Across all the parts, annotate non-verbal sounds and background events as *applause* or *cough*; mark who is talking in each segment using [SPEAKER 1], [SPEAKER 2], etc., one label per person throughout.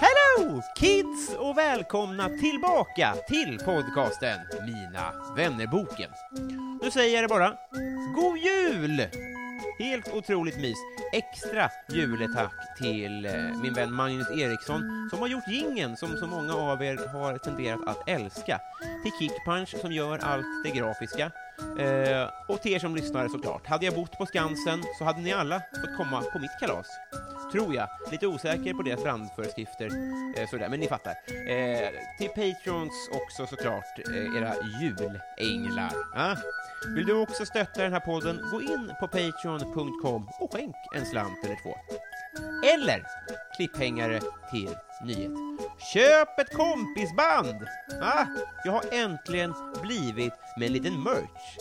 [SPEAKER 1] Hello kids och välkomna tillbaka till podcasten Mina vännerboken. Nu säger jag det bara. God jul! Helt otroligt mys. Extra juletack till eh, min vän Magnus Eriksson som har gjort gingen som så många av er har tenderat att älska. Till Kickpunch som gör allt det grafiska. Eh, och till er som lyssnar såklart. Hade jag bott på Skansen så hade ni alla fått komma på mitt kalas tror jag. Lite osäker på deras brandföreskrifter, eh, sådär, men ni fattar. Eh, till Patreons också såklart, eh, era julänglar. Ah. Vill du också stötta den här podden, gå in på patreon.com och skänk en slant eller två. Eller klipphängare till nyhet. Köp ett kompisband! Ah, jag har äntligen blivit med en liten merch.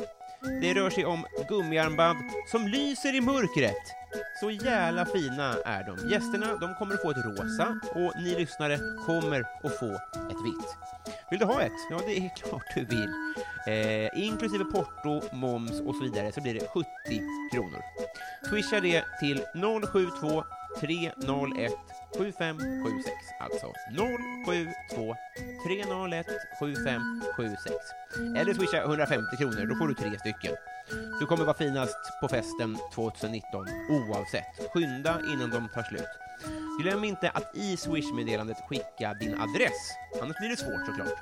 [SPEAKER 1] Det rör sig om gummiarmband som lyser i mörkret. Så jävla fina är de. Gästerna de kommer att få ett rosa och ni lyssnare kommer att få ett vitt. Vill du ha ett? Ja, det är *laughs* klart du vill. Eh, inklusive porto, moms och så vidare så blir det 70 kronor. Swisha det till 072 301 7576. Alltså 072 301 7576. Eller swisha 150 kronor, då får du tre stycken. Du kommer vara finast på festen 2019 oavsett. Skynda innan de tar slut. Glöm inte att i Swish-meddelandet skicka din adress, annars blir det svårt såklart.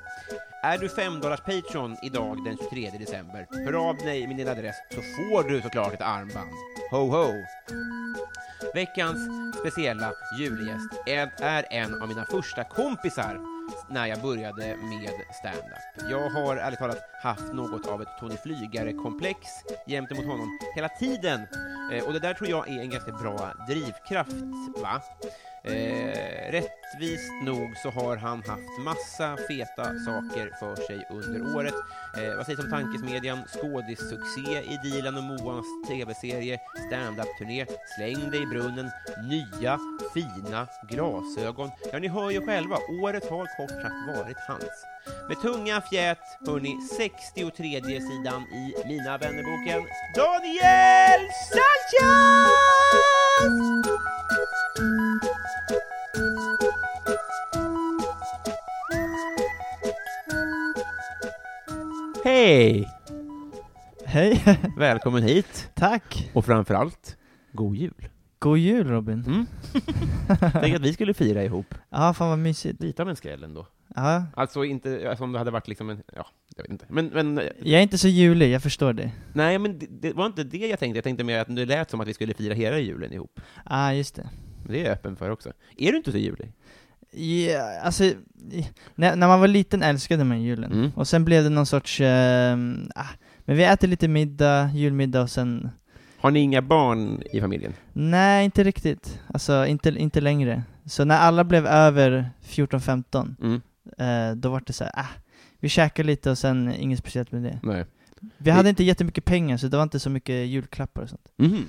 [SPEAKER 1] Är du 5 Patreon idag den 23 december, hör av dig med din adress så får du såklart ett armband. Ho ho! Veckans speciella julgäst är- är en av mina första kompisar när jag började med stand-up. Jag har ärligt talat haft något av ett Tony Flygare-komplex gentemot honom hela tiden. Eh, och det där tror jag är en ganska bra drivkraft, va? Eh, rättvist nog så har han haft massa feta saker för sig under året. Eh, vad sägs om tankesmedjan, skådissuccé i Dilan och Moans tv-serie, standup-turné, Släng dig i brunnen, nya fina glasögon. Ja, ni hör ju själva, året har kort sagt varit hans. Med tunga fjät, hörni, 63 sidan i Mina vännerboken, Daniel Sanchez! Hej!
[SPEAKER 2] Hej, *laughs*
[SPEAKER 1] Välkommen hit
[SPEAKER 2] tack!
[SPEAKER 1] och framförallt God *laughs* jul!
[SPEAKER 2] God jul
[SPEAKER 1] Mm.
[SPEAKER 2] Robin!
[SPEAKER 1] Tänk att vi skulle fira ihop.
[SPEAKER 2] Ja, fan vad mysigt.
[SPEAKER 1] Lite av en skräll ändå.
[SPEAKER 2] Ja,
[SPEAKER 1] Alltså inte alltså om det hade varit liksom en, ja, jag vet inte. Men, men eh,
[SPEAKER 2] jag är inte så julig, jag förstår det.
[SPEAKER 1] nej men det, det var inte det jag tänkte. Jag tänkte mer att det lät som att vi skulle fira hela julen ihop.
[SPEAKER 2] Ja, ah, just det.
[SPEAKER 1] Men det är jag öppen för också. Är du inte så julig?
[SPEAKER 2] Ja, alltså, i- när, när man var liten älskade man julen.
[SPEAKER 1] Mm.
[SPEAKER 2] Och sen blev det någon sorts, ehm, ah, men vi äter lite middag, julmiddag och sen,
[SPEAKER 1] Har ni inga barn i familjen?
[SPEAKER 2] nej inte riktigt. Alltså inte, inte längre. Så när alla blev över 14-15,
[SPEAKER 1] Mm.
[SPEAKER 2] eh, då var det så här, ah, vi käkar lite och sen inget speciellt med det.
[SPEAKER 1] Nej.
[SPEAKER 2] Vi hade inte jättemycket pengar så det var inte så mycket julklappar och sånt.
[SPEAKER 1] Mhm.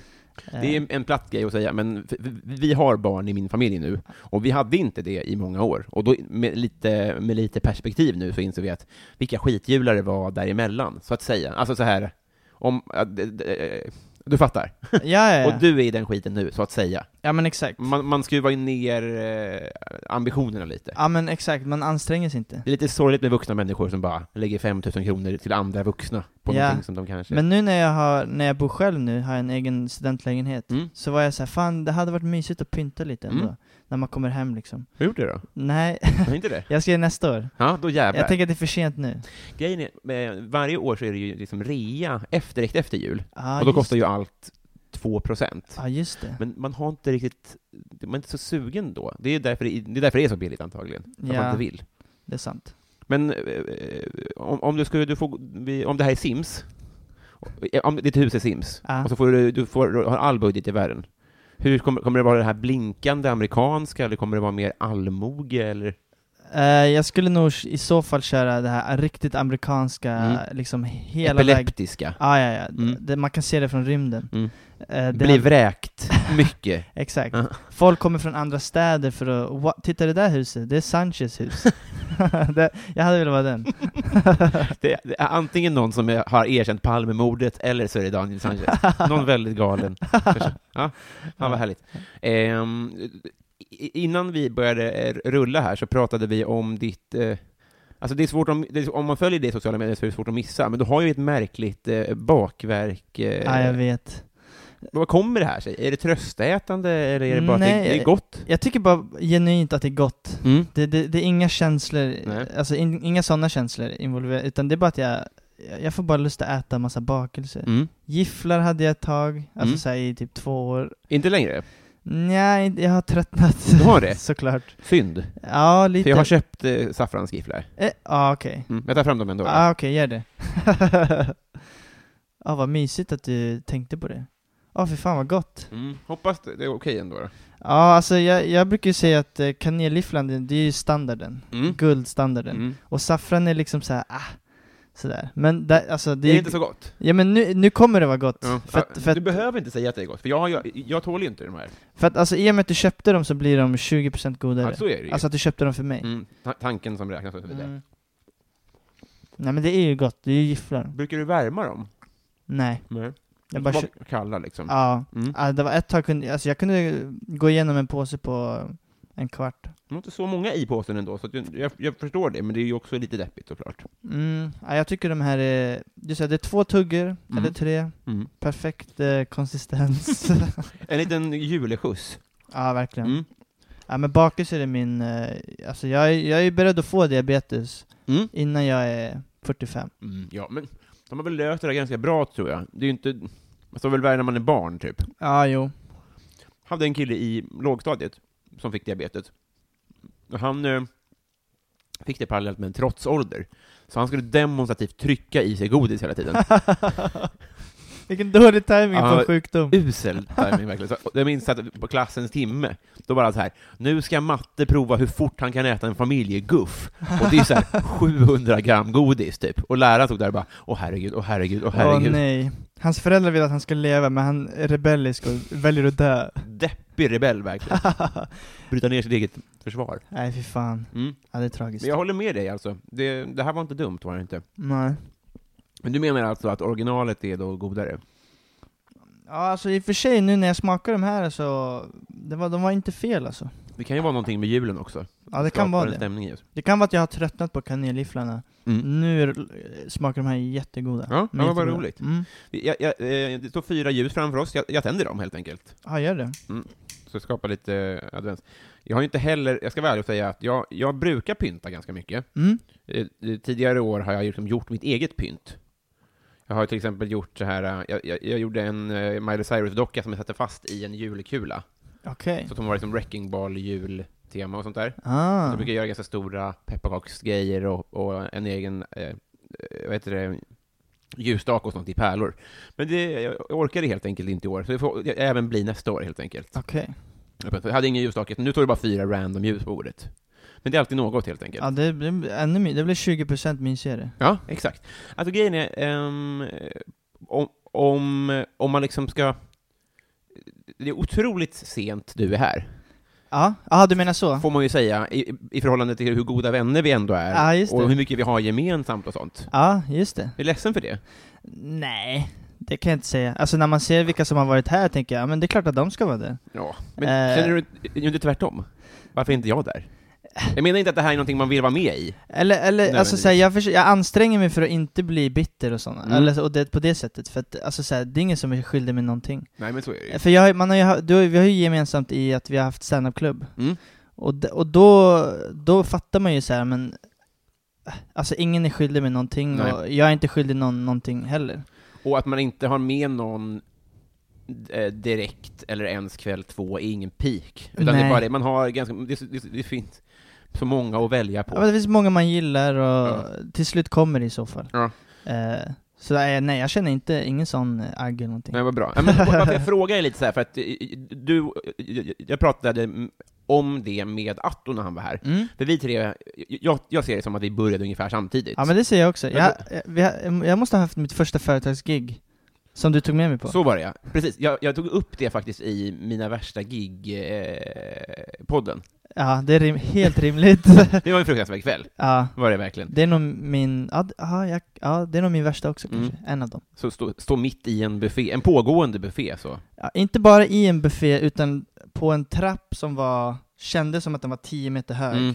[SPEAKER 2] Eh,
[SPEAKER 1] Det är en- en platt grej att säga, men f- f- vi har barn i min familj nu, och vi hade inte det i många år. Och då, med, lite, med lite perspektiv nu så inser vi att vilka skitjular det var däremellan, så att säga. Alltså så här, om, ja, d- d- eh, du fattar.
[SPEAKER 2] Eh, ja, ja,
[SPEAKER 1] *laughs*
[SPEAKER 2] ja.
[SPEAKER 1] Och du är i den skiten nu, så att säga.
[SPEAKER 2] Ja, Ja men exakt.
[SPEAKER 1] Man, man skruvar ju ner eh, ambitionerna lite.
[SPEAKER 2] Ja men exakt, man anstränger sig inte.
[SPEAKER 1] Det är lite sorgligt med vuxna människor som bara lägger 5000 kronor till andra vuxna på
[SPEAKER 2] Ja.
[SPEAKER 1] någonting som de kanske...
[SPEAKER 2] Men nu när jag, har, när jag bor själv nu, har jag en egen studentlägenhet,
[SPEAKER 1] Mm.
[SPEAKER 2] så var jag så här, fan det hade varit mysigt att pynta lite ändå,
[SPEAKER 1] Mm.
[SPEAKER 2] när man kommer hem liksom.
[SPEAKER 1] Har du gjort det då?
[SPEAKER 2] Nej, *laughs*
[SPEAKER 1] Har inte det?
[SPEAKER 2] jag ska göra nästa år.
[SPEAKER 1] Ja, då jävlar.
[SPEAKER 2] Jag tänker att det är för sent nu.
[SPEAKER 1] Grejen är, eh, varje år så är det ju liksom rea efter, direkt efter jul.
[SPEAKER 2] Ja,
[SPEAKER 1] och då
[SPEAKER 2] just,
[SPEAKER 1] kostar ju allt 2%.
[SPEAKER 2] ja just det.
[SPEAKER 1] Men man har inte riktigt, man är inte så sugen då. Det är därför det, det, är, därför det är så billigt antagligen. För att
[SPEAKER 2] Ja.
[SPEAKER 1] man inte vill.
[SPEAKER 2] Det är sant.
[SPEAKER 1] Men eh, om, om du skulle, du får, vi- om det här är Sims, eh, om ditt hus är Sims,
[SPEAKER 2] Ja.
[SPEAKER 1] och så får du, du får, har all budget i världen. Hur kommer, kommer det vara det här blinkande amerikanska, eller kommer det vara mer allmoge, eller?
[SPEAKER 2] Eh, jag skulle nog i så fall köra det här riktigt amerikanska,
[SPEAKER 1] Mm.
[SPEAKER 2] liksom hela vägen.
[SPEAKER 1] epileptiska?
[SPEAKER 2] Ah, ja, ja.
[SPEAKER 1] Mm.
[SPEAKER 2] Det, man kan se det från rymden.
[SPEAKER 1] Mm.
[SPEAKER 2] Eh, det
[SPEAKER 1] Bli vräkt mycket?
[SPEAKER 2] Exakt.
[SPEAKER 1] Ja.
[SPEAKER 2] Folk kommer från andra städer för att, "Wa- titta det där huset, det är
[SPEAKER 1] *laughs*
[SPEAKER 2] Sanchez hus. *laughs* det, jag hade velat vara den.
[SPEAKER 1] Det, det är antingen någon som är, har erkänt Palmemordet, eller så är det Daniel Sanchez. Någon väldigt galen. person. Ja, fan vad härligt. Ehm, i- innan vi började eh, rulla här så pratade vi om ditt... Eh, alltså det är svårt om, det är, om man följer det i sociala medier så är det svårt att missa, men du har ju ett märkligt eh, bakverk. Eh,
[SPEAKER 2] Ja, jag vet.
[SPEAKER 1] vad kommer det här sig? Är det tröstätande, eller är det bara att det,
[SPEAKER 2] Nej.
[SPEAKER 1] det är gott?
[SPEAKER 2] Jag tycker bara genuint att det är gott.
[SPEAKER 1] Mm.
[SPEAKER 2] Det, det, det är inga känslor,
[SPEAKER 1] Nej.
[SPEAKER 2] alltså in, inga sådana känslor involverade, utan det är bara att jag, jag får bara lust att äta massa bakelser.
[SPEAKER 1] Mm.
[SPEAKER 2] Gifflar hade jag ett tag, alltså
[SPEAKER 1] Mm.
[SPEAKER 2] så här, i typ två år.
[SPEAKER 1] Inte
[SPEAKER 2] *laughs*
[SPEAKER 1] längre?
[SPEAKER 2] Nej, jag har tröttnat.
[SPEAKER 1] Du har det?
[SPEAKER 2] *laughs* Såklart.
[SPEAKER 1] Synd.
[SPEAKER 2] Ja, lite.
[SPEAKER 1] För jag har köpt eh, saffransgifflar.
[SPEAKER 2] eh, ja, okej.
[SPEAKER 1] Mm. Jag tar fram dem ändå.
[SPEAKER 2] Ja, ah, okej, gör det. *laughs* ah, vad mysigt att du tänkte på det. Ja, ah, för fan vad gott. Ja,
[SPEAKER 1] Mm. Hoppas det det är okej ändå. Då.
[SPEAKER 2] ah, alltså jag, jag brukar ju säga att eh, kanelgifflan, det, det är ju standarden.
[SPEAKER 1] Mm.
[SPEAKER 2] Guldstandarden.
[SPEAKER 1] Mm.
[SPEAKER 2] Och saffran är liksom så här, ah, sådär. Men där, alltså det,
[SPEAKER 1] Det är inte så gott.
[SPEAKER 2] Ja men nu, nu kommer det vara gott.
[SPEAKER 1] Ja. Ah,
[SPEAKER 2] För, att, för,
[SPEAKER 1] du
[SPEAKER 2] att,
[SPEAKER 1] behöver inte säga att det är gott, för jag, har ju- jag tål ju inte de här.
[SPEAKER 2] för att alltså i och med att du köpte dem så blir de 20% godare.
[SPEAKER 1] Ja, så är det ju.
[SPEAKER 2] Alltså att du köpte dem för mig.
[SPEAKER 1] Mm, ta- tanken som räknas och så vidare.
[SPEAKER 2] Mm. Nej men det är ju gott, det är ju gifflar.
[SPEAKER 1] Brukar du värma dem?
[SPEAKER 2] Nej,
[SPEAKER 1] Nej.
[SPEAKER 2] jag bara kö-
[SPEAKER 1] kalla liksom.
[SPEAKER 2] Ja,
[SPEAKER 1] Mm.
[SPEAKER 2] Ja, det var ett tag kunde, alltså jag kunde gå igenom en påse på en kvart.
[SPEAKER 1] Det var inte så många i påsen ändå, så att jag, jag, jag förstår det, men det är ju också lite deppigt såklart.
[SPEAKER 2] Mm, ja, jag tycker de här är, du säger det är två tuggor, eller tre,
[SPEAKER 1] Mm.
[SPEAKER 2] perfekt eh,
[SPEAKER 1] *laughs*
[SPEAKER 2] konsistens.
[SPEAKER 1] En liten juleskjuts.
[SPEAKER 2] ja, verkligen.
[SPEAKER 1] Mm.
[SPEAKER 2] Ja, men bakelser är min, eh, alltså jag, är- jag är ju beredd att få diabetes
[SPEAKER 1] Mm.
[SPEAKER 2] innan jag är 45.
[SPEAKER 1] Mm. Ja, men de har väl löst det där ganska bra tror jag. Det är ju inte... Man står väl värre när man är barn, typ.
[SPEAKER 2] Ja, jo.
[SPEAKER 1] hade en kille i lågstadiet som fick diabetes. Och han eh, fick det parallellt med en trotsålder. Så han skulle demonstrativt trycka i sig godis hela tiden.
[SPEAKER 2] *laughs* Vilken dålig timing på
[SPEAKER 1] Ja.
[SPEAKER 2] en sjukdom.
[SPEAKER 1] Usel timing verkligen. Så jag minns att på klassens timme, då var det så här, nu ska matte prova hur fort han kan äta en familjeguff. Och det är så här 700 gram godis typ. Och läraren stod där och bara, åh herregud, åh herregud, åh
[SPEAKER 2] Åh
[SPEAKER 1] herregud.
[SPEAKER 2] nej. Hans föräldrar vill att han ska leva, men han är rebellisk och väljer att dö. *laughs*
[SPEAKER 1] Deppig rebell verkligen. Bryta ner sitt eget försvar.
[SPEAKER 2] nej, fy fan.
[SPEAKER 1] Mm.
[SPEAKER 2] Ja, det är tragiskt.
[SPEAKER 1] Men jag håller med dig alltså. Det, det här var inte dumt, var det inte?
[SPEAKER 2] Nej.
[SPEAKER 1] Men du menar alltså att originalet är då godare?
[SPEAKER 2] Ja, alltså i och för sig nu när jag smakar de här så, det var, de var inte fel alltså.
[SPEAKER 1] Det kan ju vara någonting med julen också.
[SPEAKER 2] Ja, det
[SPEAKER 1] Skapar
[SPEAKER 2] kan vara
[SPEAKER 1] en
[SPEAKER 2] det.
[SPEAKER 1] Stämning i oss.
[SPEAKER 2] Det kan vara att jag har tröttnat på kanelgifflarna.
[SPEAKER 1] Mm.
[SPEAKER 2] Nu är- smakar de här jättegoda.
[SPEAKER 1] Ja, ja,
[SPEAKER 2] De är
[SPEAKER 1] vad
[SPEAKER 2] jättegoda.
[SPEAKER 1] roligt.
[SPEAKER 2] Mm.
[SPEAKER 1] Jag, jag, eh, det står fyra ljus framför oss, jag, jag tänder dem helt enkelt.
[SPEAKER 2] Ja, gör det.
[SPEAKER 1] Så skapar lite eh, advents. Jag har ju inte heller, jag ska vara ärlig och säga att jag, jag brukar pynta ganska mycket.
[SPEAKER 2] Mm.
[SPEAKER 1] Eh, eh, Tidigare år har jag liksom gjort mitt eget pynt. Jag har till exempel gjort så här, eh, jag, jag, jag gjorde en eh, Miley Cyrus-docka som jag satte fast i en julkula.
[SPEAKER 2] Okej.
[SPEAKER 1] Så att de var liksom wrecking ball jultema och sånt där.
[SPEAKER 2] Ah.
[SPEAKER 1] De brukar göra ganska stora pepparkaksgrejer och, och en egen, eh, vad heter det, ljusstake och sånt i pärlor. Men det, jag orkar det helt enkelt inte i år, så det får även bli nästa år helt enkelt.
[SPEAKER 2] Okej.
[SPEAKER 1] Jag hade ingen ljusstake, nu tar det bara fyra random ljus på bordet. Men det är alltid något helt enkelt.
[SPEAKER 2] Ja, det blir ännu mer. Det blir 20% mysigare.
[SPEAKER 1] Ja, exakt. Alltså grejen är, ehm, om, om, om man liksom ska... Det är otroligt sent du är här,
[SPEAKER 2] Ja, ah, du menar så?
[SPEAKER 1] får man ju säga, i, i förhållande till hur goda vänner vi ändå är,
[SPEAKER 2] Ja, just det.
[SPEAKER 1] och hur mycket vi har gemensamt och sånt.
[SPEAKER 2] Ja, just det.
[SPEAKER 1] Jag är ledsen för det.
[SPEAKER 2] Nej. Det kan jag inte säga. Alltså när man ser vilka som har varit här tänker jag, ja, men det är klart att de ska vara där.
[SPEAKER 1] Ja. Men
[SPEAKER 2] Eh.
[SPEAKER 1] känner du är du inte tvärtom? Varför är inte jag där? Jag menar inte att det här är någonting man vill vara med i.
[SPEAKER 2] Eller, eller alltså
[SPEAKER 1] Nödvändigtvis.
[SPEAKER 2] såhär, jag, förs- jag anstränger mig för att inte bli bitter och sådana,
[SPEAKER 1] Mm.
[SPEAKER 2] eller, så- och det, på det sättet, för att alltså, såhär, det är ingen som är skyldig med någonting.
[SPEAKER 1] Nej, men så är det ju.
[SPEAKER 2] För jag, har- man har ju, ha- du, har ju- vi har ju gemensamt i att vi har haft standup-klubb,
[SPEAKER 1] Mm.
[SPEAKER 2] och, d- och då, då fattar man ju såhär, men äh, alltså ingen är skyldig med någonting,
[SPEAKER 1] Nej.
[SPEAKER 2] och jag är inte skyldig någon någonting heller.
[SPEAKER 1] Och att man inte har med någon eh, direkt, eller ens kväll två, är ingen peak. Utan det är
[SPEAKER 2] Nej.
[SPEAKER 1] bara det, man har ganska, det, är så- det, är så- det finns så många att välja på.
[SPEAKER 2] Ja, men det finns många man gillar, och
[SPEAKER 1] Ja.
[SPEAKER 2] till slut kommer det i så fall.
[SPEAKER 1] Ja.
[SPEAKER 2] Eh, så eh, nej, jag känner inte, ingen sån eh, agg eller någonting.
[SPEAKER 1] Nej, vad bra. Ja, men varför jag frågar är lite så här, för att eh, du, jag- jag pratade mm, om det med Atto när han var här.
[SPEAKER 2] Mm.
[SPEAKER 1] För vi tre, jag, jag ser det som att vi började ungefär samtidigt.
[SPEAKER 2] Ja men det ser jag också.
[SPEAKER 1] Men
[SPEAKER 2] Jag, jag, vi har- eh, jag måste ha haft mitt första företagsgig, som du tog med mig på.
[SPEAKER 1] Så var det ja. Precis, jag, jag tog upp det faktiskt i mina värsta gig-podden.
[SPEAKER 2] Ja, det är rim,
[SPEAKER 1] *laughs*
[SPEAKER 2] helt rimligt.
[SPEAKER 1] det var en fruktansvärd kväll,
[SPEAKER 2] ja,
[SPEAKER 1] var det verkligen.
[SPEAKER 2] det är nog min, ja, d- aha, jag, ja det är nog min värsta också
[SPEAKER 1] Mm.
[SPEAKER 2] kanske, en av dem.
[SPEAKER 1] Så stå, stå mitt i en buffé, en pågående buffé så.
[SPEAKER 2] Ja, inte bara i en buffé, utan på en trapp som var, kändes som att den var 10 meter hög.
[SPEAKER 1] Mm.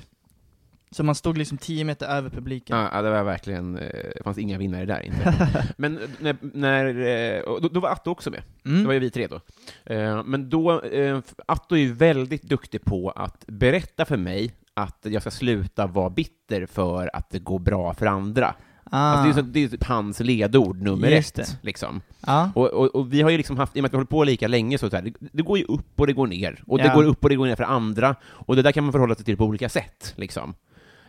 [SPEAKER 2] Så man stod liksom 10 meter över publiken.
[SPEAKER 1] Ja, ja, det var verkligen, eh, det fanns inga vinnare där inte.
[SPEAKER 2] *laughs*
[SPEAKER 1] Men när, när eh, och då, då var Atto också med. Det
[SPEAKER 2] Mm.
[SPEAKER 1] var ju vi tre då. Eh, Men då, eh, Atto är ju väldigt duktig på att berätta för mig att jag ska sluta vara bitter för att det går bra för andra.
[SPEAKER 2] Ah.
[SPEAKER 1] Alltså det är ju så- det är ju typ hans ledord nummer
[SPEAKER 2] Just
[SPEAKER 1] ett.
[SPEAKER 2] det.
[SPEAKER 1] Liksom.
[SPEAKER 2] ja.
[SPEAKER 1] Och, och, och vi har ju liksom haft, i och med att vi har hållit på lika länge, så, så här, det, det går ju upp och det går ner. Och det
[SPEAKER 2] Ja.
[SPEAKER 1] går upp och det går ner för andra. Och det där kan man förhålla sig till på olika sätt. Liksom.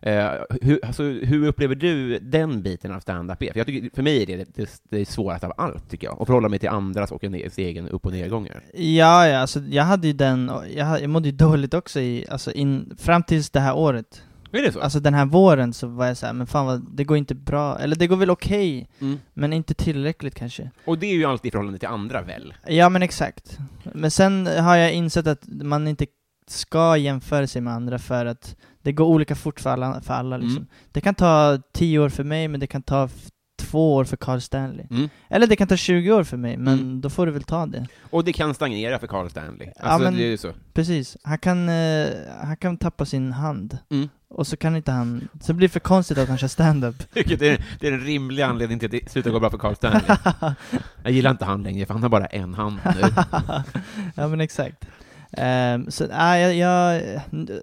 [SPEAKER 1] Eh, hur, alltså, hur upplever du den biten av stand-up är? För, jag tycker, för mig är det det, det svåraste av allt, tycker jag. Att förhålla mig till andras och en ens egen upp och nedgångar.
[SPEAKER 2] Ja, ja, alltså jag hade ju den, och jag, ha- jag mådde ju *laughs* dåligt också i, alltså in, fram tills det här året.
[SPEAKER 1] Är det så?
[SPEAKER 2] Alltså den här våren så var jag så här, men fan vad, det går inte bra, eller det går väl okej,
[SPEAKER 1] Mm.
[SPEAKER 2] men inte tillräckligt kanske.
[SPEAKER 1] Och det är ju alltid i förhållande till andra, väl?
[SPEAKER 2] Ja men exakt. Men sen har jag insett att man inte ska jämföra sig med andra för att det går olika fort för alla. För alla liksom.
[SPEAKER 1] Mm.
[SPEAKER 2] Det kan ta 10 år för mig, men det kan ta f- två år för Carl Stanley.
[SPEAKER 1] Mm.
[SPEAKER 2] Eller det kan ta 20 år för mig, men
[SPEAKER 1] Mm.
[SPEAKER 2] då får du väl ta det.
[SPEAKER 1] Och det kan stagnera för Carl Stanley.
[SPEAKER 2] Ja,
[SPEAKER 1] Alltså,
[SPEAKER 2] men-
[SPEAKER 1] det är ju så.
[SPEAKER 2] Precis. Han kan, eh, han kan tappa sin hand.
[SPEAKER 1] Mm. *laughs*
[SPEAKER 2] Och så kan inte han... Så blir det för konstigt att han kör stand-up.
[SPEAKER 1] Vilket är, det är en rimlig anledning till att det slutar gå bra för Carl
[SPEAKER 2] *laughs*
[SPEAKER 1] Stanley. Jag gillar inte han längre, för han har bara en hand nu.
[SPEAKER 2] ja men exakt. Ehm, så nej, jag, jag,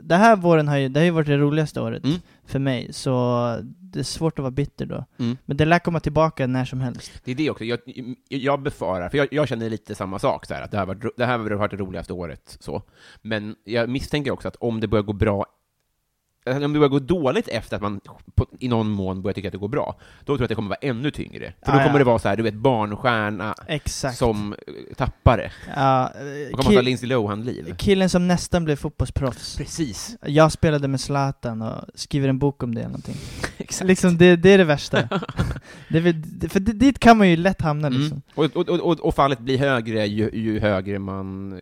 [SPEAKER 2] det här våren har ju, det har ju varit det roligaste året
[SPEAKER 1] Mm.
[SPEAKER 2] för mig, så det är svårt att vara bitter då.
[SPEAKER 1] Mm.
[SPEAKER 2] Men det lär komma tillbaka när som helst.
[SPEAKER 1] Det är det också. Jag, jag befarar, för jag, jag känner lite samma sak, så här, att det här, var, det här har varit det roligaste året. Så. Men jag misstänker också att om det börjar gå bra eller om det börjar gå dåligt efter att man på, i någon mån börjar tycka att det går bra, då tror jag att det kommer vara ännu tyngre. För då
[SPEAKER 2] Ah, ja.
[SPEAKER 1] kommer det vara så här, du vet, barnstjärna
[SPEAKER 2] Exakt.
[SPEAKER 1] som eh, tappare.
[SPEAKER 2] Ja, eh,
[SPEAKER 1] Då kommer man ta
[SPEAKER 2] ki-
[SPEAKER 1] Lindsay Lohan-liv.
[SPEAKER 2] killen som nästan blev fotbollsproffs.
[SPEAKER 1] Precis.
[SPEAKER 2] Jag spelade med Zlatan och skriver en bok om det
[SPEAKER 1] *laughs*
[SPEAKER 2] eller någonting. Liksom, det, det är det värsta. det är väl, det- för di- dit kan man ju lätt hamna liksom.
[SPEAKER 1] Mm. Och, och, och, och fallet blir högre ju, ju högre man eh,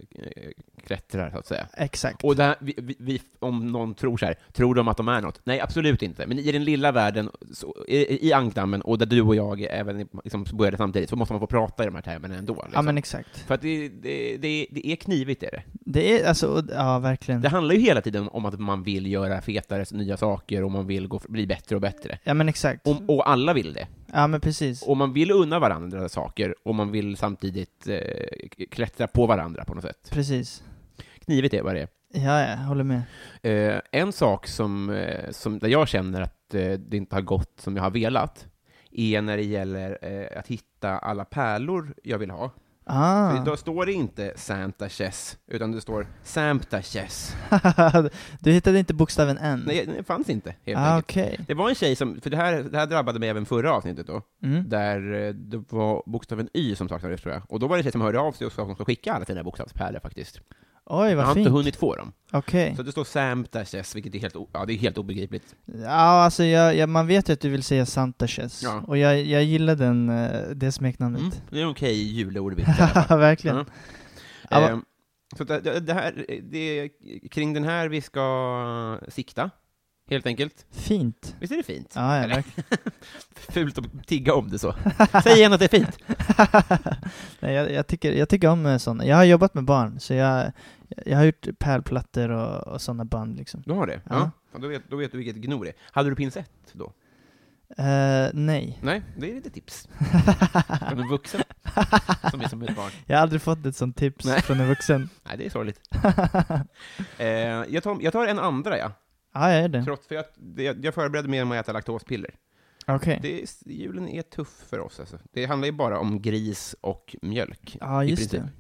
[SPEAKER 1] klättrar, så att säga.
[SPEAKER 2] Exakt.
[SPEAKER 1] Och det här, vi, vi, vi, om någon tror så här, tror de att de är något? Nej, absolut inte. Men i den lilla världen, så, i, i ankdammen, och där du och jag även liksom, började samtidigt, så måste man få prata i de här termerna ändå. Liksom.
[SPEAKER 2] Ja men exakt.
[SPEAKER 1] För att det, det, det, det är knivigt, är det.
[SPEAKER 2] Det är alltså, och- ja verkligen.
[SPEAKER 1] Det handlar ju hela tiden om att man vill göra fetare, nya saker, och man vill gå, bli bättre och bättre.
[SPEAKER 2] Ja men exakt.
[SPEAKER 1] Och, och alla vill det.
[SPEAKER 2] Ja men precis.
[SPEAKER 1] Och man vill unna varandra saker, och man vill samtidigt eh, klättra på varandra på något sätt.
[SPEAKER 2] Precis.
[SPEAKER 1] Knivigt är vad det är.
[SPEAKER 2] Ja, ja, håller med.
[SPEAKER 1] Eh, en sak som, eh, som där jag känner att eh, det inte har gått som jag har velat är när det gäller eh, att hitta alla pärlor jag vill ha.
[SPEAKER 2] Ah.
[SPEAKER 1] För Då står det inte Santa Chess, utan det står Sampta Chess.
[SPEAKER 2] *laughs* du hittade inte bokstaven N?
[SPEAKER 1] Nej, det fanns inte, helt
[SPEAKER 2] ah,
[SPEAKER 1] enkelt.
[SPEAKER 2] okej.
[SPEAKER 1] Det var en tjej som, för det här, det här drabbade mig även förra avsnittet då,
[SPEAKER 2] Mm.
[SPEAKER 1] där eh, det var bokstaven Y som saknades tror jag. Och då var det en tjej som hörde av sig och sa att hon skulle skicka alla sina bokstavspärlor faktiskt.
[SPEAKER 2] Oj,
[SPEAKER 1] Jag
[SPEAKER 2] vad
[SPEAKER 1] har inte
[SPEAKER 2] fint.
[SPEAKER 1] hunnit få dem.
[SPEAKER 2] Okej.
[SPEAKER 1] Så det står Sampta Chess, vilket är helt, o- ja, det är helt obegripligt.
[SPEAKER 2] Ja, alltså jag, jag, man vet ju att du vill säga Santaches.
[SPEAKER 1] Ja.
[SPEAKER 2] Och jag, jag gillar den, eh, det smeknamnet. *laughs*
[SPEAKER 1] Mm. Det är en okej julordvits i alla fall.
[SPEAKER 2] Verkligen.
[SPEAKER 1] Mm.
[SPEAKER 2] Ja, va-
[SPEAKER 1] Ehm, Så det, det det här, det är kring den här vi ska sikta, helt enkelt.
[SPEAKER 2] Fint.
[SPEAKER 1] Visst är det fint?
[SPEAKER 2] Ja, ja,
[SPEAKER 1] Eller?
[SPEAKER 2] verkligen.
[SPEAKER 1] Fult att tigga om
[SPEAKER 2] *laughs*
[SPEAKER 1] det så. Säg igen att det är fint.
[SPEAKER 2] Nej, jag, jag, tycker, jag tycker om eh, såna. Jag har jobbat med barn, så jag, jag har gjort pärlplattor och, och sådana band liksom.
[SPEAKER 1] Du har det?
[SPEAKER 2] Ja.
[SPEAKER 1] Ja. ja då, vet, då vet du vilket gno det är. Hade du pinsett då?
[SPEAKER 2] Eh, nej.
[SPEAKER 1] Nej, det är lite
[SPEAKER 2] *laughs*
[SPEAKER 1] tips. Från en vuxen som är som ett barn.
[SPEAKER 2] jag har aldrig fått ett sånt tips
[SPEAKER 1] Nej.
[SPEAKER 2] från
[SPEAKER 1] *laughs*
[SPEAKER 2] en vuxen.
[SPEAKER 1] Nej, det är
[SPEAKER 2] *laughs*
[SPEAKER 1] sorgligt. eh, jag, tar, jag tar en andra, ja.
[SPEAKER 2] Ja, jag är det.
[SPEAKER 1] Trots, för jag, det- jag förberedde mig genom att äta laktospiller.
[SPEAKER 2] Okej.
[SPEAKER 1] Det, är- julen är tuff för oss alltså. Det handlar ju bara om gris och mjölk.
[SPEAKER 2] Ja,
[SPEAKER 1] i
[SPEAKER 2] just
[SPEAKER 1] princip.
[SPEAKER 2] det.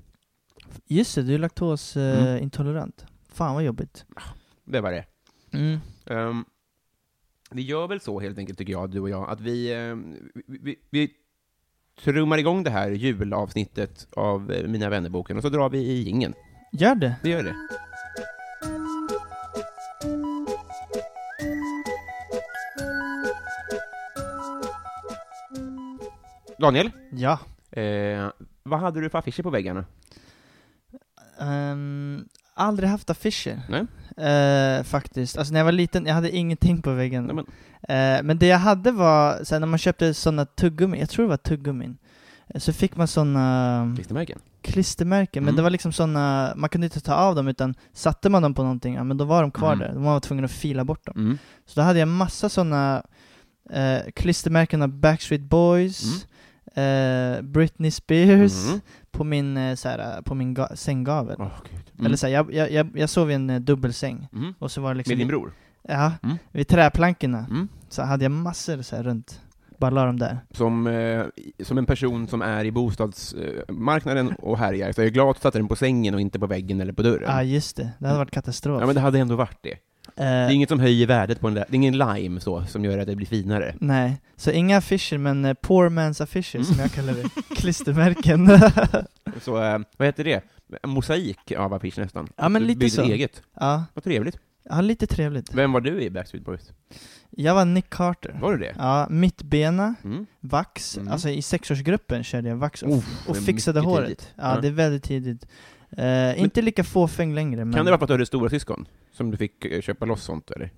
[SPEAKER 2] Just det, du är laktosintolerant.
[SPEAKER 1] Mm.
[SPEAKER 2] Fan vad jobbigt.
[SPEAKER 1] Det var det.
[SPEAKER 2] Mm.
[SPEAKER 1] Ehm, vi gör väl så helt enkelt, tycker jag, du och jag, att vi, ehm, vi, vi, vi trummar igång det här julavsnittet av eh, Mina vännerboken och så drar vi i ingen.
[SPEAKER 2] Gör det.
[SPEAKER 1] Vi gör det. Daniel,
[SPEAKER 2] Ja.
[SPEAKER 1] eh, vad hade du för affischer på väggarna?
[SPEAKER 2] Ehm, aldrig haft affischer.
[SPEAKER 1] Nej.
[SPEAKER 2] Eh, faktiskt. Alltså när jag var liten, jag hade ingenting på väggen.
[SPEAKER 1] Nej, men,
[SPEAKER 2] Eh, men det jag hade var, sen när man köpte sådana tuggummin, jag tror det var tuggummin, eh, så fick man sådana
[SPEAKER 1] klistermärken?
[SPEAKER 2] klistermärken, men
[SPEAKER 1] Mm.
[SPEAKER 2] det var liksom sådana, man kunde inte ta av dem utan satte man dem på någonting, ja men då var de kvar
[SPEAKER 1] Mm.
[SPEAKER 2] där, man var tvungen att fila bort dem.
[SPEAKER 1] Mm.
[SPEAKER 2] Så då hade jag massa sådana eh, klistermärken av Backstreet Boys, eh, Britney Spears,
[SPEAKER 1] Mm.
[SPEAKER 2] på min, eh, såhär, på min ga- sänggavel.
[SPEAKER 1] Åh, gud. Mm.
[SPEAKER 2] Eller såhär, jag, jag, jag, jag sov i en eh, dubbelsäng,
[SPEAKER 1] Mm.
[SPEAKER 2] och så var det liksom...
[SPEAKER 1] Med din bror?
[SPEAKER 2] Ja,
[SPEAKER 1] Mm.
[SPEAKER 2] vid träplankorna
[SPEAKER 1] Mm.
[SPEAKER 2] så hade jag massor så här runt. Bara la dem där.
[SPEAKER 1] Som, eh, som en person som är i bostadsmarknaden och härjar, så är jag glad att du satte den på sängen och inte på väggen eller på dörren.
[SPEAKER 2] Ja ah, just det, det hade varit katastrof.
[SPEAKER 1] ja, men det hade ändå varit det. Det är
[SPEAKER 2] Eh,
[SPEAKER 1] inget som höjer värdet på den där, det är ingen lime så, som gör att det blir finare.
[SPEAKER 2] Nej, så inga affischer men eh, poor man's affischer
[SPEAKER 1] Mm.
[SPEAKER 2] som jag kallar
[SPEAKER 1] *laughs*
[SPEAKER 2] det. Klistermärken. *laughs*
[SPEAKER 1] Så, eh, vad heter det? En mosaik av affisch nästan.
[SPEAKER 2] Ja, men
[SPEAKER 1] Du
[SPEAKER 2] lite
[SPEAKER 1] byggde
[SPEAKER 2] så.
[SPEAKER 1] eget.
[SPEAKER 2] ja,
[SPEAKER 1] Vad trevligt.
[SPEAKER 2] ja, lite trevligt.
[SPEAKER 1] Vem var du i Backstreet Boys?
[SPEAKER 2] Jag var Nick Carter.
[SPEAKER 1] Var du det?
[SPEAKER 2] Ja, mittbena,
[SPEAKER 1] Mm.
[SPEAKER 2] vax,
[SPEAKER 1] Mm.
[SPEAKER 2] alltså i sexårsgruppen körde jag vax och,
[SPEAKER 1] Uff,
[SPEAKER 2] och
[SPEAKER 1] det är
[SPEAKER 2] fixade
[SPEAKER 1] mycket
[SPEAKER 2] håret.
[SPEAKER 1] tidigt.
[SPEAKER 2] Ja,
[SPEAKER 1] Ja.
[SPEAKER 2] det är väldigt tidigt. Eh, inte lika fåfäng längre men...
[SPEAKER 1] Kan det vara för att du hade stora syskon? Som du fick eh, köpa loss sånt eller?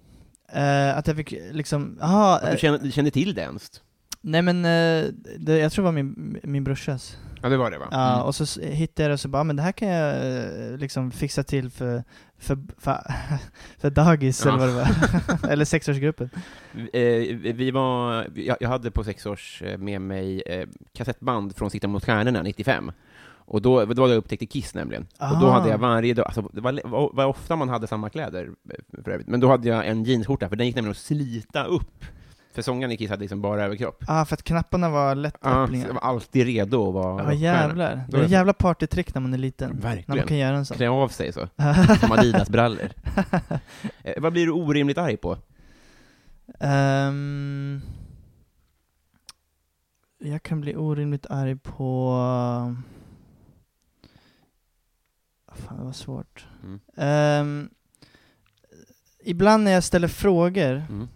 [SPEAKER 2] eh, att jag fick liksom, aha,
[SPEAKER 1] Att du
[SPEAKER 2] eh,
[SPEAKER 1] kände, du kände till det ens?
[SPEAKER 2] nej men eh, det, jag tror det var min, min brorsas.
[SPEAKER 1] Ja, det var det va?
[SPEAKER 2] Ja,
[SPEAKER 1] Mm.
[SPEAKER 2] och så s- hittade jag det och så bara, "Ah, men det här kan jag eh, liksom fixa till för, för, för, *laughs* för dagis
[SPEAKER 1] Ja.
[SPEAKER 2] eller vad det
[SPEAKER 1] *laughs*
[SPEAKER 2] var. *laughs* eller sexårsgruppen.
[SPEAKER 1] Eh, vi var, jag, jag hade på sex års eh, med mig eh, kassettband från Sikta mot stjärnorna 95. Och då, då hade jag upptäckte Kiss nämligen. Och då
[SPEAKER 2] Ah.
[SPEAKER 1] hade jag varje dag, alltså, det var, var, var ofta man hade samma kläder eh, för övrigt, men då hade jag en jeansskjorta, för den gick nämligen att slita upp. För sångaren i Kiss hade liksom bara överkropp.
[SPEAKER 2] Ja, ah, för att knapparna var
[SPEAKER 1] Ah, så jag
[SPEAKER 2] lättöppningar.
[SPEAKER 1] var alltid redo att vara
[SPEAKER 2] Ja,
[SPEAKER 1] rockstjärna.
[SPEAKER 2] jävlar.
[SPEAKER 1] Då är det
[SPEAKER 2] Det är ett
[SPEAKER 1] så.
[SPEAKER 2] jävla partytrick när man är liten. När man
[SPEAKER 1] Verkligen.
[SPEAKER 2] kan göra en sån.
[SPEAKER 1] Klä av sig
[SPEAKER 2] *laughs*
[SPEAKER 1] så, som Adidas-brallor. eh, vad blir du orimligt arg på?
[SPEAKER 2] Ehm, jag kan bli orimligt arg på... Fan, det var svårt.
[SPEAKER 1] Mm.
[SPEAKER 2] Ehm, ibland när jag ställer frågor
[SPEAKER 1] Mm.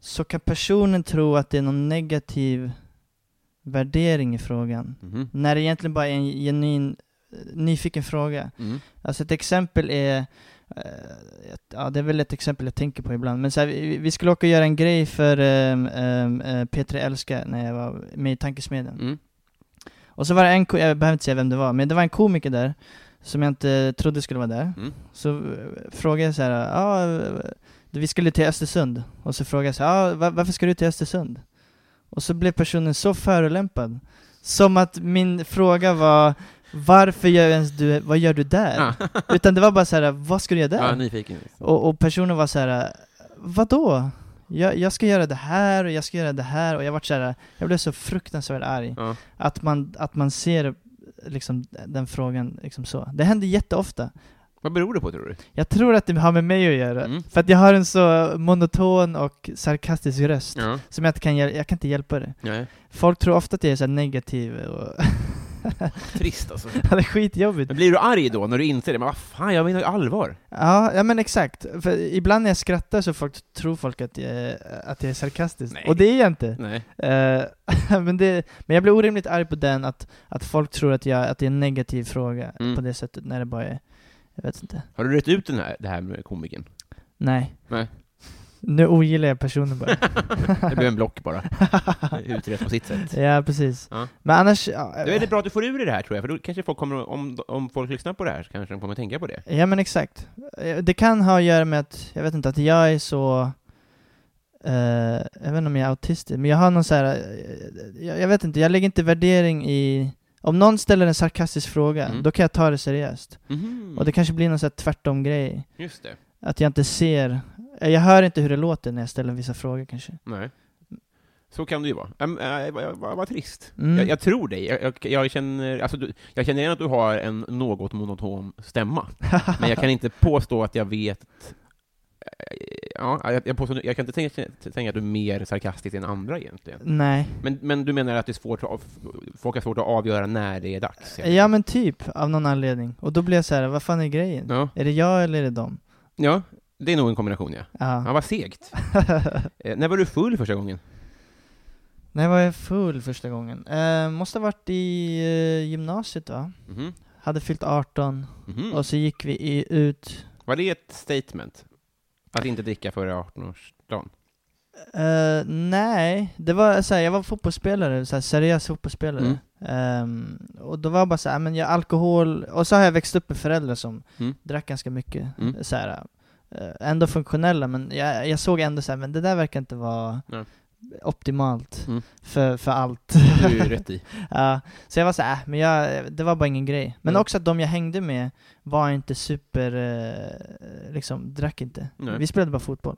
[SPEAKER 2] så kan personen tro att det är någon negativ värdering i frågan.
[SPEAKER 1] Mhm.
[SPEAKER 2] När det egentligen bara är en genuin eh, nyfiken fråga.
[SPEAKER 1] Mm.
[SPEAKER 2] Alltså ett exempel är, eh, ett- ja det är väl ett exempel jag tänker på ibland, men så här, vi, vi skulle åka och göra en grej för um, um, P3 Älska när jag var med i Tankesmedjan.
[SPEAKER 1] Mm.
[SPEAKER 2] Och så var det en, ko- jag behöver inte säga vem det var, men det var en komiker där som jag inte trodde skulle vara där.
[SPEAKER 1] Mm.
[SPEAKER 2] Så eh, frågade jag så här, ja, eh, vi skulle till Östersund. Och så frågade jag så här, ja, va- varför ska du till Östersund? Och så blev personen så förolämpad. Som att min fråga var, varför gör ens du, vad gör du där? *laughs* Utan det var bara så här, vad ska du göra där?
[SPEAKER 1] Ja, nyfiken.
[SPEAKER 2] Och, och personen var så här, vadå? Jag, jag ska göra det här och jag ska göra det här och jag vart så här, jag blev så fruktansvärt arg.
[SPEAKER 1] Ja.
[SPEAKER 2] Att, man, att man ser liksom den frågan liksom så. Det händer jätteofta.
[SPEAKER 1] Vad beror det på tror du?
[SPEAKER 2] Jag tror att det har med mig att göra.
[SPEAKER 1] Mm.
[SPEAKER 2] För att jag har en så monoton och sarkastisk röst.
[SPEAKER 1] Ja.
[SPEAKER 2] Som jag inte kan, hjäl- jag kan inte hjälpa det.
[SPEAKER 1] Nej.
[SPEAKER 2] Folk tror ofta att jag är så här negativ och *laughs*
[SPEAKER 1] Trist alltså.
[SPEAKER 2] det är skitjobbigt.
[SPEAKER 1] Men blir du arg då när du inser det? Men vad fan, jag menar ju allvar.
[SPEAKER 2] Ja, ja men exakt. För ibland när jag skrattar så folk, tror folk att jag, att jag är sarkastisk.
[SPEAKER 1] Nej.
[SPEAKER 2] Och det är jag inte.
[SPEAKER 1] Nej.
[SPEAKER 2] Eh, *laughs* men, det, men jag blir orimligt arg på den, att, att folk tror att, jag, att det är en negativ fråga
[SPEAKER 1] Mm.
[SPEAKER 2] på det sättet, när det bara är... Jag vet inte.
[SPEAKER 1] Har du rätt ut den här, det här med komikern?
[SPEAKER 2] Nej.
[SPEAKER 1] Nej.
[SPEAKER 2] Nu ogillar jag
[SPEAKER 1] *laughs*
[SPEAKER 2] personen bara.
[SPEAKER 1] Det blev en block *laughs* bara. Utrett på sitt sätt.
[SPEAKER 2] ja, precis.
[SPEAKER 1] Ja.
[SPEAKER 2] Men annars... Ja,
[SPEAKER 1] Då är det bra att du får ur dig det här tror jag, för då kanske folk kommer, om, om folk lyssnar på det här så kanske de kommer att tänka på det.
[SPEAKER 2] Ja men exakt. Eh, Det kan ha att göra med att, jag vet inte, att jag är så... eh, jag vet inte om jag är autistisk, men jag har någon så här... eh, jag, jag vet inte, jag lägger inte värdering i... Om någon ställer en sarkastisk fråga,
[SPEAKER 1] Mm.
[SPEAKER 2] då kan jag ta det seriöst.
[SPEAKER 1] Mhm.
[SPEAKER 2] Och det kanske blir någon så här tvärtom-grej.
[SPEAKER 1] Just det.
[SPEAKER 2] Att jag inte ser... eh, Jag hör inte hur det låter när jag ställer vissa frågor kanske.
[SPEAKER 1] Nej. Så kan det ju vara. Äm, äh, vad, vad, vad trist.
[SPEAKER 2] Mm.
[SPEAKER 1] Jag, jag tror dig. Jag, jag, jag, känner, alltså, du, jag känner igen att du har en något monoton
[SPEAKER 2] *laughs*
[SPEAKER 1] stämma, men jag kan inte påstå att jag vet äh, Ja, jag, jag, påstår, jag kan inte tänka, tänka att du är mer sarkastisk än andra egentligen.
[SPEAKER 2] Nej.
[SPEAKER 1] Men, men du menar att det är svårt att, av- folk har svårt att avgöra när det är dags? helt
[SPEAKER 2] Ja men typ, av någon anledning. Och då blir jag så här, vad fan är grejen?
[SPEAKER 1] Ja.
[SPEAKER 2] Är det jag eller är det dem?
[SPEAKER 1] Ja, det är nog en kombination ja.
[SPEAKER 2] Ja.
[SPEAKER 1] Ja, vad
[SPEAKER 2] *laughs*
[SPEAKER 1] segt. eh, när var du full första gången?
[SPEAKER 2] När var jag full första gången? Eh, måste ha varit i eh, gymnasiet va?
[SPEAKER 1] Mhm.
[SPEAKER 2] Hade fyllt 18
[SPEAKER 1] Mhm.
[SPEAKER 2] och så gick vi i, ut...
[SPEAKER 1] Var det ett statement? Att inte dricka före
[SPEAKER 2] *laughs*
[SPEAKER 1] 18-årsdagen?
[SPEAKER 2] Eh, nej, det var såhär, jag var fotbollsspelare, såhär, seriös fotbollsspelare.
[SPEAKER 1] Mm.
[SPEAKER 2] Ehm, och då var jag bara såhär, men jag alkohol... Och så har jag växt upp med föräldrar som
[SPEAKER 1] Mm.
[SPEAKER 2] drack ganska mycket.
[SPEAKER 1] Mm.
[SPEAKER 2] Såhär, eh, ändå funktionella, men jag, jag såg ändå såhär, men det där verkar inte vara
[SPEAKER 1] Nej.
[SPEAKER 2] optimalt
[SPEAKER 1] Mm.
[SPEAKER 2] för, för allt. *laughs*
[SPEAKER 1] Det är ju rätt i.
[SPEAKER 2] Ja, så jag var såhär, äh, men jag, det var bara ingen grej. Men
[SPEAKER 1] Mm.
[SPEAKER 2] också att de jag hängde med var inte super, eh, liksom, drack inte.
[SPEAKER 1] Nej.
[SPEAKER 2] Vi spelade bara fotboll.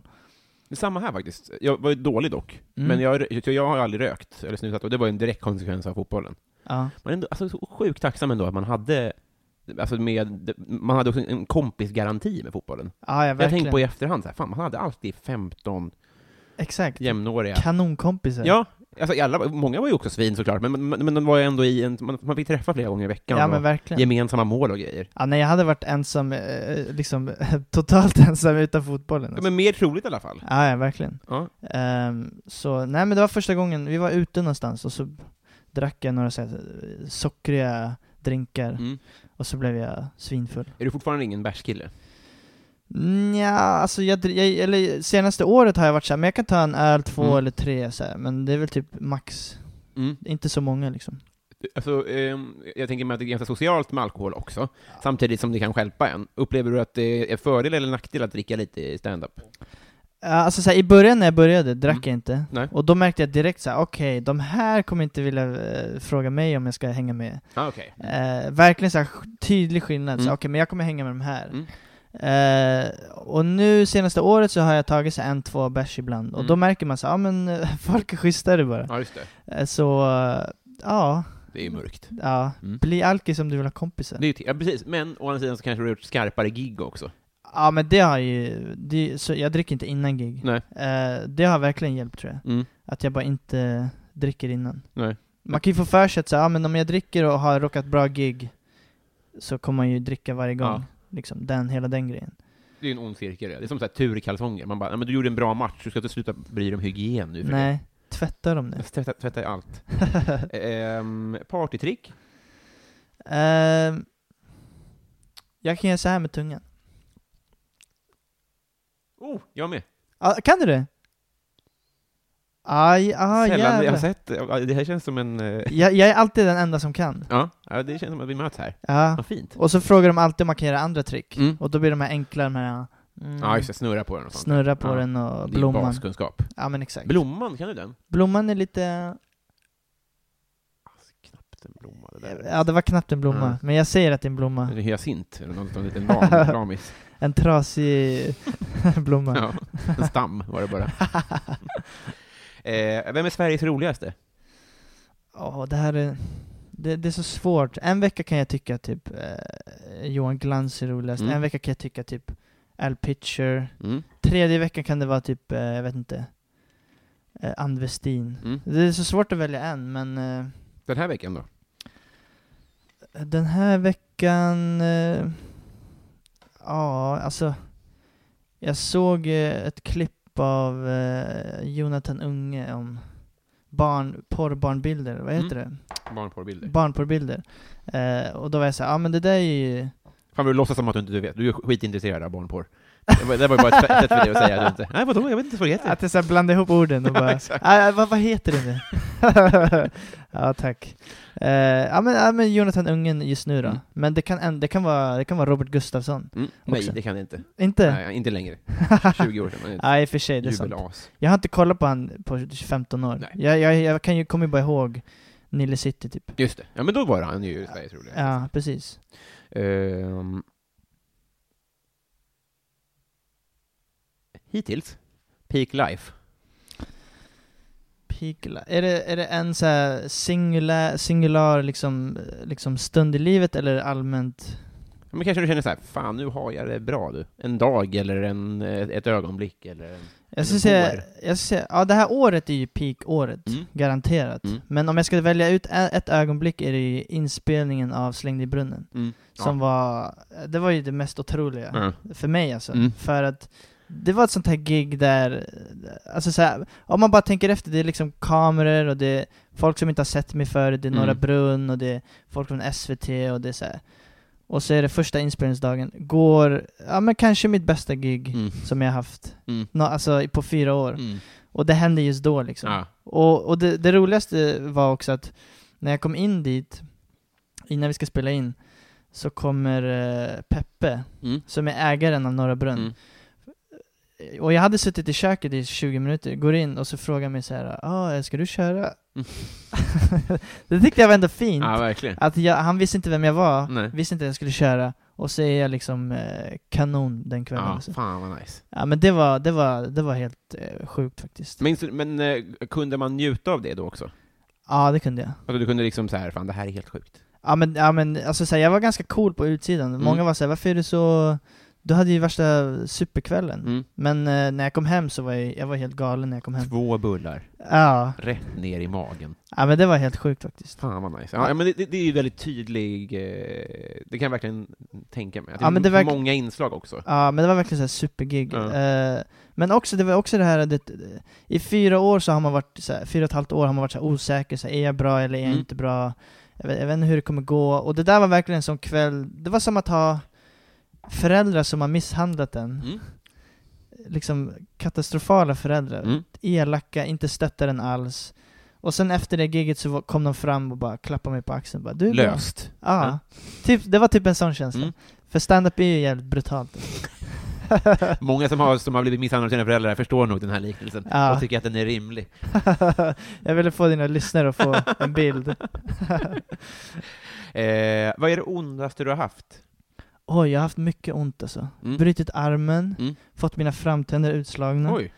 [SPEAKER 1] Det är samma här faktiskt. Jag var ju dålig dock,
[SPEAKER 2] Mm.
[SPEAKER 1] men jag, jag, jag har ju aldrig rökt eller snusat, och det var ju en direkt konsekvens av fotbollen.
[SPEAKER 2] Ja,
[SPEAKER 1] Men ändå, alltså, så sjukt tacksam ändå att man hade Alltså med, man hade också en kompisgaranti med fotbollen.
[SPEAKER 2] ja, ja
[SPEAKER 1] Jag
[SPEAKER 2] verkligen.
[SPEAKER 1] tänkte på i efterhand, så här, fan, man hade alltid 15
[SPEAKER 2] Exakt.
[SPEAKER 1] jämnåriga
[SPEAKER 2] Kanonkompisar.
[SPEAKER 1] Ja, alltså alla, många var ju också svin såklart, men, men, men de var ju ändå i en, man, man fick träffa flera gånger i veckan,
[SPEAKER 2] ja men
[SPEAKER 1] och
[SPEAKER 2] verkligen.
[SPEAKER 1] gemensamma mål och grejer.
[SPEAKER 2] Ja, nej, jag hade varit ensam, eh, liksom *laughs* totalt ensam utan fotbollen.
[SPEAKER 1] Ja,
[SPEAKER 2] Alltså.
[SPEAKER 1] men mer troligt i alla fall.
[SPEAKER 2] Ja, ja, verkligen.
[SPEAKER 1] Ja.
[SPEAKER 2] Ehm, så, nej men det var första gången, vi var ute någonstans och så drack jag några så här, eh, sockriga drinkar
[SPEAKER 1] Mm.
[SPEAKER 2] och så blev jag svinfull.
[SPEAKER 1] Är du fortfarande ingen bärskille?
[SPEAKER 2] Nja, alltså jag, dri- jag, eller senaste året har jag varit såhär, men jag kan ta en öl, två
[SPEAKER 1] Mm.
[SPEAKER 2] eller tre så här, men det är väl typ max,
[SPEAKER 1] Mm.
[SPEAKER 2] inte så många liksom.
[SPEAKER 1] Alltså, ehm, jag tänker mig att det är ganska socialt med alkohol också, samtidigt som det kan stjälpa en. Upplever du att det är fördel eller nackdel att dricka lite i stand-up?
[SPEAKER 2] Ja, Alltså så här, i början när jag började drack
[SPEAKER 1] Mm.
[SPEAKER 2] jag inte,
[SPEAKER 1] Nej.
[SPEAKER 2] och då märkte jag direkt så här: okej, de här kommer inte vilja eh, fråga mig om jag ska hänga med.
[SPEAKER 1] Ah, okej.
[SPEAKER 2] Eh, verkligen så här, sk- tydlig skillnad, så
[SPEAKER 1] Mm.
[SPEAKER 2] okej men jag kommer hänga med de här.
[SPEAKER 1] Mm.
[SPEAKER 2] Eh, och nu senaste året så har jag tagit så här, en, två bärs ibland, och
[SPEAKER 1] Mm.
[SPEAKER 2] då märker man så här, ja men eh, *laughs* folk är schysstare bara.
[SPEAKER 1] Ja, just det.
[SPEAKER 2] Eh, så, eh, ja.
[SPEAKER 1] Det är ju mörkt.
[SPEAKER 2] Ja,
[SPEAKER 1] Mm.
[SPEAKER 2] bli alkis om du vill ha kompisar.
[SPEAKER 1] Det är ju t- ja, precis. Men å andra sidan så kanske du har gjort skarpare gig också.
[SPEAKER 2] Ja men det har ju, det, så jag dricker inte innan gig.
[SPEAKER 1] Nej.
[SPEAKER 2] Eh, det har verkligen hjälpt tror jag.
[SPEAKER 1] Mm.
[SPEAKER 2] Att jag bara inte dricker innan.
[SPEAKER 1] Nej.
[SPEAKER 2] Man kan ju få för sig att säga, ja men om jag dricker och har råkat bra gig så kommer man ju dricka varje gång.
[SPEAKER 1] Ja.
[SPEAKER 2] Liksom den, hela den grejen.
[SPEAKER 1] Det är ju en ond cirkel. Det är som så här tur i kalsonger. Man bara, "Ja, men du gjorde en bra match, du ska inte sluta bry dig om hygien nu. för
[SPEAKER 2] Nej, tvätta dem nu.
[SPEAKER 1] Jag tvättar, tvättar
[SPEAKER 2] *laughs*
[SPEAKER 1] allt. Ehm, partytrick?
[SPEAKER 2] Ehm, jag kan göra så här med tungan.
[SPEAKER 1] Oh, jag med.
[SPEAKER 2] Ah, kan du det? Aj, ah,
[SPEAKER 1] Sällan jag har
[SPEAKER 2] jävlar.
[SPEAKER 1] sett. ja, Det här känns som en... eh,
[SPEAKER 2] Jag, jag är alltid den enda som kan.
[SPEAKER 1] Ja, ja, det känns som att vi möts här.
[SPEAKER 2] Ja.
[SPEAKER 1] Vad fint.
[SPEAKER 2] Och så frågar de alltid om man kan göra andra trick.
[SPEAKER 1] Mm.
[SPEAKER 2] Och då blir de här enkla, de här... Mm,
[SPEAKER 1] Ja, just det. Snurra på den och sånt.
[SPEAKER 2] snurra på
[SPEAKER 1] Ja.
[SPEAKER 2] den och
[SPEAKER 1] Det är ju
[SPEAKER 2] blomman.
[SPEAKER 1] baskunskap.
[SPEAKER 2] Ja men exakt.
[SPEAKER 1] Blomman, kan du den?
[SPEAKER 2] blomman är lite...
[SPEAKER 1] Knappt en blomma, det där.
[SPEAKER 2] Ja det var knappt en blomma,
[SPEAKER 1] Ja.
[SPEAKER 2] men jag säger att det är en
[SPEAKER 1] Är
[SPEAKER 2] blomma.
[SPEAKER 1] det hyacint? Eller något, en liten lam,
[SPEAKER 2] *laughs*
[SPEAKER 1] lamis?
[SPEAKER 2] En trasig *laughs* blomma.
[SPEAKER 1] Ja, en stam var det
[SPEAKER 2] *laughs*
[SPEAKER 1] bara. eh, vem är Sveriges roligaste?
[SPEAKER 2] Åh, det här är... Det, det är så svårt. En vecka kan jag tycka typ eh, Johan Glans är roligast,
[SPEAKER 1] Mm.
[SPEAKER 2] en vecka kan jag tycka typ Al Pitcher,
[SPEAKER 1] Mm.
[SPEAKER 2] tredje veckan kan det vara typ, eh, jag vet inte, eh, Ann Westin.
[SPEAKER 1] Mm.
[SPEAKER 2] Det är så svårt att välja en, men eh,
[SPEAKER 1] Den här veckan då?
[SPEAKER 2] Den här veckan... eh, Ja, alltså... Jag såg eh, ett klipp av eh, Jonathan Unge om barn, porrbarnbilder, vad heter
[SPEAKER 1] Mm.
[SPEAKER 2] det?
[SPEAKER 1] Barnporrbilder.
[SPEAKER 2] Barnporrbilder. Eh, och då var jag såhär, ja men det där är ju...
[SPEAKER 1] Fan vad du låtsas som att du inte vet. Du är skitintresserad av barnporr. Det var, det var ju bara ett fett- fett för dig att säga. att du inte- Nej, vadå? Jag vet inte vad det heter.
[SPEAKER 2] *laughs* Att jag så här blandar ihop orden och
[SPEAKER 1] Ja,
[SPEAKER 2] bara,
[SPEAKER 1] *laughs* exakt.
[SPEAKER 2] ah, vad, vad heter det nu? *laughs* ja, tack. Eh, ja, men, ja, men Jonathan Ungen just nu då.
[SPEAKER 1] Mm.
[SPEAKER 2] Men det kan, en- det, kan vara, det kan vara Robert Gustafsson.
[SPEAKER 1] Mm, nej,
[SPEAKER 2] Också.
[SPEAKER 1] det kan det inte.
[SPEAKER 2] Inte?
[SPEAKER 1] Nej, inte längre. 20 år sedan.
[SPEAKER 2] *laughs* Ja, i och för sig, det är sant.
[SPEAKER 1] Jubelas.
[SPEAKER 2] Jag har inte kollat på han på 15 år.
[SPEAKER 1] Nej.
[SPEAKER 2] Jag, jag, jag kan ju, kommer ju bara ihåg Nile City typ.
[SPEAKER 1] Just det. Ja, men då var han ju Sveriges roligaste.
[SPEAKER 2] Ja, precis.
[SPEAKER 1] Ehm. Hittills. Peak Life.
[SPEAKER 2] Pigla. Är det, är det en så här singular, singular liksom, liksom stund i livet eller allmänt?
[SPEAKER 1] Ja, Men kanske du känner så här, fan nu har jag det bra du. En dag eller en, eh, ett ögonblick eller en...
[SPEAKER 2] Jag
[SPEAKER 1] Eller
[SPEAKER 2] skulle säga,
[SPEAKER 1] år.
[SPEAKER 2] jag skulle säga, ja det här året är ju peak-året,
[SPEAKER 1] Mm.
[SPEAKER 2] garanterat.
[SPEAKER 1] Mm.
[SPEAKER 2] Men om jag ska välja ut ä- ett ögonblick är det ju inspelningen av Slängd i brunnen. Som var, det var ju det mest otroliga.
[SPEAKER 1] Ja. Mm.
[SPEAKER 2] För mig alltså.
[SPEAKER 1] Mm.
[SPEAKER 2] För att det var ett sånt här gig där, alltså så här, om man bara tänker efter, det är liksom kameror och det är folk som inte har sett mig förut, det är
[SPEAKER 1] Mm.
[SPEAKER 2] Norra Brunn och det är folk från SVT och det är så här. Och så är det första inspelningsdagen, går, ja men kanske mitt bästa gig
[SPEAKER 1] Mm.
[SPEAKER 2] som jag haft,
[SPEAKER 1] Mm.
[SPEAKER 2] nå alltså i- på fyra år.
[SPEAKER 1] Mm.
[SPEAKER 2] Och det hände just då liksom.
[SPEAKER 1] Ja.
[SPEAKER 2] Och, och det, det roligaste var också att när jag kom in dit, innan vi ska spela in, så kommer eh, Peppe,
[SPEAKER 1] Mm.
[SPEAKER 2] som är ägaren av Norra Brunn.
[SPEAKER 1] Mm.
[SPEAKER 2] Och jag hade suttit i köket i 20 minuter, går in och så frågar mig så här, ah, ska du köra?
[SPEAKER 1] Mm.
[SPEAKER 2] *laughs* det tyckte jag var ändå fint.
[SPEAKER 1] ja, verkligen.
[SPEAKER 2] Att jag, han visste inte vem jag var,
[SPEAKER 1] Nej.
[SPEAKER 2] visste inte att jag skulle köra, och så är jag liksom eh, kanon den kvällen.
[SPEAKER 1] Ja, alltså.
[SPEAKER 2] också.
[SPEAKER 1] fan vad nice.
[SPEAKER 2] Ja men det var, det var, det var helt eh, sjukt faktiskt.
[SPEAKER 1] Men, men eh, kunde man njuta av det då också?
[SPEAKER 2] Ja det kunde jag.
[SPEAKER 1] Alltså, du kunde liksom så här, fan det här är helt sjukt.
[SPEAKER 2] Ja men, ja, men alltså, såhär, jag var ganska cool på utsidan,
[SPEAKER 1] Mm.
[SPEAKER 2] många var såhär 'Varför är du så...' Du hade ju värsta superkvällen
[SPEAKER 1] Mm.
[SPEAKER 2] Men eh, när jag kom hem så var jag, jag var helt galen när jag kom hem
[SPEAKER 1] Två bullar,
[SPEAKER 2] ja.
[SPEAKER 1] rätt ner i magen.
[SPEAKER 2] ja, men det var helt sjukt faktiskt
[SPEAKER 1] Fan vad nice. Ja, men det, det, det är ju väldigt tydlig, eh, det kan jag verkligen tänka mig. Att Det är
[SPEAKER 2] Ja, men det verk-
[SPEAKER 1] många inslag också.
[SPEAKER 2] Ja men det var verkligen såhär supergig
[SPEAKER 1] Ja.
[SPEAKER 2] Eh, Men också, det var också det här det, I fyra år så har man varit, såhär, fyra och ett halvt år har man varit såhär osäker, såhär, är jag bra eller är jag
[SPEAKER 1] Mm.
[SPEAKER 2] inte bra? Jag vet, jag vet inte hur det kommer gå, och det där var verkligen en sån kväll, det var som att ha föräldrar som har misshandlat en
[SPEAKER 1] Mm.
[SPEAKER 2] liksom katastrofala föräldrar.
[SPEAKER 1] Mm.
[SPEAKER 2] Elaka, inte stöttar den alls. Och sen efter det giget så var- kom de fram och bara klappade mig på axeln. Bara, du är bra."
[SPEAKER 1] Löst.
[SPEAKER 2] Ja.
[SPEAKER 1] Ja.
[SPEAKER 2] Typ, det var typ en sån känsla.
[SPEAKER 1] Mm.
[SPEAKER 2] För stand-up är ju jävligt brutalt.
[SPEAKER 1] Många som har, som har blivit misshandlade av sina föräldrar förstår nog den här liknelsen
[SPEAKER 2] Ja.
[SPEAKER 1] och tycker att den är rimlig.
[SPEAKER 2] *laughs* jag ville få dina lyssnare
[SPEAKER 1] *laughs*
[SPEAKER 2] att få en bild.
[SPEAKER 1] Eh, vad är det ondaste du har haft?
[SPEAKER 2] Oj, jag har haft mycket ont alltså.
[SPEAKER 1] Mm.
[SPEAKER 2] Brutit armen,
[SPEAKER 1] Mm.
[SPEAKER 2] fått mina framtänder utslagna.
[SPEAKER 1] Oj,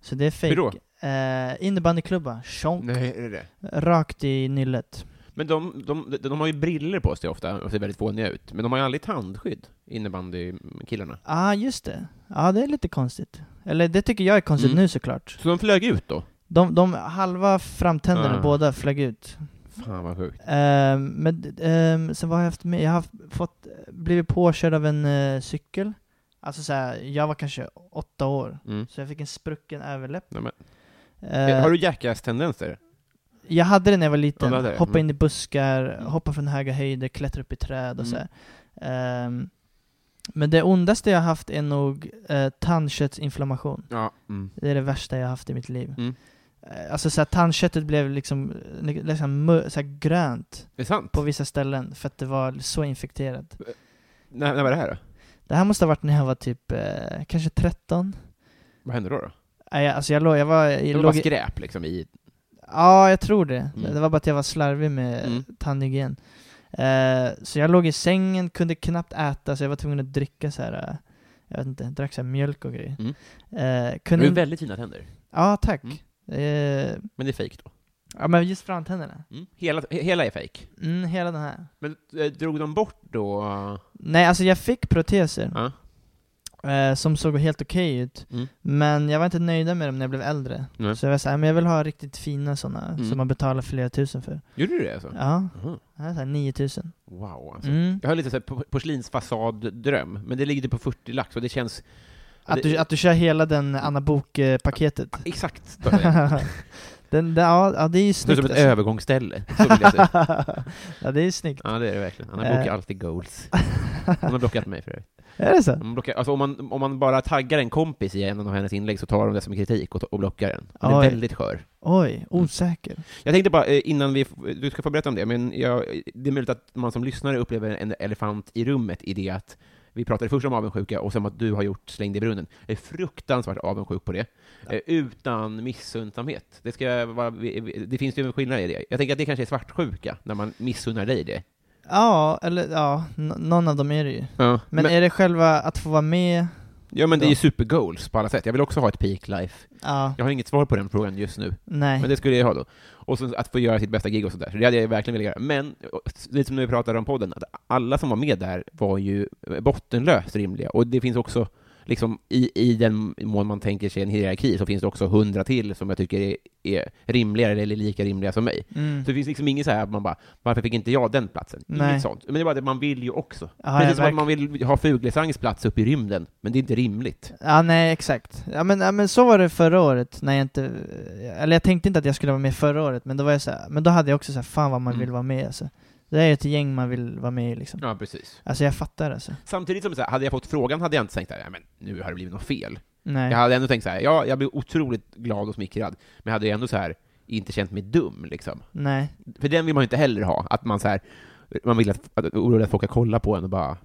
[SPEAKER 2] Så det är fake.
[SPEAKER 1] hur då?
[SPEAKER 2] Eh, innebandyklubba, tjong,
[SPEAKER 1] Nej, är det det?
[SPEAKER 2] rakt i nyllet.
[SPEAKER 1] Men de, de, de, de har ju briller på sig ofta och ser väldigt fåniga ut, men de har ju aldrig tandskydd, innebandykillarna.
[SPEAKER 2] Ja, ah, just det. Ja, det är lite konstigt. Eller det tycker jag är konstigt
[SPEAKER 1] Mm.
[SPEAKER 2] nu såklart.
[SPEAKER 1] Så de flög ut då?
[SPEAKER 2] De, de halva framtänderna,
[SPEAKER 1] Ah.
[SPEAKER 2] båda, flög ut.
[SPEAKER 1] Fan vad sjukt.
[SPEAKER 2] Ehm, men ehm, sen vad har jag haft med? Jag har haft, fått, blivit påkörd av en eh, cykel. Alltså såhär, jag var kanske åtta år.
[SPEAKER 1] Mm.
[SPEAKER 2] Så jag fick en sprucken överläpp.
[SPEAKER 1] Nej, men.
[SPEAKER 2] Eh,
[SPEAKER 1] Har du jackass-tendenser?
[SPEAKER 2] Jag hade det när jag var liten.
[SPEAKER 1] Ja, det hade jag.
[SPEAKER 2] hoppa
[SPEAKER 1] Mm.
[SPEAKER 2] in i buskar, hoppa från höga höjder, klättra upp i träd och
[SPEAKER 1] Mm.
[SPEAKER 2] sådär. Ehm, men det ondaste jag har haft är nog eh, tandköttsinflammation.
[SPEAKER 1] Ja. Mm.
[SPEAKER 2] Det är det värsta jag har haft i mitt liv.
[SPEAKER 1] Mm.
[SPEAKER 2] Eh, Alltså så här, tandköttet blev liksom, eh, liksom mö- så här, grönt
[SPEAKER 1] Det är sant.
[SPEAKER 2] på vissa ställen för att det var så infekterat.
[SPEAKER 1] När, när var det här då?
[SPEAKER 2] Det här måste ha varit när jag var typ eh, kanske 13.
[SPEAKER 1] Vad hände då? då?
[SPEAKER 2] Nej, jag- alltså jag, låg, jag var... Jag
[SPEAKER 1] Det var bara
[SPEAKER 2] låg i-
[SPEAKER 1] skräp liksom i...
[SPEAKER 2] ja, jag tror det.
[SPEAKER 1] Mm.
[SPEAKER 2] Det var bara att jag var slarvig med
[SPEAKER 1] Mm.
[SPEAKER 2] tandhygien. Eh, så jag låg i sängen, kunde knappt äta, så jag var tvungen att dricka så här. eh, Jag vet inte, drack så här mjölk och grejer.
[SPEAKER 1] Mm.
[SPEAKER 2] Eh,
[SPEAKER 1] Det
[SPEAKER 2] kunde
[SPEAKER 1] är
[SPEAKER 2] inte,
[SPEAKER 1] väldigt fina tänder.
[SPEAKER 2] ja, tack.
[SPEAKER 1] Mm.
[SPEAKER 2] Eh,
[SPEAKER 1] Men det är fejk då.
[SPEAKER 2] ja, men just framtänderna.
[SPEAKER 1] Mm. Hela, he- hela är fejk.
[SPEAKER 2] Mm, hela den här.
[SPEAKER 1] Men eh, drog de bort då... eh,
[SPEAKER 2] Nej, alltså jag fick proteser
[SPEAKER 1] Ja.
[SPEAKER 2] eh, som såg helt okej ut,
[SPEAKER 1] Mm.
[SPEAKER 2] men jag var inte nöjd med dem när jag blev äldre.
[SPEAKER 1] Nej.
[SPEAKER 2] Så jag var såhär, men jag vill ha riktigt fina sådana
[SPEAKER 1] Mm.
[SPEAKER 2] som man betalar flera tusen för.
[SPEAKER 1] Gjorde du det alltså?
[SPEAKER 2] Ja,
[SPEAKER 1] Aha.
[SPEAKER 2] det här är såhär 9000.
[SPEAKER 1] Wow, alltså.
[SPEAKER 2] Mm.
[SPEAKER 1] Jag har lite så här por- porslinsfasad-dröm, men det ligger på 40 lax och det känns...
[SPEAKER 2] Att, du, att du kör hela den Anna Bok-paketet.
[SPEAKER 1] Exakt! Det är
[SPEAKER 2] *laughs* den, den, ja, ja, det är ju
[SPEAKER 1] som
[SPEAKER 2] snyggt.
[SPEAKER 1] ett
[SPEAKER 2] alltså. *laughs*
[SPEAKER 1] övergångsställe, så vill jag säga.
[SPEAKER 2] ja, det är ju snyggt. *laughs*
[SPEAKER 1] Ja, det är det verkligen. Han
[SPEAKER 2] Eh.
[SPEAKER 1] bokar alltid goals. Hon har blockat mig för övrigt.
[SPEAKER 2] Är det så?
[SPEAKER 1] Hon blockar, alltså om, man, om man bara taggar en kompis i en av hennes inlägg så tar de det som kritik och, ta- och blockar den. Den är
[SPEAKER 2] Oj.
[SPEAKER 1] väldigt skör.
[SPEAKER 2] Oj, osäker.
[SPEAKER 1] Jag tänkte bara, eh, innan vi, f- du ska få berätta om det, men jag, det är möjligt att man som lyssnare upplever en elefant i rummet i det att vi pratade först om avundsjuka och sen om att du har gjort Slängd i brunnen. Jag är fruktansvärt avundsjuk på det. Eh, Utan missunnsamhet. Det, ska jag vara, vi- vi- det finns ju en skillnad i det. Jag tänker att det kanske är svartsjuka, när man missunnar dig det.
[SPEAKER 2] Ja, eller ja, n- någon av dem är det ju.
[SPEAKER 1] Ja,
[SPEAKER 2] Men,
[SPEAKER 1] men,
[SPEAKER 2] är det själva att få vara med?
[SPEAKER 1] ja, men det är ju supergoals på alla sätt. Jag vill också ha ett peak life.
[SPEAKER 2] Ja,
[SPEAKER 1] Jag har inget svar på den frågan just nu.
[SPEAKER 2] nej.
[SPEAKER 1] Men det skulle jag ha då. Och så att få göra sitt bästa gig och sådär. Så det hade jag verkligen velat göra. Men, och, lite som när vi pratade om podden, att alla som var med där var ju bottenlöst rimliga. Och det finns också, liksom, i, i den mån man tänker sig en hierarki, så finns det också hundra till som jag tycker är, är rimligare eller lika rimliga som mig.
[SPEAKER 2] mm.
[SPEAKER 1] Så det finns liksom inget så här att man bara, varför fick inte jag den platsen?
[SPEAKER 2] Nej.
[SPEAKER 1] Inget sånt. Men det är bara det, man vill ju också.
[SPEAKER 2] Ja, ja,
[SPEAKER 1] Precis som att
[SPEAKER 2] verkligen.
[SPEAKER 1] man vill ha Fuglesangs plats uppe i rymden, men det är inte rimligt.
[SPEAKER 2] Ja, nej, exakt. Ja men, ja, men så var det förra året när jag inte... Eller jag tänkte inte att jag skulle vara med förra året, men då var jag så här, Men då hade jag också så här, fan vad man
[SPEAKER 1] Mm.
[SPEAKER 2] vill vara med alltså. Det är ett gäng man vill vara med i liksom.
[SPEAKER 1] Ja, precis.
[SPEAKER 2] Alltså jag fattar alltså.
[SPEAKER 1] Samtidigt som så här, hade jag fått frågan hade jag inte tänkt att men nu har det blivit något fel.
[SPEAKER 2] Nej.
[SPEAKER 1] Jag hade ändå tänkt så här, ja, jag blev otroligt glad och smickrad, men jag hade ju ändå så här inte känt mig dum liksom.
[SPEAKER 2] Nej.
[SPEAKER 1] För den vill man ju inte heller ha, att man så här, man vill att, att orolig att folk ska kolla på en och bara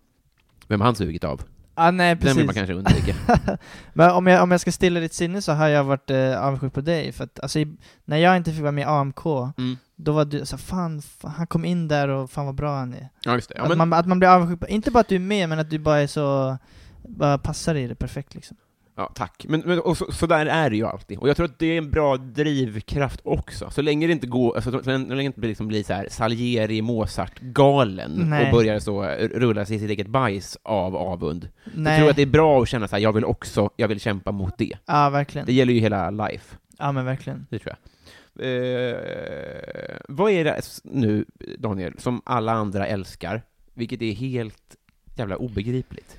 [SPEAKER 1] vem har han sugit av?
[SPEAKER 2] Ja, Ah, nej
[SPEAKER 1] Den vill man
[SPEAKER 2] precis.
[SPEAKER 1] kanske
[SPEAKER 2] *clears throat*
[SPEAKER 1] undvika.
[SPEAKER 2] *laughs* Men om jag, om jag ska stilla ditt sinne så har jag varit eh, avundsjuk på dig, för att alltså, i, när jag inte fick vara med i AMK,
[SPEAKER 1] Mm.
[SPEAKER 2] då var du så här, fan, fan, han kom in där och fan vad bra han är.
[SPEAKER 1] Ja, just det. Ja,
[SPEAKER 2] att,
[SPEAKER 1] men,
[SPEAKER 2] man, att man blir avundsjuk på, inte bara att du är med, men att du bara är så, bara passar i det perfekt liksom.
[SPEAKER 1] ja, tack. Men, men och så, så där är det ju alltid. Och jag tror att det är en bra drivkraft också. Så länge det inte går, alltså, så, så länge det inte blir liksom blir så här Salieri, Mozart-galen
[SPEAKER 2] Nej.
[SPEAKER 1] och börjar så eh, rulla sig i sitt eget bajs av avund.
[SPEAKER 2] Nej.
[SPEAKER 1] Jag tror att det är bra att känna så här, jag vill också, jag vill kämpa mot det.
[SPEAKER 2] Ja, verkligen.
[SPEAKER 1] Det gäller ju hela life,
[SPEAKER 2] Ja, men verkligen.
[SPEAKER 1] det tror jag. Eh, vad är det s- nu, Daniel, som alla andra älskar, vilket är helt jävla obegripligt?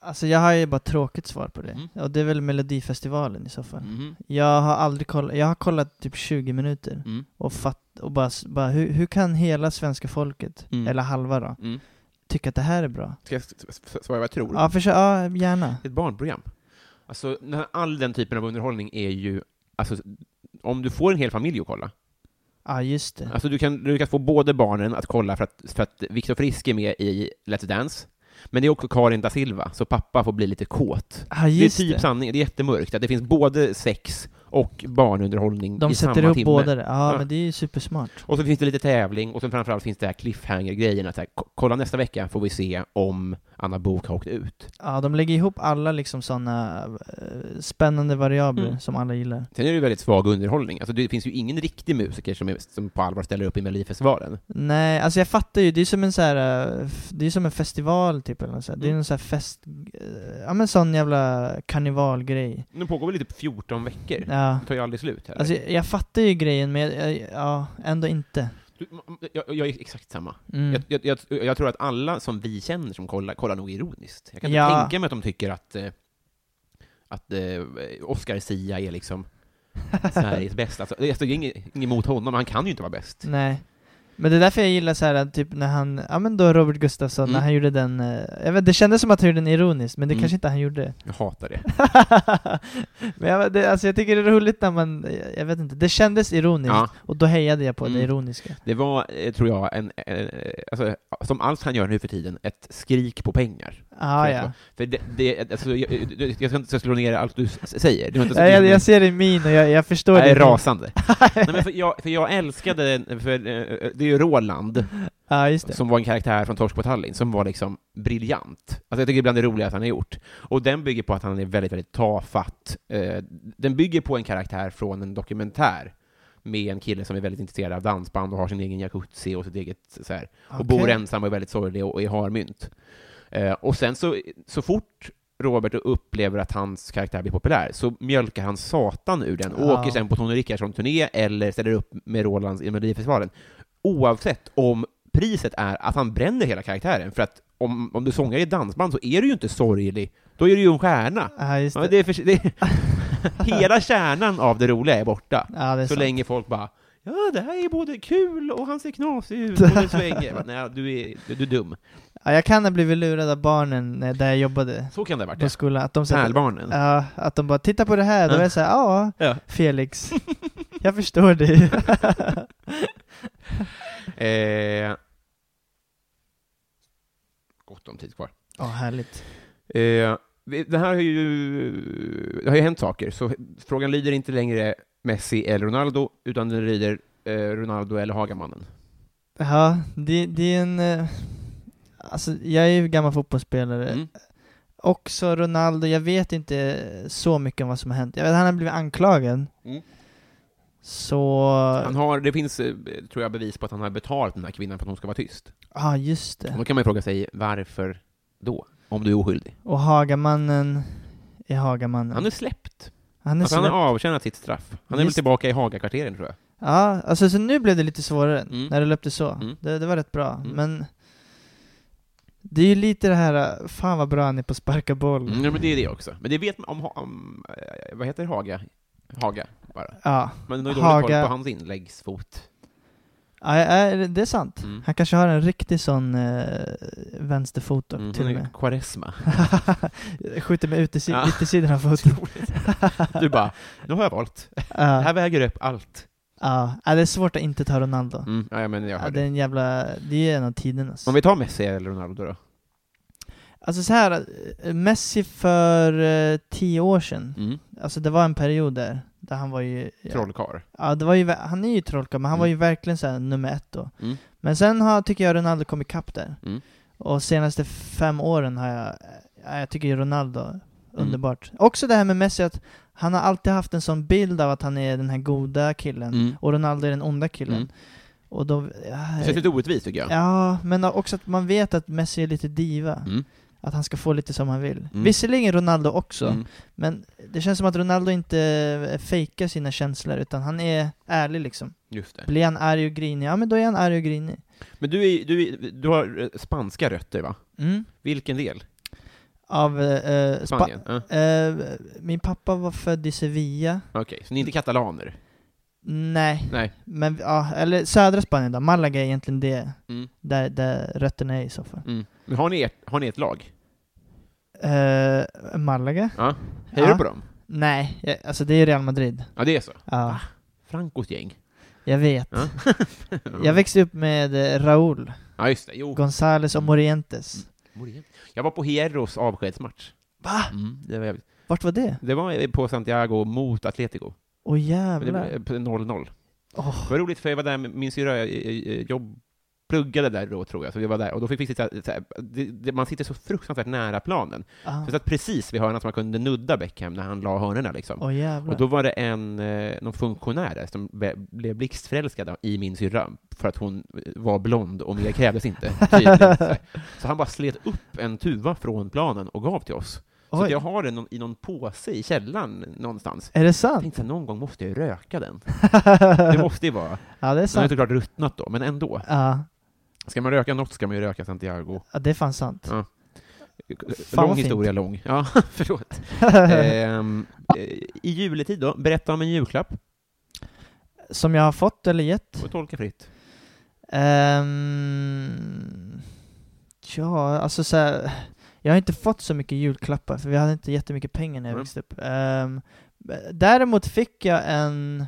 [SPEAKER 2] Alltså jag har ju bara tråkigt svar på det.
[SPEAKER 1] Mm.
[SPEAKER 2] Och det är väl Melodifestivalen i så fall.
[SPEAKER 1] Mhm.
[SPEAKER 2] Jag har aldrig kollat, jag har kollat typ 20 minuter
[SPEAKER 1] Mm.
[SPEAKER 2] och fatt, och bara, s- bara hur, hur kan hela svenska folket,
[SPEAKER 1] Mm.
[SPEAKER 2] eller halva då,
[SPEAKER 1] Mm.
[SPEAKER 2] tycka att det här är bra?
[SPEAKER 1] Ska jag s- s- s- svara vad jag tror?
[SPEAKER 2] Ja, försök, ja, gärna.
[SPEAKER 1] Ett barnprogram. Alltså, när all den typen av underhållning är ju, alltså, om du får en hel familj att kolla,
[SPEAKER 2] Ja, just det.
[SPEAKER 1] Alltså du kan, du kan få både barnen att kolla för att, för att Viktor Frisk är med i Let's Dance, men det är också Karin da Silva, så pappa får bli lite kåt.
[SPEAKER 2] Ja,
[SPEAKER 1] Det är
[SPEAKER 2] just
[SPEAKER 1] typ
[SPEAKER 2] det.
[SPEAKER 1] sanningen, det är jättemörkt, att det finns både sex och barnunderhållning
[SPEAKER 2] De
[SPEAKER 1] i
[SPEAKER 2] sätter
[SPEAKER 1] samma
[SPEAKER 2] ihop
[SPEAKER 1] timme.
[SPEAKER 2] båda det. Ja,
[SPEAKER 1] Ja.
[SPEAKER 2] men det är ju supersmart.
[SPEAKER 1] Och så finns det lite tävling, och sen framförallt finns det här cliffhanger-grejen, att så här, "Ko- kolla nästa vecka får vi se om Anna Bok har åkt ut.
[SPEAKER 2] Ja, de lägger ihop alla liksom sådana eh, spännande variabler
[SPEAKER 1] Mm.
[SPEAKER 2] som alla gillar.
[SPEAKER 1] Sen är det ju väldigt svag underhållning, alltså det finns ju ingen riktig musiker som, är, som på allvar ställer upp i Melodifestivalen.
[SPEAKER 2] Nej, alltså jag fattar ju, det är som en så här, eh, f- det är som en festival typ eller något så här. Det är
[SPEAKER 1] Mm.
[SPEAKER 2] en sån här fest, eh, ja men sån jävla karnevalgrej.
[SPEAKER 1] Nu pågår väl typ 14 veckor?
[SPEAKER 2] Ja.
[SPEAKER 1] Det tar ju aldrig slut heller.
[SPEAKER 2] Alltså jag, jag fattar ju grejen men jag, jag, ja, ändå inte.
[SPEAKER 1] Du, jag, jag är exakt samma.
[SPEAKER 2] Mm.
[SPEAKER 1] Jag, jag, jag, jag tror att alla som vi känner som kollar, kollar nog ironiskt. Jag kan inte
[SPEAKER 2] Ja.
[SPEAKER 1] tänka mig att de tycker att, eh, att eh, Oscar Sia är
[SPEAKER 2] *laughs*
[SPEAKER 1] liksom Sveriges bästa. Alltså, det är inget, inget mot honom, han kan ju inte vara bäst.
[SPEAKER 2] Nej. Men det är därför jag gillar så här att typ när han, ja men då Robert Gustafsson,
[SPEAKER 1] Mm.
[SPEAKER 2] när han gjorde den, eh, jag vet, det kändes som att han gjorde den ironiskt men det
[SPEAKER 1] Mm.
[SPEAKER 2] kanske inte han gjorde. *laughs*
[SPEAKER 1] Jag hatar det.
[SPEAKER 2] men jag, det, alltså jag tycker det är roligt när man, jag, jag vet inte, det kändes ironiskt
[SPEAKER 1] Ja.
[SPEAKER 2] och då hejade jag på
[SPEAKER 1] Mm.
[SPEAKER 2] det ironiska.
[SPEAKER 1] Det var, eh, tror jag, en, eh, alltså, som allt han gör nu för tiden, ett skrik på pengar.
[SPEAKER 2] Ah,
[SPEAKER 1] För
[SPEAKER 2] ja.
[SPEAKER 1] att- För det, det, alltså, jag, jag, jag ska inte slå ner allt du s- säger. Du har inte
[SPEAKER 2] Jag, jag, jag
[SPEAKER 1] jag,
[SPEAKER 2] ser din min och jag, jag förstår
[SPEAKER 1] jag är
[SPEAKER 2] din min. *laughs*
[SPEAKER 1] rasande. Nej, men för, jag, för jag älskade, för, eh, det är ju Roland,
[SPEAKER 2] Ja, just det.
[SPEAKER 1] som var en karaktär från Torsk på Tallinn, som var liksom briljant. Alltså jag tycker bland det roligaste han har gjort. Och den bygger på att han är väldigt, väldigt tafatt. Eh, Den bygger på en karaktär från en dokumentär med en kille som är väldigt intresserad av dansband och har sin egen jacuzzi och sitt eget så här, och bor
[SPEAKER 2] Okej.
[SPEAKER 1] ensam och är väldigt sorglig och och är harmynt. Eh, Och sen så, så fort Robert upplever att hans karaktär blir populär så mjölkar han satan ur den och
[SPEAKER 2] Ja.
[SPEAKER 1] åker sen på Tony Rickardsson-turné eller ställer upp med Roland i Melodifestivalen. Oavsett om priset är att han bränner hela karaktären, för att om, om du sångar i ett dansband så är du ju inte sorglig, då är du ju en stjärna.
[SPEAKER 2] Ja, just
[SPEAKER 1] Ja,
[SPEAKER 2] det. *laughs*
[SPEAKER 1] det är för, det är, hela kärnan av det roliga är borta,
[SPEAKER 2] Ja, det är
[SPEAKER 1] så
[SPEAKER 2] sant.
[SPEAKER 1] länge folk bara ja, det här är både kul och han ser knasig ut och det svänger. Jag bara, Nej, du är, du, du är dum.
[SPEAKER 2] Ja, jag kan ha blivit lurad av barnen när- där jag jobbade
[SPEAKER 1] Så kan det ha varit.
[SPEAKER 2] på
[SPEAKER 1] ja.
[SPEAKER 2] skolan. Att de sa,
[SPEAKER 1] Pärlbarnen.
[SPEAKER 2] ja, att de bara 'titta på det här' då
[SPEAKER 1] Ja.
[SPEAKER 2] var jag såhär, ja
[SPEAKER 1] Ja. *laughs*
[SPEAKER 2] Felix, jag förstår dig.
[SPEAKER 1] Eh, gott om tid kvar.
[SPEAKER 2] Ja, härligt.
[SPEAKER 1] Eh, vi- det här har ju, det har ju hänt saker, så frågan lyder inte längre Messi eller Ronaldo, utan den lyder eh, Ronaldo eller Hagamannen.
[SPEAKER 2] Ja, det, det är en... eh, Alltså, jag är ju gammal fotbollsspelare.
[SPEAKER 1] Mm.
[SPEAKER 2] Också Ronaldo, jag vet inte så mycket om vad som har hänt. Jag vet att han har blivit anklagad.
[SPEAKER 1] Mm.
[SPEAKER 2] Så...
[SPEAKER 1] Han har, det finns, eh, tror jag, bevis på att han har betalt den här kvinnan för att hon ska vara tyst.
[SPEAKER 2] Ja, ah, just det.
[SPEAKER 1] Och då kan man ju fråga sig, varför då? Om du är oskyldig.
[SPEAKER 2] Och Hagamannen är Hagamannen.
[SPEAKER 1] Han är släppt.
[SPEAKER 2] han är
[SPEAKER 1] Alltså, han
[SPEAKER 2] släppt.
[SPEAKER 1] har avtjänat sitt straff. Han är väl
[SPEAKER 2] Just-
[SPEAKER 1] tillbaka i Hagakvarteren, tror jag.
[SPEAKER 2] Ja, alltså så nu blev det lite svårare
[SPEAKER 1] Mm.
[SPEAKER 2] när du löpte så.
[SPEAKER 1] Mm.
[SPEAKER 2] Det, det var rätt bra,
[SPEAKER 1] Mm.
[SPEAKER 2] men det är ju lite det här, fan vad bra han är på att sparka boll.
[SPEAKER 1] Mm, ja, men det är det också. Men det vet man om, Ha- om eh, vad heter Haga? Haga, bara.
[SPEAKER 2] Ja,
[SPEAKER 1] Men det är dålig
[SPEAKER 2] Haga.
[SPEAKER 1] koll på hans inläggsfot.
[SPEAKER 2] ja ja, det är sant.
[SPEAKER 1] Mm.
[SPEAKER 2] Han kanske har en riktig sån eh, vänsterfot upp
[SPEAKER 1] Mm,
[SPEAKER 2] till
[SPEAKER 1] han
[SPEAKER 2] och
[SPEAKER 1] är
[SPEAKER 2] med. *laughs*
[SPEAKER 1] Quaresma.
[SPEAKER 2] Skjuter med utesidan,
[SPEAKER 1] Ja. *laughs*
[SPEAKER 2] yttersidan av foten. *laughs*
[SPEAKER 1] Du bara, nu har jag valt. Det
[SPEAKER 2] Ja,
[SPEAKER 1] här väger upp allt.
[SPEAKER 2] ja, Ja, det är svårt att inte ta Ronaldo.
[SPEAKER 1] Mm, ja, men jag
[SPEAKER 2] Ja,
[SPEAKER 1] hör
[SPEAKER 2] det är
[SPEAKER 1] det.
[SPEAKER 2] en jävla, det är en av tidernas.
[SPEAKER 1] Om vi tar Messi eller Ronaldo då?
[SPEAKER 2] Alltså så här, eh, Messi för eh, tio år sedan,
[SPEAKER 1] Mm.
[SPEAKER 2] alltså det var en period där, där han var ju...
[SPEAKER 1] Trollkarl.
[SPEAKER 2] Ja, det var ju, ver- han är ju trollkarl, men han
[SPEAKER 1] Mm.
[SPEAKER 2] var ju verkligen så här nummer ett då.
[SPEAKER 1] Mm.
[SPEAKER 2] Men sen har, tycker jag Ronaldo kommit ikapp där.
[SPEAKER 1] Mm.
[SPEAKER 2] Och senaste fem åren har jag, ja, jag tycker ju
[SPEAKER 1] Mm.
[SPEAKER 2] Ronaldo, underbart. Också det här med Messi, att han har alltid haft en sån bild av att han är den här goda killen,
[SPEAKER 1] Mm.
[SPEAKER 2] och Ronaldo är den onda killen.
[SPEAKER 1] Mm.
[SPEAKER 2] Och då,
[SPEAKER 1] Det
[SPEAKER 2] ja,
[SPEAKER 1] känns lite orättvist tycker jag.
[SPEAKER 2] ja, men också att man vet att Messi är lite diva.
[SPEAKER 1] Mm.
[SPEAKER 2] Att han ska få lite som han vill.
[SPEAKER 1] Mm.
[SPEAKER 2] Visserligen Ronaldo också,
[SPEAKER 1] Mm.
[SPEAKER 2] men det känns som att Ronaldo inte fejkar sina känslor, utan han är ärlig liksom.
[SPEAKER 1] Just det.
[SPEAKER 2] Blir han arg och grinig, ja men då är han arg och grinig.
[SPEAKER 1] Men du, är, du, är, du har eh, spanska rötter va?
[SPEAKER 2] Mm.
[SPEAKER 1] Vilken del?
[SPEAKER 2] Av... eh, eh, Spa-
[SPEAKER 1] Spanien? Ja,
[SPEAKER 2] eh, min pappa var född i Sevilla.
[SPEAKER 1] Okej, så ni är inte katalaner?
[SPEAKER 2] Nej,
[SPEAKER 1] Nej.
[SPEAKER 2] men ja, eller södra Spanien då. Malaga är egentligen det,
[SPEAKER 1] Mm.
[SPEAKER 2] där, där rötterna är i så fall.
[SPEAKER 1] Mm. Men har ni, ert, har ni ett lag?
[SPEAKER 2] Eh, Malaga?
[SPEAKER 1] Ja. Hejar
[SPEAKER 2] Ja.
[SPEAKER 1] du på dem?
[SPEAKER 2] Nej, jag, alltså det är Real Madrid.
[SPEAKER 1] Ja, det är så.
[SPEAKER 2] Ja,
[SPEAKER 1] Francos gäng.
[SPEAKER 2] jag vet. *laughs*
[SPEAKER 1] Ja.
[SPEAKER 2] Jag växte upp med eh, Raúl,
[SPEAKER 1] Ja, just det. Jo.
[SPEAKER 2] Gonzales och
[SPEAKER 1] Mm.
[SPEAKER 2] Morientes.
[SPEAKER 1] Jag var på Hierros avskedsmatch.
[SPEAKER 2] Va?
[SPEAKER 1] Mm, det, var, jävligt.
[SPEAKER 2] Vart var det?
[SPEAKER 1] det var på Santiago mot Atletico.
[SPEAKER 2] Åh
[SPEAKER 1] Men det
[SPEAKER 2] jävlar.
[SPEAKER 1] blev 0-0.
[SPEAKER 2] Åh,
[SPEAKER 1] Det var roligt för jag var där, med min syrra eh, eh, jobb, pluggade där då tror jag, så vi var där, och då fick vi sitta, så här, det, det, man sitter så fruktansvärt nära planen.
[SPEAKER 2] ah.
[SPEAKER 1] Så vi satt precis vid hörnan så man kunde nudda Beckham när han la hörnorna liksom.
[SPEAKER 2] Åh jävlar.
[SPEAKER 1] Och då var det en, eh, någon funktionär där som be- blev blixtförälskad i min syrra, för att hon eh, var blond och mer krävdes inte. tydligen. Så här. Så han bara slet upp en tuva från planen och gav till oss. Så
[SPEAKER 2] Oj.
[SPEAKER 1] att jag har den någon- i någon påse i källaren någonstans.
[SPEAKER 2] Är det
[SPEAKER 1] Jag
[SPEAKER 2] sant?
[SPEAKER 1] tänkte att någon gång måste jag ju röka den. Det måste ju vara.
[SPEAKER 2] *laughs* ja, det är
[SPEAKER 1] Den har ju
[SPEAKER 2] sant.
[SPEAKER 1] såklart ruttnat då, men ändå.
[SPEAKER 2] Ja,
[SPEAKER 1] Ska man röka något ska man ju röka Santiago.
[SPEAKER 2] ja, det är fan sant. vad
[SPEAKER 1] lång
[SPEAKER 2] fint.
[SPEAKER 1] historia lång. Ja, *laughs* förlåt. Ehm, eh, I juletid då, berätta om en julklapp
[SPEAKER 2] Som jag har fått eller gett?
[SPEAKER 1] och tolka fritt.
[SPEAKER 2] Ehm, ja, alltså så här, Jag har inte fått så mycket julklappar, för vi hade inte jättemycket pengar när jag
[SPEAKER 1] Mm.
[SPEAKER 2] växte upp. Ehm, däremot fick jag en...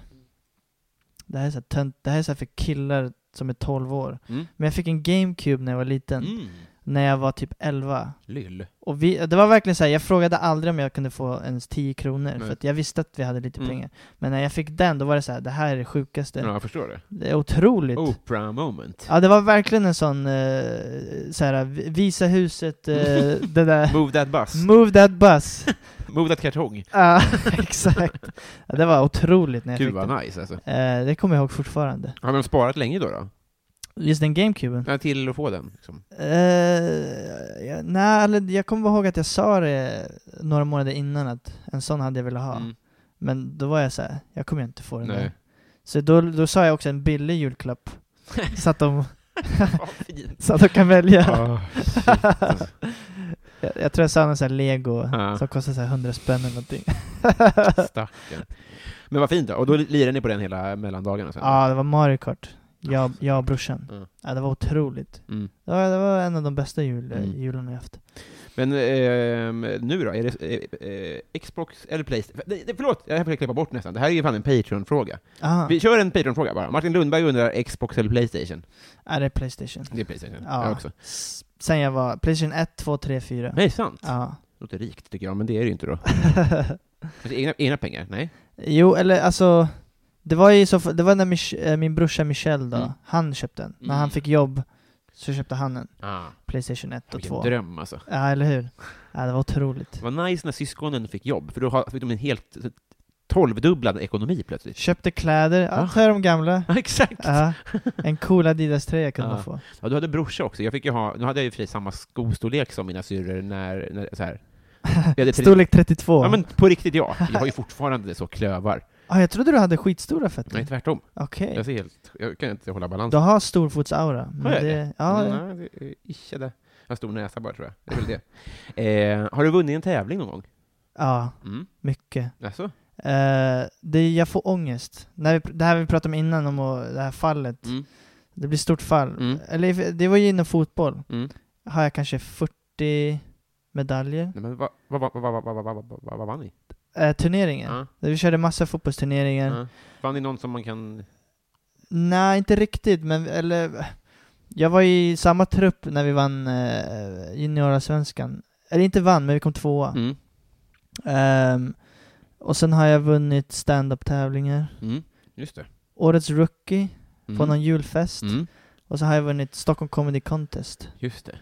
[SPEAKER 2] Det här är så här, tönt, det här är så här för killar som är 12 år.
[SPEAKER 1] Mm.
[SPEAKER 2] Men jag fick en GameCube när jag var liten,
[SPEAKER 1] Mm.
[SPEAKER 2] när jag var typ 11.
[SPEAKER 1] Lyll.
[SPEAKER 2] Och vi, det var verkligen så här, jag frågade aldrig om jag kunde få ens 10 kronor,
[SPEAKER 1] Nej.
[SPEAKER 2] för att jag visste att vi hade lite
[SPEAKER 1] Mm.
[SPEAKER 2] pengar. Men när jag fick den, då var det så här, det här är det sjukaste.
[SPEAKER 1] Ja, Oh. jag förstår det.
[SPEAKER 2] Det är otroligt.
[SPEAKER 1] Oprah moment.
[SPEAKER 2] Ja, det var verkligen en sån, eh, så här, vi- visa huset,
[SPEAKER 1] *laughs*
[SPEAKER 2] eh, det där,
[SPEAKER 1] Move that bus.
[SPEAKER 2] move that bus. *laughs*
[SPEAKER 1] Move that kartong.
[SPEAKER 2] Ja, exakt. Ja, det var otroligt när jag
[SPEAKER 1] Gud
[SPEAKER 2] fick den.
[SPEAKER 1] vad nice alltså.
[SPEAKER 2] Eh, det kommer jag ihåg fortfarande.
[SPEAKER 1] Har de sparat länge då? då?
[SPEAKER 2] Just den GameCuben.
[SPEAKER 1] Ja, till att få den. Liksom.
[SPEAKER 2] Eh, jag- nej, eller jag kommer ihåg att jag sa det några månader innan att en sån hade jag velat ha. *laughs*
[SPEAKER 1] Mm.
[SPEAKER 2] Men då var jag så här, jag kommer ju inte få den
[SPEAKER 1] Nej.
[SPEAKER 2] där. Så då, då sa jag också en billig
[SPEAKER 1] *laughs*
[SPEAKER 2] julklapp. så, att de,
[SPEAKER 1] Vad fint.
[SPEAKER 2] så att de kan välja.
[SPEAKER 1] Ah, shit, alltså.
[SPEAKER 2] *laughs* Jag, jag tror jag sa någon sån här lego
[SPEAKER 1] Ja.
[SPEAKER 2] som kostar så här 100 spänn
[SPEAKER 1] *laughs*
[SPEAKER 2] eller någonting.
[SPEAKER 1] Stackarn. Men vad fint då, och då lirade ni på den hela mellandagarna sen?
[SPEAKER 2] Ja, det var Mario Kart. Jag, jag och brorsan.
[SPEAKER 1] Ja.
[SPEAKER 2] Ja, det var otroligt.
[SPEAKER 1] Mm.
[SPEAKER 2] Det var, det var en av de bästa jul, eh,
[SPEAKER 1] Mm.
[SPEAKER 2] jularna jag haft.
[SPEAKER 1] Men ehm, nu då, är det eh, eh, Xbox eller Playstation? Nej, nej, förlåt, jag får jag klippa bort nästan. Det här är ju fan en Patreon-fråga.
[SPEAKER 2] Aha.
[SPEAKER 1] Vi kör en Patreon-fråga bara. Martin Lundberg undrar Xbox eller Playstation?
[SPEAKER 2] Ja, det Ah, är Playstation.
[SPEAKER 1] Det är Playstation,
[SPEAKER 2] Ja.
[SPEAKER 1] jag också.
[SPEAKER 2] S- Sen jag var Playstation 1, 2, 3, 4.
[SPEAKER 1] Nej, sant?
[SPEAKER 2] Ja.
[SPEAKER 1] *laughs* Låter rikt tycker jag, men det är det ju inte då. Fast egna, egna pengar? Nej?
[SPEAKER 2] Jo, eller alltså... Det var ju så, det var när Mich- eh, min brorsa Michel då,
[SPEAKER 1] Mm.
[SPEAKER 2] han köpte den. När han
[SPEAKER 1] Mm.
[SPEAKER 2] fick jobb så köpte han en.
[SPEAKER 1] Ah,
[SPEAKER 2] Playstation 1 och 2.
[SPEAKER 1] vilken dröm alltså.
[SPEAKER 2] Ja, eller hur? Ja, det var otroligt.
[SPEAKER 1] Det var nice när syskonen fick jobb, för då har- fick de en helt eh, tolvdubblad ekonomi plötsligt.
[SPEAKER 2] Köpte kläder, ja,
[SPEAKER 1] Ah.
[SPEAKER 2] så är
[SPEAKER 1] *laughs*
[SPEAKER 2] de gamla.
[SPEAKER 1] Ja, *laughs* exakt!
[SPEAKER 2] Ja, en cool Adidas-tröja kunde
[SPEAKER 1] Ja.
[SPEAKER 2] man få.
[SPEAKER 1] Ja, du hade en brorsa också. Jag fick ju ha, nu hade jag ju för sig samma skostorlek som mina syrror när, när så
[SPEAKER 2] *laughs*
[SPEAKER 1] här. Vi hade tre-
[SPEAKER 2] Storlek 32.
[SPEAKER 1] Ja men på riktigt *laughs* ja. Jag har ju fortfarande så klövar.
[SPEAKER 2] ah, jag trodde du hade skitstora fötter.
[SPEAKER 1] Nej tvärtom.
[SPEAKER 2] Okej.
[SPEAKER 1] Jag ser helt, jag kan inte hålla balans.
[SPEAKER 2] Du har storfotsaura. Men
[SPEAKER 1] Har jag Mm,
[SPEAKER 2] det, ja,
[SPEAKER 1] Nej, det är icke det. Jag har stor näsa bara tror jag. Det är väl det. *laughs* Eh, har du vunnit en tävling någon gång?
[SPEAKER 2] ja,
[SPEAKER 1] Mm.
[SPEAKER 2] mycket.
[SPEAKER 1] Alltså?
[SPEAKER 2] Eh, det, jag får ångest. När vi, det här vi pratade om innan, om att- det här fallet.
[SPEAKER 1] Mm.
[SPEAKER 2] Det blir stort fall.
[SPEAKER 1] Mm.
[SPEAKER 2] Eller det var ju inom fotboll.
[SPEAKER 1] Mm.
[SPEAKER 2] Har jag kanske 40 medaljer.
[SPEAKER 1] Nej, men vad vad vad vad vad vad vad vad vad vad vann ni?
[SPEAKER 2] Eh, turneringar.
[SPEAKER 1] Ja.
[SPEAKER 2] Vi körde massa fotbollsturneringar.
[SPEAKER 1] Ja. Vann ni någon som man kan...
[SPEAKER 2] Nej, inte riktigt, men eller... Jag var i samma trupp när vi vann eh, juniora-svenskan. Eller inte vann, men vi kom tvåa.
[SPEAKER 1] Mm.
[SPEAKER 2] Ehm, och sen har jag vunnit stand-up-tävlingar.
[SPEAKER 1] Mm. Just det.
[SPEAKER 2] Årets rookie
[SPEAKER 1] Mm.
[SPEAKER 2] på någon julfest.
[SPEAKER 1] Mm.
[SPEAKER 2] Och så har jag vunnit Stockholm Comedy Contest.
[SPEAKER 1] Just det.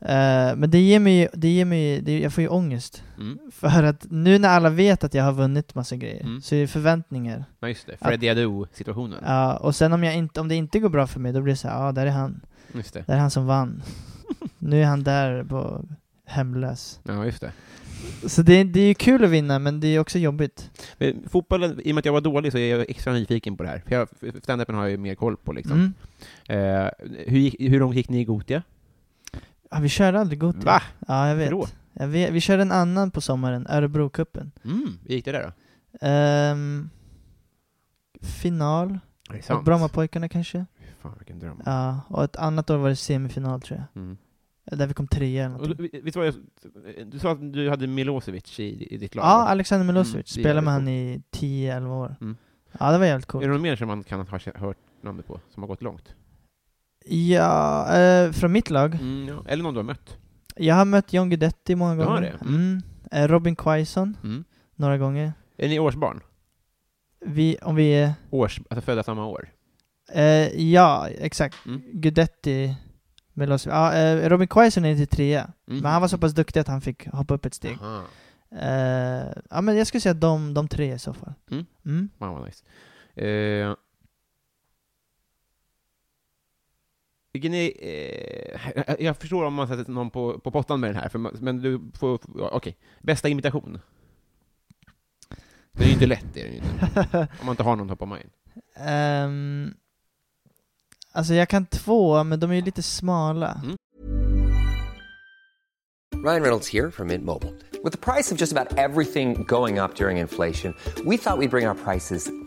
[SPEAKER 2] Eh, men det ger mig, det ger mig det, jag får ju ångest.
[SPEAKER 1] Mm.
[SPEAKER 2] För att nu när alla vet att jag har vunnit massa grejer,
[SPEAKER 1] Mm.
[SPEAKER 2] så är det förväntningar.
[SPEAKER 1] Nej, just det. Freddy Adu-situationen.
[SPEAKER 2] Ja, och sen om, jag inte, om det inte går bra för mig, då blir det så här, ja, ah, där är han.
[SPEAKER 1] Just det.
[SPEAKER 2] Det är han
[SPEAKER 1] *laughs*
[SPEAKER 2] som vann. nu är han där på hemlös.
[SPEAKER 1] Ja, just det.
[SPEAKER 2] Så det, det är ju kul att vinna, men det är också jobbigt.
[SPEAKER 1] Men fotbollen, i och med att jag var dålig så är jag extra nyfiken på det här. För jag, för standupen har jag ju mer koll på liksom.
[SPEAKER 2] Mm.
[SPEAKER 1] Eh, hur, gick, hur långt gick ni i Gotia?
[SPEAKER 2] Ja, vi körde aldrig Gothia.
[SPEAKER 1] Va?
[SPEAKER 2] Ja, jag vet.
[SPEAKER 1] Då?
[SPEAKER 2] jag vet. Vi körde en annan på sommaren, Örebrocupen.
[SPEAKER 1] Mm, hur gick det där då?
[SPEAKER 2] Ehm, final,
[SPEAKER 1] Det är
[SPEAKER 2] och Brommapojkarna kanske?
[SPEAKER 1] Fan vilken dröm.
[SPEAKER 2] Ja, och ett annat år var det semifinal tror
[SPEAKER 1] Mm.
[SPEAKER 2] jag. Där vi kom trea eller
[SPEAKER 1] Och,
[SPEAKER 2] någonting.
[SPEAKER 1] vi- visst var jag, du sa att du hade Milosevic i, i ditt lag?
[SPEAKER 2] Ja,
[SPEAKER 1] va?
[SPEAKER 2] Alexander Milosevic.
[SPEAKER 1] Mm, det är
[SPEAKER 2] spelade med han
[SPEAKER 1] jävligt
[SPEAKER 2] i 10-11 år.
[SPEAKER 1] Mm.
[SPEAKER 2] Ja, det var jävligt
[SPEAKER 1] Är det
[SPEAKER 2] coolt.
[SPEAKER 1] någon mer som man kan ha hört namnet på, som har gått långt?
[SPEAKER 2] Ja, eh, från mitt lag.
[SPEAKER 1] Mm, ja. Eller någon du har mött?
[SPEAKER 2] Jag har mött John Guidetti många
[SPEAKER 1] Du har
[SPEAKER 2] gånger.
[SPEAKER 1] det?
[SPEAKER 2] Mm. Eh, Robin Quaison,
[SPEAKER 1] Mm.
[SPEAKER 2] några gånger.
[SPEAKER 1] Är ni årsbarn?
[SPEAKER 2] Vi, om vi är...
[SPEAKER 1] Års, alltså födda samma år?
[SPEAKER 2] Eh, ja, exakt.
[SPEAKER 1] Mm.
[SPEAKER 2] Guidetti, Milosevic. Ja, eh, Robin Quaison är inte trea.
[SPEAKER 1] Mm.
[SPEAKER 2] Men han var så pass duktig att han fick hoppa upp ett steg.
[SPEAKER 1] Aha.
[SPEAKER 2] Eh, ja, men jag skulle säga de, de tre i så fall.
[SPEAKER 1] Mm.
[SPEAKER 2] Mm.
[SPEAKER 1] Fan vad nice. Eh, vilken är, eh, jag- jag förstår om man sätter någon på, på pottan med den här, för, man- men du får, ja, okej. Bästa imitation? Det är ju inte lätt, det är det ju inte.
[SPEAKER 2] *laughs*
[SPEAKER 1] Om man inte har någon top of mind.
[SPEAKER 2] Ehm, alltså jag kan två, men de är ju lite smala.
[SPEAKER 1] Mm.
[SPEAKER 3] Ryan Reynolds here from Mint Mobile. With the price of just about everything going up during inflation, we thought we'd bring our prices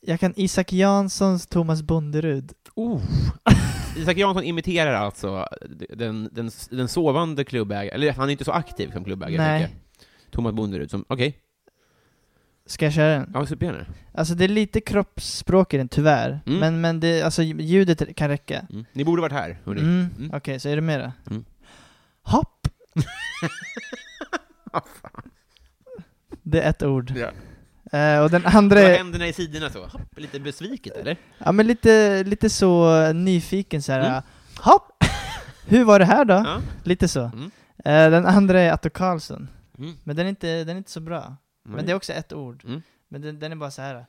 [SPEAKER 2] jag kan Isak Janssons Thomas Bonderud.
[SPEAKER 1] Oh. Isak Jansson imiterar alltså den, den, den sovande klubbägaren, eller han är inte så aktiv som klubbägare, tänker
[SPEAKER 2] Nej.
[SPEAKER 1] jag. Thomas Bonderud som, okej,
[SPEAKER 2] Ska jag köra den?
[SPEAKER 1] ja supergärna.
[SPEAKER 2] Alltså det är lite kroppsspråk i den tyvärr,
[SPEAKER 1] Mm.
[SPEAKER 2] men, men det, alltså ljudet kan räcka.
[SPEAKER 1] Mm. Ni borde varit här, hörni.
[SPEAKER 2] Mm. Okej, så är det mera?
[SPEAKER 1] Mm. *laughs*
[SPEAKER 2] Hopp! det är ett ord.
[SPEAKER 1] Ja.
[SPEAKER 2] Eh, och den andra
[SPEAKER 1] Dra
[SPEAKER 2] är,
[SPEAKER 1] händerna i sidorna så, Hopp, lite besviket eller?
[SPEAKER 2] ja men lite, lite så eh, nyfiken så här. eh,
[SPEAKER 1] Mm. *laughs*
[SPEAKER 2] hopp! Hur var det här då?
[SPEAKER 1] Ja.
[SPEAKER 2] Lite så.
[SPEAKER 1] Mm.
[SPEAKER 2] Eh, den andra är Atto Karlsson,
[SPEAKER 1] Mm.
[SPEAKER 2] men den är, inte, den är inte så bra. Men det är också ett ord.
[SPEAKER 1] Mm.
[SPEAKER 2] Men den, den är bara så här. eh.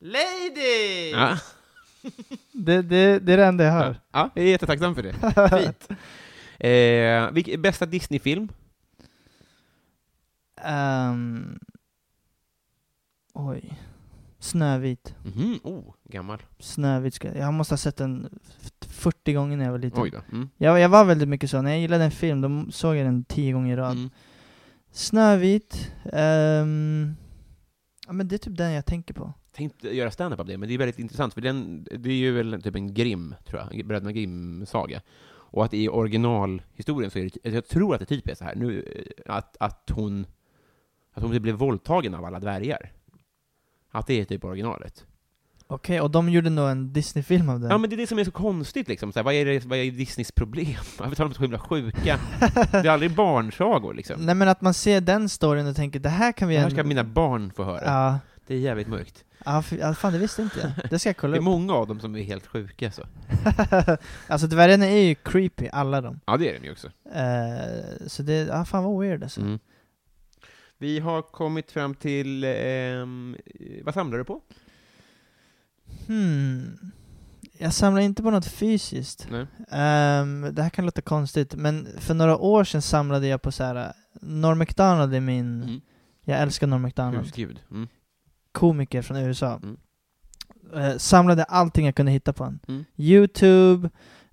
[SPEAKER 2] Lady!
[SPEAKER 1] Ja.
[SPEAKER 2] Det, det, det är det enda jag hör.
[SPEAKER 1] Ja. ja, jag är jättetacksam för det. Fint. Eh, vilk, bästa Disney-film?
[SPEAKER 2] Ehm, oj. Snövit.
[SPEAKER 1] Mhm, Oh, gammal.
[SPEAKER 2] Snövit ska jag... måste ha sett den f- 40 gånger när jag var liten.
[SPEAKER 1] Oj då. Mm.
[SPEAKER 2] Jag, jag var väldigt mycket så. När jag gillade en film, då såg jag den 10 gånger i rad.
[SPEAKER 1] Mm.
[SPEAKER 2] Snövit. ehm, ja, men det är typ den jag tänker på.
[SPEAKER 1] Tänkte göra stand-up av det, men det är väldigt intressant, för den, det är ju väl typ en Grimm, tror jag, Bröderna Grimm-saga. Och att i originalhistorien så är det, jag tror att det typ är så här nu, eh, att, att hon, att hon typ blev våldtagen av alla dvärgar. Att det är typ originalet.
[SPEAKER 2] Okej, och de gjorde nog en Disney-film av den.
[SPEAKER 1] Ja men det är det som är så konstigt liksom, så här, vad, är det, vad är Disneys problem? *laughs* Varför tar de så himla *laughs* sjuka? Det är aldrig barnsagor liksom.
[SPEAKER 2] Nej men att man ser den storyn och tänker det här kan vi...
[SPEAKER 1] Det här
[SPEAKER 2] ändå-
[SPEAKER 1] ska mina barn få höra.
[SPEAKER 2] Ja.
[SPEAKER 1] Det är jävligt mörkt.
[SPEAKER 2] Ja, för, ja, fan det visste inte jag. Det ska jag
[SPEAKER 1] Det
[SPEAKER 2] kolla
[SPEAKER 1] är
[SPEAKER 2] upp.
[SPEAKER 1] många av dem som är helt sjuka så.
[SPEAKER 2] *laughs* alltså dvärgarna är ju creepy, alla de.
[SPEAKER 1] Ja, det är de ju också.
[SPEAKER 2] Eh, så det, ja fan vad weird alltså.
[SPEAKER 1] Mm. Vi har kommit fram till, ehm, vad samlar du på?
[SPEAKER 2] Hmm. Jag samlar inte på något fysiskt.
[SPEAKER 1] Nej.
[SPEAKER 2] Ehm, det här kan låta konstigt, men för några år sedan samlade jag på så här. eh, Norm MacDonald är min,
[SPEAKER 1] Mm.
[SPEAKER 2] jag älskar Norm MacDonald,
[SPEAKER 1] Husgud. Mm.
[SPEAKER 2] komiker från USA.
[SPEAKER 1] Mm.
[SPEAKER 2] Eh, samlade allting jag kunde hitta på honom.
[SPEAKER 1] Mm.
[SPEAKER 2] Youtube,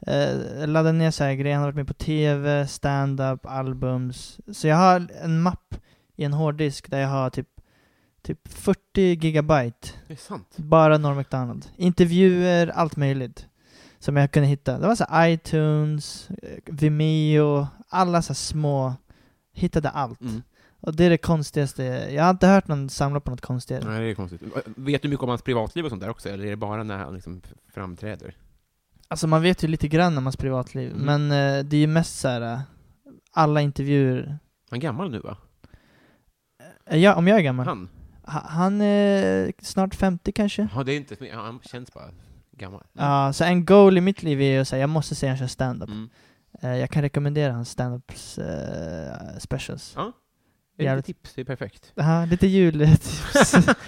[SPEAKER 2] eh, laddade ner så här grejer, han har varit med på TV, stand-up, albums. Så jag har en mapp i en hårddisk där jag har typ, typ 40 gigabyte
[SPEAKER 1] Det är sant.
[SPEAKER 2] bara Norm MacDonald. Intervjuer, allt möjligt. Som jag kunde hitta. Det var så här iTunes, eh, Vimeo, alla så här små. Hittade allt.
[SPEAKER 1] Mm.
[SPEAKER 2] Och det är det konstigaste. Jag har inte hört någon samla på något konstigare.
[SPEAKER 1] Nej, det är konstigt. Vet du mycket om hans privatliv och sånt där också, eller är det bara när han liksom framträder?
[SPEAKER 2] Alltså man vet ju lite grann om hans privatliv.
[SPEAKER 1] Mm.
[SPEAKER 2] Men eh, det är ju mest så här. eh, Alla intervjuer.
[SPEAKER 1] Han är gammal nu va?
[SPEAKER 2] Eh, Ja, om jag är gammal? Han,
[SPEAKER 1] Han?
[SPEAKER 2] han är snart 50 kanske?
[SPEAKER 1] Ja, det är inte, ja, han känns bara gammal.
[SPEAKER 2] Ja, så en goal i mitt liv är ju såhär, jag måste se han kör stand-up.
[SPEAKER 1] Mm.
[SPEAKER 2] Eh, jag kan rekommendera hans stand-ups eh, specials.
[SPEAKER 1] Det är
[SPEAKER 2] Jävligt.
[SPEAKER 1] lite tips, det är
[SPEAKER 2] *laughs*
[SPEAKER 1] perfekt.
[SPEAKER 2] Ja, lite jultips.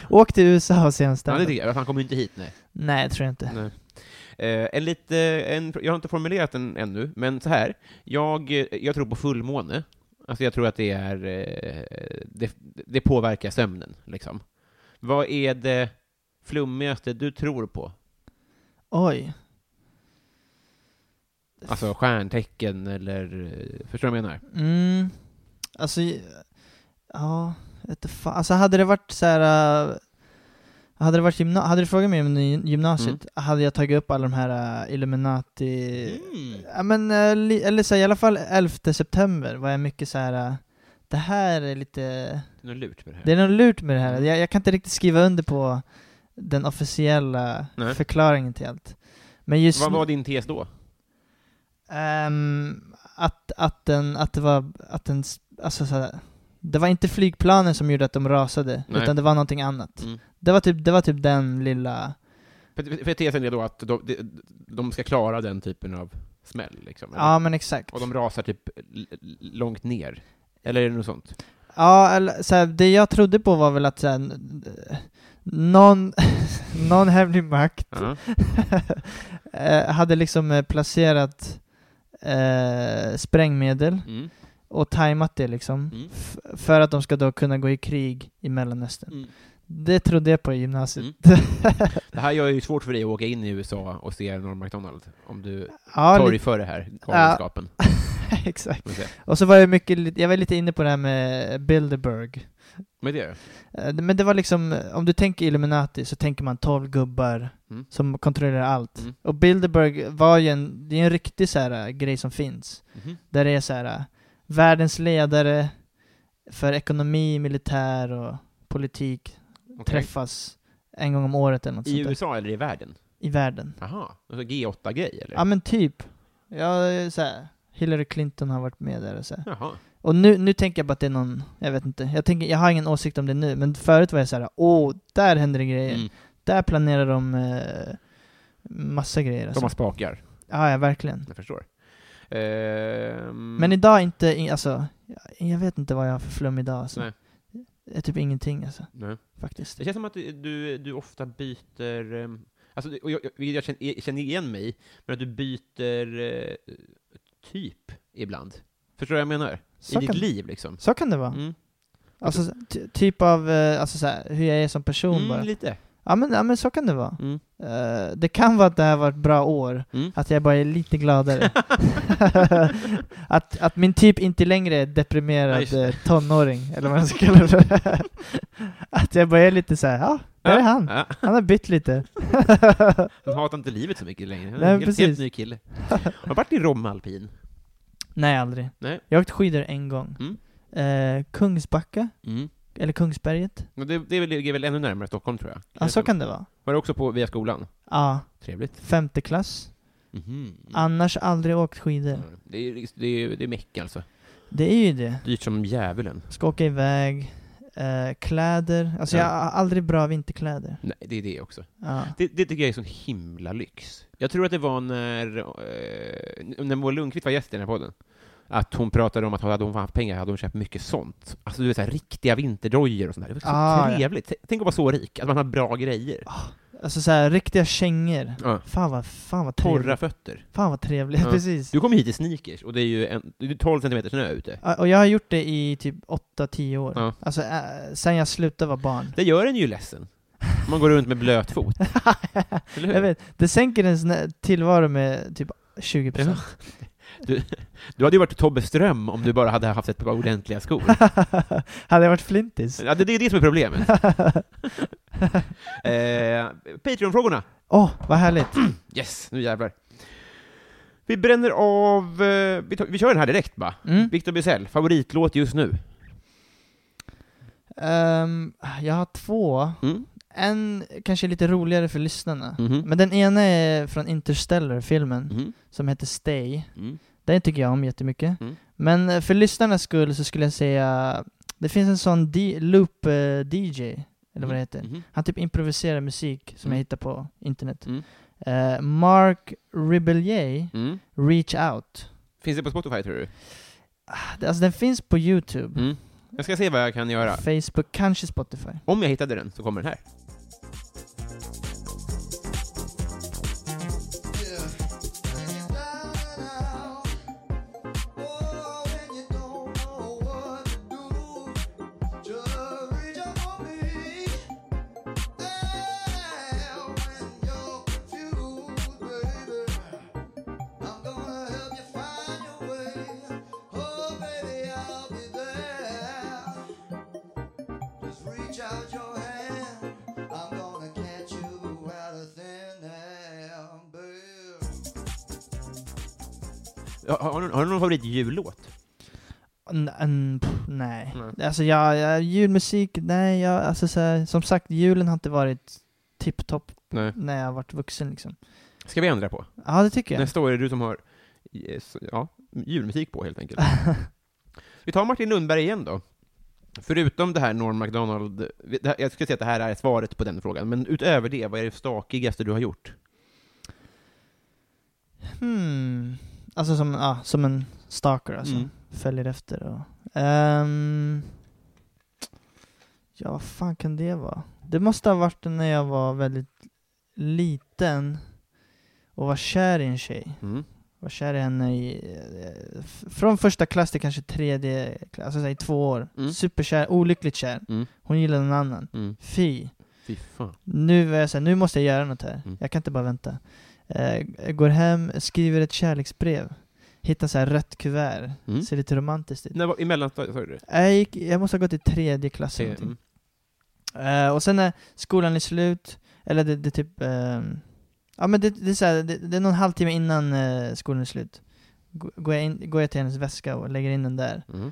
[SPEAKER 2] Åk till USA och se en
[SPEAKER 1] Ja,
[SPEAKER 2] stand
[SPEAKER 1] det tycker jag. Han kommer ju inte hit, nej.
[SPEAKER 2] *laughs* Nej, tror jag inte.
[SPEAKER 1] Nej. Eh, en lite, en, jag har inte formulerat den ännu, men så här. Jag, eh, jag tror på fullmåne. Alltså jag tror att det är, eh, det, det påverkar sömnen, liksom. Vad är det flummigaste du tror på?
[SPEAKER 2] Oj.
[SPEAKER 1] Alltså stjärntecken eller, eh, förstår du vad jag menar?
[SPEAKER 2] Mm. Alltså, ja, vet fan. Alltså hade det varit så här... äh, Hade, det varit gymna- hade du frågat mig om gym- gymnasiet,
[SPEAKER 1] Mm.
[SPEAKER 2] hade jag tagit upp alla de här äh, Illuminati...
[SPEAKER 1] Mm.
[SPEAKER 2] Ja, men, äh, li- eller så här, i alla fall 11 september var jag mycket så här. äh, Det här är lite...
[SPEAKER 1] Det är något lurt med det här.
[SPEAKER 2] Det är något lurt med det här.
[SPEAKER 1] Mm.
[SPEAKER 2] Jag, jag kan inte riktigt skriva under på den officiella
[SPEAKER 1] Nej.
[SPEAKER 2] förklaringen till allt. Men just
[SPEAKER 1] Vad var din tes då?
[SPEAKER 2] ehm, att, att, den, att det var, att den, s- alltså så här, det var inte flygplanen som gjorde att de rasade,
[SPEAKER 1] Nej.
[SPEAKER 2] utan det var någonting annat.
[SPEAKER 1] Mm.
[SPEAKER 2] Det, var typ, det var typ den lilla,
[SPEAKER 1] För, för tesen är då att de, de- de ska klara den typen av smäll, liksom? eller?
[SPEAKER 2] ja men exakt.
[SPEAKER 1] Och de rasar typ l- l- långt ner? Eller är det något sånt?
[SPEAKER 2] Ja, eller så här, det jag trodde på var väl att så här, n- eh, någon, *laughs* någon hemlig makt
[SPEAKER 1] Ja.
[SPEAKER 2] eh, hade liksom eh, placerat eh, sprängmedel
[SPEAKER 1] Mm.
[SPEAKER 2] och tajmat det liksom.
[SPEAKER 1] Mm.
[SPEAKER 2] F- för att de ska då kunna gå i krig i Mellanöstern.
[SPEAKER 1] Mm.
[SPEAKER 2] Det trodde jag på i gymnasiet.
[SPEAKER 1] Det här gör ju svårt för dig att åka in i USA och se Norm MacDonald, om du
[SPEAKER 2] ja, lite,
[SPEAKER 1] torgför det här galenskapen.
[SPEAKER 2] *laughs* exakt.
[SPEAKER 1] får vi se.
[SPEAKER 2] Och så var jag mycket, li- jag var lite inne på det här med Bilderberg.
[SPEAKER 1] Men det gör jag.
[SPEAKER 2] Eh, Men det var liksom, eh, om du tänker Illuminati så tänker man 12 gubbar
[SPEAKER 1] Mm.
[SPEAKER 2] som kontrollerar allt.
[SPEAKER 1] Mm.
[SPEAKER 2] Och Bilderberg var ju en, det är en riktig så här, eh, grej som finns.
[SPEAKER 1] Mhm.
[SPEAKER 2] Där det är så här, eh, världens ledare för ekonomi, militär och politik
[SPEAKER 1] Okej.
[SPEAKER 2] träffas en gång om året eller något
[SPEAKER 1] I
[SPEAKER 2] sånt där.
[SPEAKER 1] USA eller i världen?
[SPEAKER 2] I världen.
[SPEAKER 1] Aha, alltså G8-grej eller?
[SPEAKER 2] Ja men typ. Ja, så här. Hillary Clinton har varit med där och så här.
[SPEAKER 1] Jaha.
[SPEAKER 2] Och nu, nu tänker jag bara att det är någon, jag vet inte, jag, tänker, jag har ingen åsikt om det nu, men förut var jag så här: åh, där händer det grejer.
[SPEAKER 1] Mm.
[SPEAKER 2] Där planerar de eh, massa grejer
[SPEAKER 1] De
[SPEAKER 2] alltså.
[SPEAKER 1] har spakar,
[SPEAKER 2] Ja, ja, verkligen.
[SPEAKER 1] jag förstår. Ehm,
[SPEAKER 2] Men idag inte, i- alltså, jag- jag vet inte vad jag har för flum idag alltså.
[SPEAKER 1] Nej.
[SPEAKER 2] Det är typ ingenting alltså,
[SPEAKER 1] nej.
[SPEAKER 2] faktiskt.
[SPEAKER 1] Det känns som att du, du, du ofta byter... ehm, Alltså, du- och jag, jag, jag känner, känner igen mig, men att du byter eh, typ ibland. Förstår du vad jag menar? I
[SPEAKER 2] Så
[SPEAKER 1] ditt
[SPEAKER 2] kan,
[SPEAKER 1] liv liksom.
[SPEAKER 2] så kan det vara.
[SPEAKER 1] Mm,
[SPEAKER 2] Alltså, ty- typ av, eh, alltså så här, hur jag är som person bara.
[SPEAKER 1] mm, lite.
[SPEAKER 2] Ja men, ja men så kan det vara.
[SPEAKER 1] Mm.
[SPEAKER 2] Eh, det kan vara att det här var ett bra år,
[SPEAKER 1] Mm.
[SPEAKER 2] att jag bara är
[SPEAKER 1] *laughs*
[SPEAKER 2] lite gladare. att, att min typ inte längre är
[SPEAKER 1] Ja,
[SPEAKER 2] deprimerad
[SPEAKER 1] just det.
[SPEAKER 2] eh, tonåring, eller vad man ska kalla det. att jag bara är lite så här, ja, där är han.
[SPEAKER 1] Ja,
[SPEAKER 2] Han har
[SPEAKER 1] *laughs*
[SPEAKER 2] bytt lite.
[SPEAKER 1] han hatar inte livet så mycket längre. Han är
[SPEAKER 2] Nej,
[SPEAKER 1] en helt, helt
[SPEAKER 2] precis.
[SPEAKER 1] ny
[SPEAKER 2] *laughs*
[SPEAKER 1] kille. Har du varit i Rom alpin?
[SPEAKER 2] Nej, aldrig.
[SPEAKER 1] Nej.
[SPEAKER 2] Jag har åkt skidor en gång.
[SPEAKER 1] Mm.
[SPEAKER 2] Eh, Kungsbacka, eller Kungsberget.
[SPEAKER 1] Men Mm. Det, det ligger väl ännu närmare Stockholm, tror jag.
[SPEAKER 2] Ja, så kan det vara.
[SPEAKER 1] Var det också på via skolan?
[SPEAKER 2] Ja,
[SPEAKER 1] Trevligt.
[SPEAKER 2] femte klass.
[SPEAKER 1] Mhm.
[SPEAKER 2] Annars aldrig åkt skidor.
[SPEAKER 1] Ja, Det är, det är, det är meck alltså.
[SPEAKER 2] Det är ju det.
[SPEAKER 1] Dyrt som djävulen.
[SPEAKER 2] Ska åka iväg, eh, kläder. Alltså
[SPEAKER 1] Ja.
[SPEAKER 2] jag har aldrig bra vinterkläder.
[SPEAKER 1] Nej, det är det också.
[SPEAKER 2] Ja.
[SPEAKER 1] Det, det tycker jag är sån himla lyx. Jag tror att det var när, eh, när Moa Lundqvist var gäst i den här podden, att hon pratade om att hade hon haft pengar hade hon köpt mycket sånt. Alltså du vet, så här, riktiga vinterdojor och sånt där. Det var så
[SPEAKER 2] Ah, ja.
[SPEAKER 1] trevligt. T- Tänk att vara så rik, att man har bra grejer.
[SPEAKER 2] Alltså såhär riktiga kängor.
[SPEAKER 1] Ja.
[SPEAKER 2] Fan vad, fan vad trevligt.
[SPEAKER 1] Torra fötter.
[SPEAKER 2] Fan vad trevligt,
[SPEAKER 1] Ja.
[SPEAKER 2] *laughs* precis.
[SPEAKER 1] Du kom hit i sneakers och det är ju en, det är 12 centimeter snö ute.
[SPEAKER 2] Ja, Och jag har gjort det i typ 8-10 år.
[SPEAKER 1] Ja.
[SPEAKER 2] Alltså äh, sen jag slutade vara barn.
[SPEAKER 1] Det gör en ju ledsen. Om Man går runt med blöt
[SPEAKER 2] *laughs*
[SPEAKER 1] fot. Eller hur?
[SPEAKER 2] jag vet, det sänker ens nä- tillvaro med typ 20%.
[SPEAKER 1] Du hade ju varit Tobbe Ström om du bara hade haft ett par ordentliga skor.
[SPEAKER 2] *laughs* Hade jag varit flintis?
[SPEAKER 1] Ja, det, det är det som är *laughs* problemet. eh, Patreon-frågorna.
[SPEAKER 2] Åh, oh, vad härligt.
[SPEAKER 1] Yes, nu jävlar. Vi bränner av... Eh, vi, tar, vi kör den här direkt bara.
[SPEAKER 2] Mm.
[SPEAKER 1] Victor Bizell, favoritlåt just nu.
[SPEAKER 2] Ehm, jag har två.
[SPEAKER 1] Mm.
[SPEAKER 2] En kanske är lite roligare för lyssnarna.
[SPEAKER 1] Mhm.
[SPEAKER 2] Men den ena är från Interstellar-filmen,
[SPEAKER 1] Mhm.
[SPEAKER 2] som heter Stay.
[SPEAKER 1] Mm.
[SPEAKER 2] Den tycker jag om jättemycket.
[SPEAKER 1] Mm.
[SPEAKER 2] Men eh, för lyssnarnas skull så skulle jag säga, det finns en sån eh, D- loop-DJ, eller vad det heter.
[SPEAKER 1] Mhm.
[SPEAKER 2] Han typ improviserar musik som
[SPEAKER 1] Mm.
[SPEAKER 2] jag hittar på internet.
[SPEAKER 1] Mm.
[SPEAKER 2] Eh, Mark Ribelier,
[SPEAKER 1] Mm.
[SPEAKER 2] Reach Out.
[SPEAKER 1] Finns det på Spotify, tror du?
[SPEAKER 2] Ah, Alltså den finns på YouTube,
[SPEAKER 1] Mm. Jag ska se vad jag kan göra.
[SPEAKER 2] Facebook, kanske Spotify.
[SPEAKER 1] Om jag hittade den så kommer den här.
[SPEAKER 4] Reach out your hand, I'm gonna catch you out of thin air, babe.
[SPEAKER 1] Har, har, du- har du någon favoritjullåt?
[SPEAKER 2] N- n- pff, nej.
[SPEAKER 1] Nej.
[SPEAKER 2] Alltså jag, jag, julmusik, nej jag, alltså så här, som sagt julen har inte varit tipptopp
[SPEAKER 1] Nej.
[SPEAKER 2] när jag har varit vuxen liksom.
[SPEAKER 1] Ska vi ändra på?
[SPEAKER 2] Ja det tycker jag.
[SPEAKER 1] Nästa år är det du som har yes, ja, julmusik på, helt enkelt. Vi tar Martin Lundberg igen då. Förutom det här Norm Macdonald, det här- jag skulle säga att det här är svaret på den frågan, men utöver det, vad är det stakigaste du har gjort?
[SPEAKER 2] *laughs* Hmm. Alltså som, ja, som en stalker alltså.
[SPEAKER 1] Mm.
[SPEAKER 2] Följer efter och... Ehm. ja, vad fan kan det vara? Det måste ha varit när jag var väldigt liten och var kär i en tjej.
[SPEAKER 1] Mm.
[SPEAKER 2] Var kär i henne i... eh, f- Från första klass till kanske tredje klass, alltså så här, i två år.
[SPEAKER 1] Mm.
[SPEAKER 2] Superkär, olyckligt kär.
[SPEAKER 1] Mm.
[SPEAKER 2] Hon gillade någon annan.
[SPEAKER 1] Mm.
[SPEAKER 2] Fy.
[SPEAKER 1] Fy fan.
[SPEAKER 2] Nu är jag så här, nu måste jag göra något här.
[SPEAKER 1] Mm.
[SPEAKER 2] Jag kan inte bara vänta. Eh, jag går hem, skriver ett kärleksbrev. Hittar så här rött kuvert.
[SPEAKER 1] Mm.
[SPEAKER 2] Ser lite romantiskt ut.
[SPEAKER 1] När var, I mellanstadiet, sa du det?
[SPEAKER 2] Jag, gick, jag måste ha gått i tredje klass eller
[SPEAKER 1] Se-
[SPEAKER 2] någonting.
[SPEAKER 1] Mm.
[SPEAKER 2] Eh, Och sen när skolan är slut, eller det, det är typ... Eh, ja men det, det, är så här, det, det är någon halvtimme innan eh, skolan är slut. Gå- Går jag, in, går jag till hennes väska och lägger in den där.
[SPEAKER 1] Mm.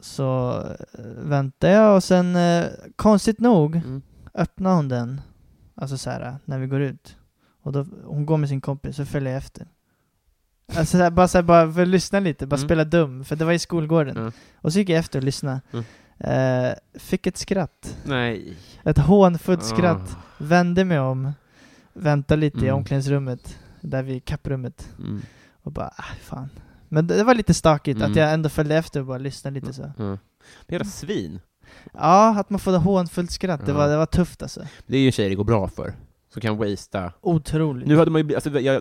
[SPEAKER 2] Så eh, väntade jag och sen, eh, konstigt nog,
[SPEAKER 1] Mm.
[SPEAKER 2] öppnade hon den. Alltså så här, när vi går ut. Och då, hon går med sin kompis, så följer jag efter. Alltså så här, bara, så här, bara för att lyssna lite, bara
[SPEAKER 1] Mm.
[SPEAKER 2] spela dum, för det var i skolgården.
[SPEAKER 1] Mm.
[SPEAKER 2] Och så gick jag efter och lyssnade.
[SPEAKER 1] Mm.
[SPEAKER 2] Eh, fick ett skratt.
[SPEAKER 1] Nej.
[SPEAKER 2] Ett hånfullt skratt.
[SPEAKER 1] Ah.
[SPEAKER 2] Vände mig om, väntade lite i
[SPEAKER 1] Mm.
[SPEAKER 2] omklädningsrummet, där vid kapprummet.
[SPEAKER 1] Mm.
[SPEAKER 2] Och bara, ah, fan. Men det, det var lite stakigt att
[SPEAKER 1] Mm.
[SPEAKER 2] jag ändå följde efter och bara lyssnade lite så.
[SPEAKER 1] Mm. Jävla svin.
[SPEAKER 2] Ja, att man får ett hånfullt skratt, det,
[SPEAKER 1] Ja.
[SPEAKER 2] var, det var tufft alltså.
[SPEAKER 1] Det är ju en tjej det går bra för. Som kan wastea.
[SPEAKER 2] Otroligt.
[SPEAKER 1] Nu hade man ju, bli- alltså, jag, eh,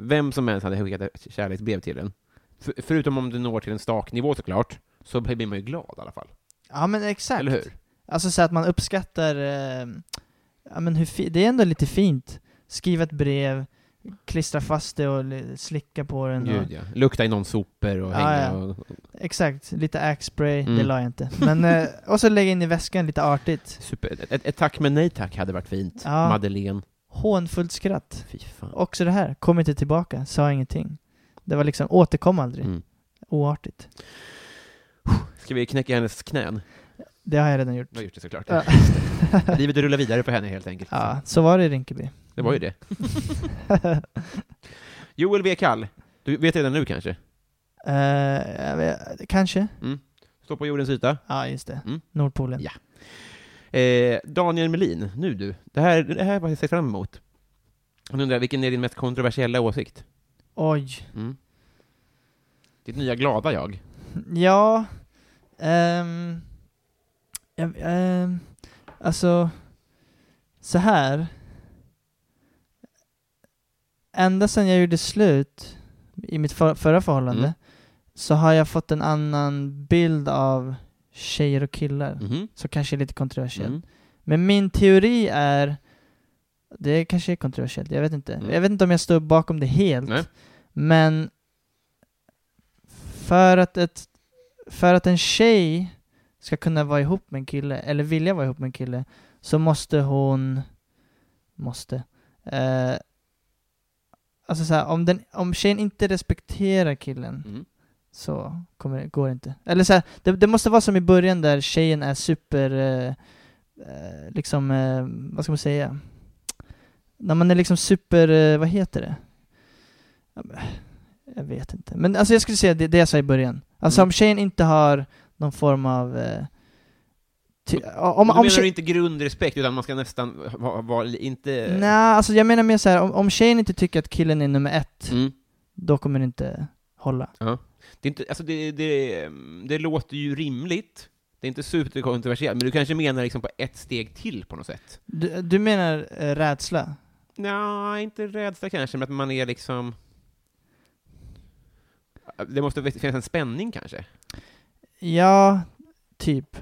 [SPEAKER 1] vem som helst hade skickat ett kärleksbrev till en. För, förutom om du når till en staknivå såklart, så blir man ju glad i alla fall.
[SPEAKER 2] Ja men exakt.
[SPEAKER 1] Eller hur?
[SPEAKER 2] Alltså så att man uppskattar, eh, ja men hur fi- det är ändå lite fint. Skriva ett brev, klistra fast det och li- slicka på den. Och,
[SPEAKER 1] Gud ja. Lukta i någon sopor och
[SPEAKER 2] Ja,
[SPEAKER 1] hänga
[SPEAKER 2] ja.
[SPEAKER 1] och...
[SPEAKER 2] Exakt, lite axe-spray,
[SPEAKER 1] Mm.
[SPEAKER 2] det la jag inte. Men, eh, och så lägga in i väskan lite artigt.
[SPEAKER 1] Super. Ett, ett, ett tack men nej tack hade varit fint.
[SPEAKER 2] Ja.
[SPEAKER 1] Madeleine.
[SPEAKER 2] Hånfullt skratt.
[SPEAKER 1] Fy fan.
[SPEAKER 2] Också det här, kom inte tillbaka, sa ingenting. Det var liksom, återkom aldrig.
[SPEAKER 1] Mm.
[SPEAKER 2] Oartigt.
[SPEAKER 1] Ska vi knäcka hennes knän?
[SPEAKER 2] Det har jag redan gjort.
[SPEAKER 1] Jag har gjort det såklart.
[SPEAKER 2] *laughs* Ja.
[SPEAKER 1] *laughs* Livet rullar vidare för henne helt enkelt.
[SPEAKER 2] ja, så var det i Rinkeby.
[SPEAKER 1] Det var ju det. *laughs* Joel W. Kall. Du vet redan nu kanske?
[SPEAKER 2] Eh, jag vet- kanske?
[SPEAKER 1] Står på jordens yta.
[SPEAKER 2] Ja, just det.
[SPEAKER 1] Mm.
[SPEAKER 2] Nordpolen.
[SPEAKER 1] Ja. Eh, Daniel Melin, nu du. Det här, det här har jag sett fram emot. Han undrar, vilken är din mest kontroversiella åsikt?
[SPEAKER 2] Oj.
[SPEAKER 1] Mm. Ditt nya glada jag.
[SPEAKER 2] Ja. ehm, jag- ehm, alltså, så här. Ända sedan jag gjorde slut i mitt för- förra förhållande
[SPEAKER 1] Mm.
[SPEAKER 2] så har jag fått en annan bild av tjejer och killar.
[SPEAKER 1] Mhm.
[SPEAKER 2] Så kanske är lite kontroversiell.
[SPEAKER 1] Mm.
[SPEAKER 2] Men min teori är Det kanske är kontroversiellt, jag vet inte.
[SPEAKER 1] Mm.
[SPEAKER 2] Jag vet inte om jag står bakom det helt.
[SPEAKER 1] Nej.
[SPEAKER 2] Men för att, ett, för att en tjej ska kunna vara ihop med en kille, eller vilja vara ihop med en kille, så måste hon... Måste. Eh, alltså såhär, om, den, om tjejen inte respekterar killen
[SPEAKER 1] Mm.
[SPEAKER 2] så kommer, det- går det inte. Eller så här, det, det måste vara som i början där tjejen är super, eh, eh, liksom, eh, vad ska man säga? När man är liksom super, eh, vad heter det? Ja, men, Jag vet inte. Men alltså jag skulle säga det, det jag sa i början. Alltså
[SPEAKER 1] Mm.
[SPEAKER 2] om tjejen inte har någon form av... Eh, ty, om,
[SPEAKER 1] Då
[SPEAKER 2] om
[SPEAKER 1] menar
[SPEAKER 2] tje-
[SPEAKER 1] du inte grundrespekt, utan man ska nästan vara... vara li- inte...
[SPEAKER 2] Nej, alltså jag menar mer så här, om, om tjejen inte tycker att killen är nummer ett,
[SPEAKER 1] Mm.
[SPEAKER 2] då kommer det inte hålla.
[SPEAKER 1] Det, är inte, alltså det, det, det låter ju rimligt. Det är inte superkontroversiellt, men du kanske menar liksom på ett steg till på något sätt?
[SPEAKER 2] Du, du menar eh, rädsla?
[SPEAKER 1] Nej, inte rädsla kanske, men att man är liksom... Det måste finnas en spänning kanske?
[SPEAKER 2] Ja, typ.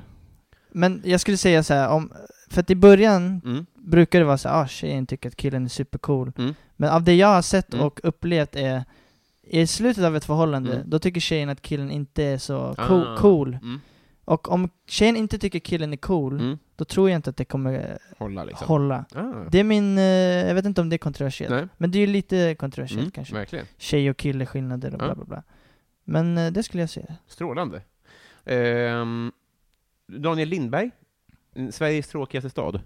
[SPEAKER 2] Men jag skulle säga så här, om, för att i början
[SPEAKER 1] Mm.
[SPEAKER 2] brukar det vara så här, ah, tjejen tycker att killen är supercool.
[SPEAKER 1] Mm.
[SPEAKER 2] Men av det jag har sett
[SPEAKER 1] Mm.
[SPEAKER 2] och upplevt är, i slutet av ett förhållande,
[SPEAKER 1] Mm.
[SPEAKER 2] då tycker tjejen att killen inte är så
[SPEAKER 1] Ah.
[SPEAKER 2] cool. cool.
[SPEAKER 1] Mm.
[SPEAKER 2] Och om tjejen inte tycker killen är cool,
[SPEAKER 1] Mm.
[SPEAKER 2] då tror jag inte att det kommer
[SPEAKER 1] Hålla liksom.
[SPEAKER 2] hålla.
[SPEAKER 1] ah.
[SPEAKER 2] Det är min, eh, jag vet inte om det är kontroversiellt,
[SPEAKER 1] Nej.
[SPEAKER 2] men det är ju lite kontroversiellt
[SPEAKER 1] Mm.
[SPEAKER 2] kanske.
[SPEAKER 1] Verkligen.
[SPEAKER 2] Tjej och kille skillnader och
[SPEAKER 1] Ja.
[SPEAKER 2] bla bla bla. Men eh, det skulle jag säga.
[SPEAKER 1] Strålande. Ehm, Daniel Lindberg, Sveriges tråkigaste stad.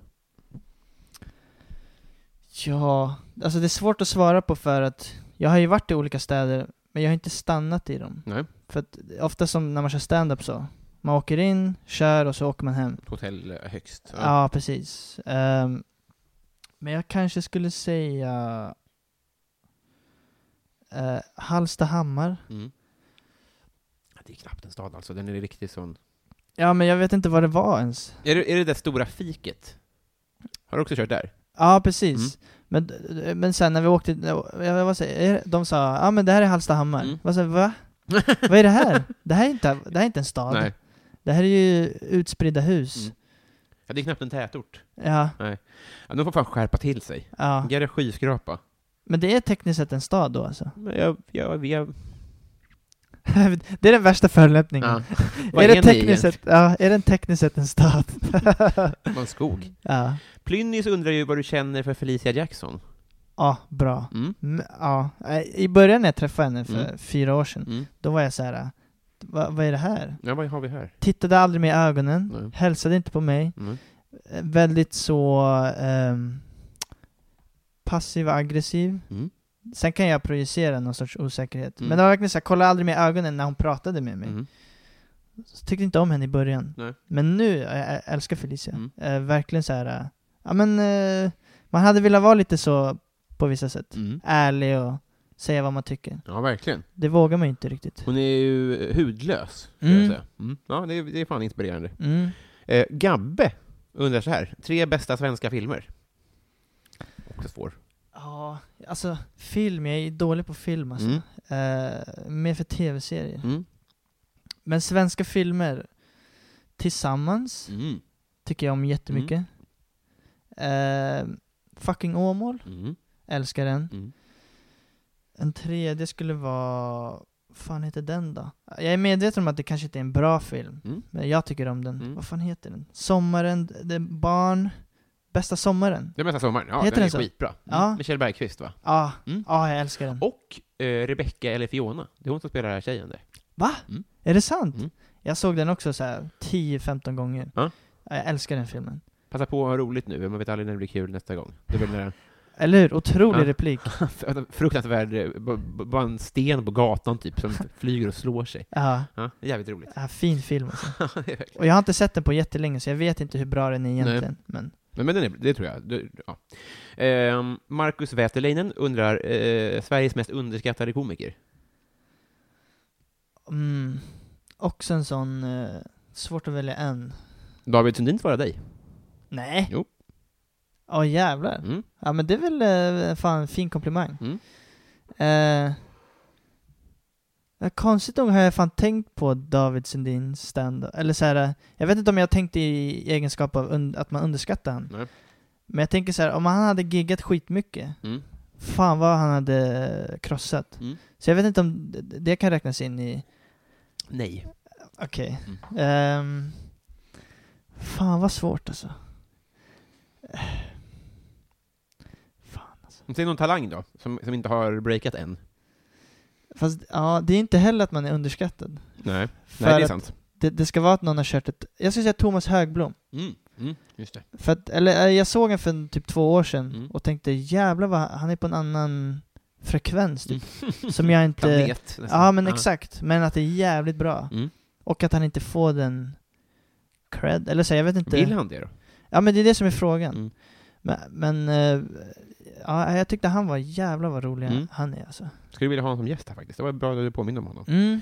[SPEAKER 2] Ja, alltså det är svårt att svara på för att jag har ju varit i olika städer, men jag har inte stannat i dem.
[SPEAKER 1] Nej.
[SPEAKER 2] För att ofta som när man kör stand-up så, man åker in, kör och så åker man hem.
[SPEAKER 1] Hotell eh, högst.
[SPEAKER 2] Ja, precis. Ehm, men jag kanske skulle säga eh, Hallstahammar.
[SPEAKER 1] Mm. Det är knappt en stad alltså, den är riktigt sån.
[SPEAKER 2] Ja, men jag vet inte vad det var ens.
[SPEAKER 1] Är det, är det det stora fiket? Har du också kört där?
[SPEAKER 2] Ja,
[SPEAKER 1] Mm.
[SPEAKER 2] precis. Men, men sen när vi åkte, jag, vad säger, de sa ja ah, men det här är Hallstahammar.
[SPEAKER 1] Mm.
[SPEAKER 2] Vad
[SPEAKER 1] *laughs*
[SPEAKER 2] säger va? Vad är det här? Det här är inte, det här är inte en stad.
[SPEAKER 1] Nej.
[SPEAKER 2] Det här är ju utspridda hus.
[SPEAKER 1] Mm. Ja, det är knappt en tätort.
[SPEAKER 2] Ja,
[SPEAKER 1] Ja, de får fan skärpa till sig.
[SPEAKER 2] ja.
[SPEAKER 1] Vilka jävla skyskrapa.
[SPEAKER 2] Men det är tekniskt sett en stad då alltså?
[SPEAKER 1] Men jag, jag, jag...
[SPEAKER 2] det är den värsta förolämpningen.
[SPEAKER 1] *laughs* Ja.
[SPEAKER 2] är,
[SPEAKER 1] Vad
[SPEAKER 2] det
[SPEAKER 1] är ni
[SPEAKER 2] tekniskt sett,
[SPEAKER 1] egentligen?
[SPEAKER 2] ja, är den tekniskt sett en stad?
[SPEAKER 1] Man skog.
[SPEAKER 2] ja.
[SPEAKER 1] Plynnis Mm. undrar ju vad du känner för Felicia Jackson.
[SPEAKER 2] ja, bra.
[SPEAKER 1] Mm.
[SPEAKER 2] Mm, Ja. I början när jag träffade henne för
[SPEAKER 1] Mm.
[SPEAKER 2] fyra år sedan,
[SPEAKER 1] Mm.
[SPEAKER 2] då var jag så här. Va, vad är det här?
[SPEAKER 1] Ja, vad har vi här?
[SPEAKER 2] Tittade aldrig med ögonen,
[SPEAKER 1] Nej.
[SPEAKER 2] hälsade inte på mig.
[SPEAKER 1] Mm.
[SPEAKER 2] Eh, Väldigt så ehm, passiv och aggressiv.
[SPEAKER 1] Mm.
[SPEAKER 2] Sen kan jag projicera någon sorts osäkerhet.
[SPEAKER 1] Mm.
[SPEAKER 2] Men det var verkligen så här, kolla aldrig med ögonen när hon pratade med mig.
[SPEAKER 1] Mm.
[SPEAKER 2] Så tyckte inte om henne i början.
[SPEAKER 1] Nej.
[SPEAKER 2] Men nu, jag älskar Felicia.
[SPEAKER 1] Mm.
[SPEAKER 2] Eh, verkligen så här, eh, ja men eh, man hade velat vara lite så på vissa sätt.
[SPEAKER 1] Mm.
[SPEAKER 2] Ärlig och säga vad man tycker.
[SPEAKER 1] Ja, verkligen.
[SPEAKER 2] Det vågar man ju inte riktigt.
[SPEAKER 1] Hon är ju eh, hudlös, skulle
[SPEAKER 2] Mm.
[SPEAKER 1] jag säga. Mm. Ja, det är, det är fan inspirerande.
[SPEAKER 2] Mm.
[SPEAKER 1] Eh, Gabbe undrar så här, tre bästa svenska filmer? Också svår.
[SPEAKER 2] Ja, alltså film, jag är dålig på film alltså.
[SPEAKER 1] Mm.
[SPEAKER 2] Eh, mer för tv-serier.
[SPEAKER 1] Mm.
[SPEAKER 2] Men svenska filmer tillsammans
[SPEAKER 1] Mm.
[SPEAKER 2] tycker jag om jättemycket. Eh, fucking Åmål,
[SPEAKER 1] Mm.
[SPEAKER 2] älskar den.
[SPEAKER 1] Mm.
[SPEAKER 2] En tredje skulle vara... fan heter den då? Jag är medveten om att det kanske inte är en bra film,
[SPEAKER 1] Mm.
[SPEAKER 2] men jag tycker om den.
[SPEAKER 1] Mm.
[SPEAKER 2] Vad fan heter den? Sommaren, det är barn... Bästa sommaren?
[SPEAKER 1] Det är mesta sommaren, ja,
[SPEAKER 2] Heter
[SPEAKER 1] den
[SPEAKER 2] den
[SPEAKER 1] är
[SPEAKER 2] så?
[SPEAKER 1] skitbra. Mm.
[SPEAKER 2] Ja.
[SPEAKER 1] Med Kjell Bergqvist, va?
[SPEAKER 2] Ja, ah,
[SPEAKER 1] Mm.
[SPEAKER 2] jag älskar den.
[SPEAKER 1] Och eh, Rebecca eller Fiona, det är hon som spelar den här tjejen där.
[SPEAKER 2] Är det sant?
[SPEAKER 1] Mm.
[SPEAKER 2] Jag såg den också så här 10-15 gånger.
[SPEAKER 1] Ja.
[SPEAKER 2] Jag älskar den filmen.
[SPEAKER 1] Passa på att ha roligt nu, man vet aldrig när det blir kul nästa gång. Det blir *laughs* när
[SPEAKER 2] Eller hur? Otrolig
[SPEAKER 1] Ja.
[SPEAKER 2] replik.
[SPEAKER 1] en fruktansvärd, eh, b- b- bara en sten på gatan typ, som flyger och slår sig.
[SPEAKER 2] Ja,
[SPEAKER 1] Ja, det är jävligt roligt.
[SPEAKER 2] ja, fin film alltså.
[SPEAKER 1] *laughs* Det är verkligen-
[SPEAKER 2] Och jag har inte sett den på jättelänge så jag vet inte hur bra den är egentligen. Men
[SPEAKER 1] Men, men den är, det tror jag. Det, ja. Ehm, Marcus Wäterleinen undrar, eh, Sveriges mest underskattade komiker?
[SPEAKER 2] mm, också en sån... Eh, svårt att välja en.
[SPEAKER 1] David Sundin svarar dig.
[SPEAKER 2] Nej.
[SPEAKER 1] Jo.
[SPEAKER 2] Åh jävlar.
[SPEAKER 1] Mm.
[SPEAKER 2] Ja men det är väl eh, fan en fin komplimang.
[SPEAKER 1] Mm.
[SPEAKER 2] Eh, ja, konstigt nog har jag fan tänkt på David Sundins stand Eller så här, eh, jag vet inte om jag tänkte i egenskap av un- att man underskattar han.
[SPEAKER 1] Nej.
[SPEAKER 2] Men jag tänker så här, om han hade giggat skitmycket,
[SPEAKER 1] Mm.
[SPEAKER 2] fan vad han hade eh, krossat.
[SPEAKER 1] Mm.
[SPEAKER 2] Så jag vet inte om d- d- det kan räknas in i...
[SPEAKER 1] Nej.
[SPEAKER 2] Okej.
[SPEAKER 1] Mm.
[SPEAKER 2] Ehm, fan vad svårt alltså. Eh, Fan alltså.
[SPEAKER 1] Säg någon talang då, som, som inte har breakat än.
[SPEAKER 2] Fast ja, det är inte heller att man är underskattad.
[SPEAKER 1] Nej,
[SPEAKER 2] För
[SPEAKER 1] Nej det är
[SPEAKER 2] att
[SPEAKER 1] sant.
[SPEAKER 2] det, det ska vara att någon har kört ett... Jag skulle säga Thomas Högblom.
[SPEAKER 1] Mm. Mm. Just det.
[SPEAKER 2] För att, eller eh, jag såg honom för typ två år sedan
[SPEAKER 1] Mm.
[SPEAKER 2] och tänkte jävlar vad han är på en annan frekvens
[SPEAKER 1] *laughs*
[SPEAKER 2] typ.
[SPEAKER 1] Mm.
[SPEAKER 2] Som jag inte...
[SPEAKER 1] Planet, nästan.
[SPEAKER 2] Ja men exakt, men att det är jävligt bra.
[SPEAKER 1] Mm.
[SPEAKER 2] Och att han inte får den cred, eller så jag vet inte.
[SPEAKER 1] Vill han det då?
[SPEAKER 2] Ja men det är det som är frågan.
[SPEAKER 1] Mm.
[SPEAKER 2] Men, men eh, ja, jag tyckte han var jävla vad rolig
[SPEAKER 1] Mm.
[SPEAKER 2] han är alltså.
[SPEAKER 1] Skulle vilja ha honom som gäst här faktiskt. Det var bra att du påminde om honom.
[SPEAKER 2] Mm.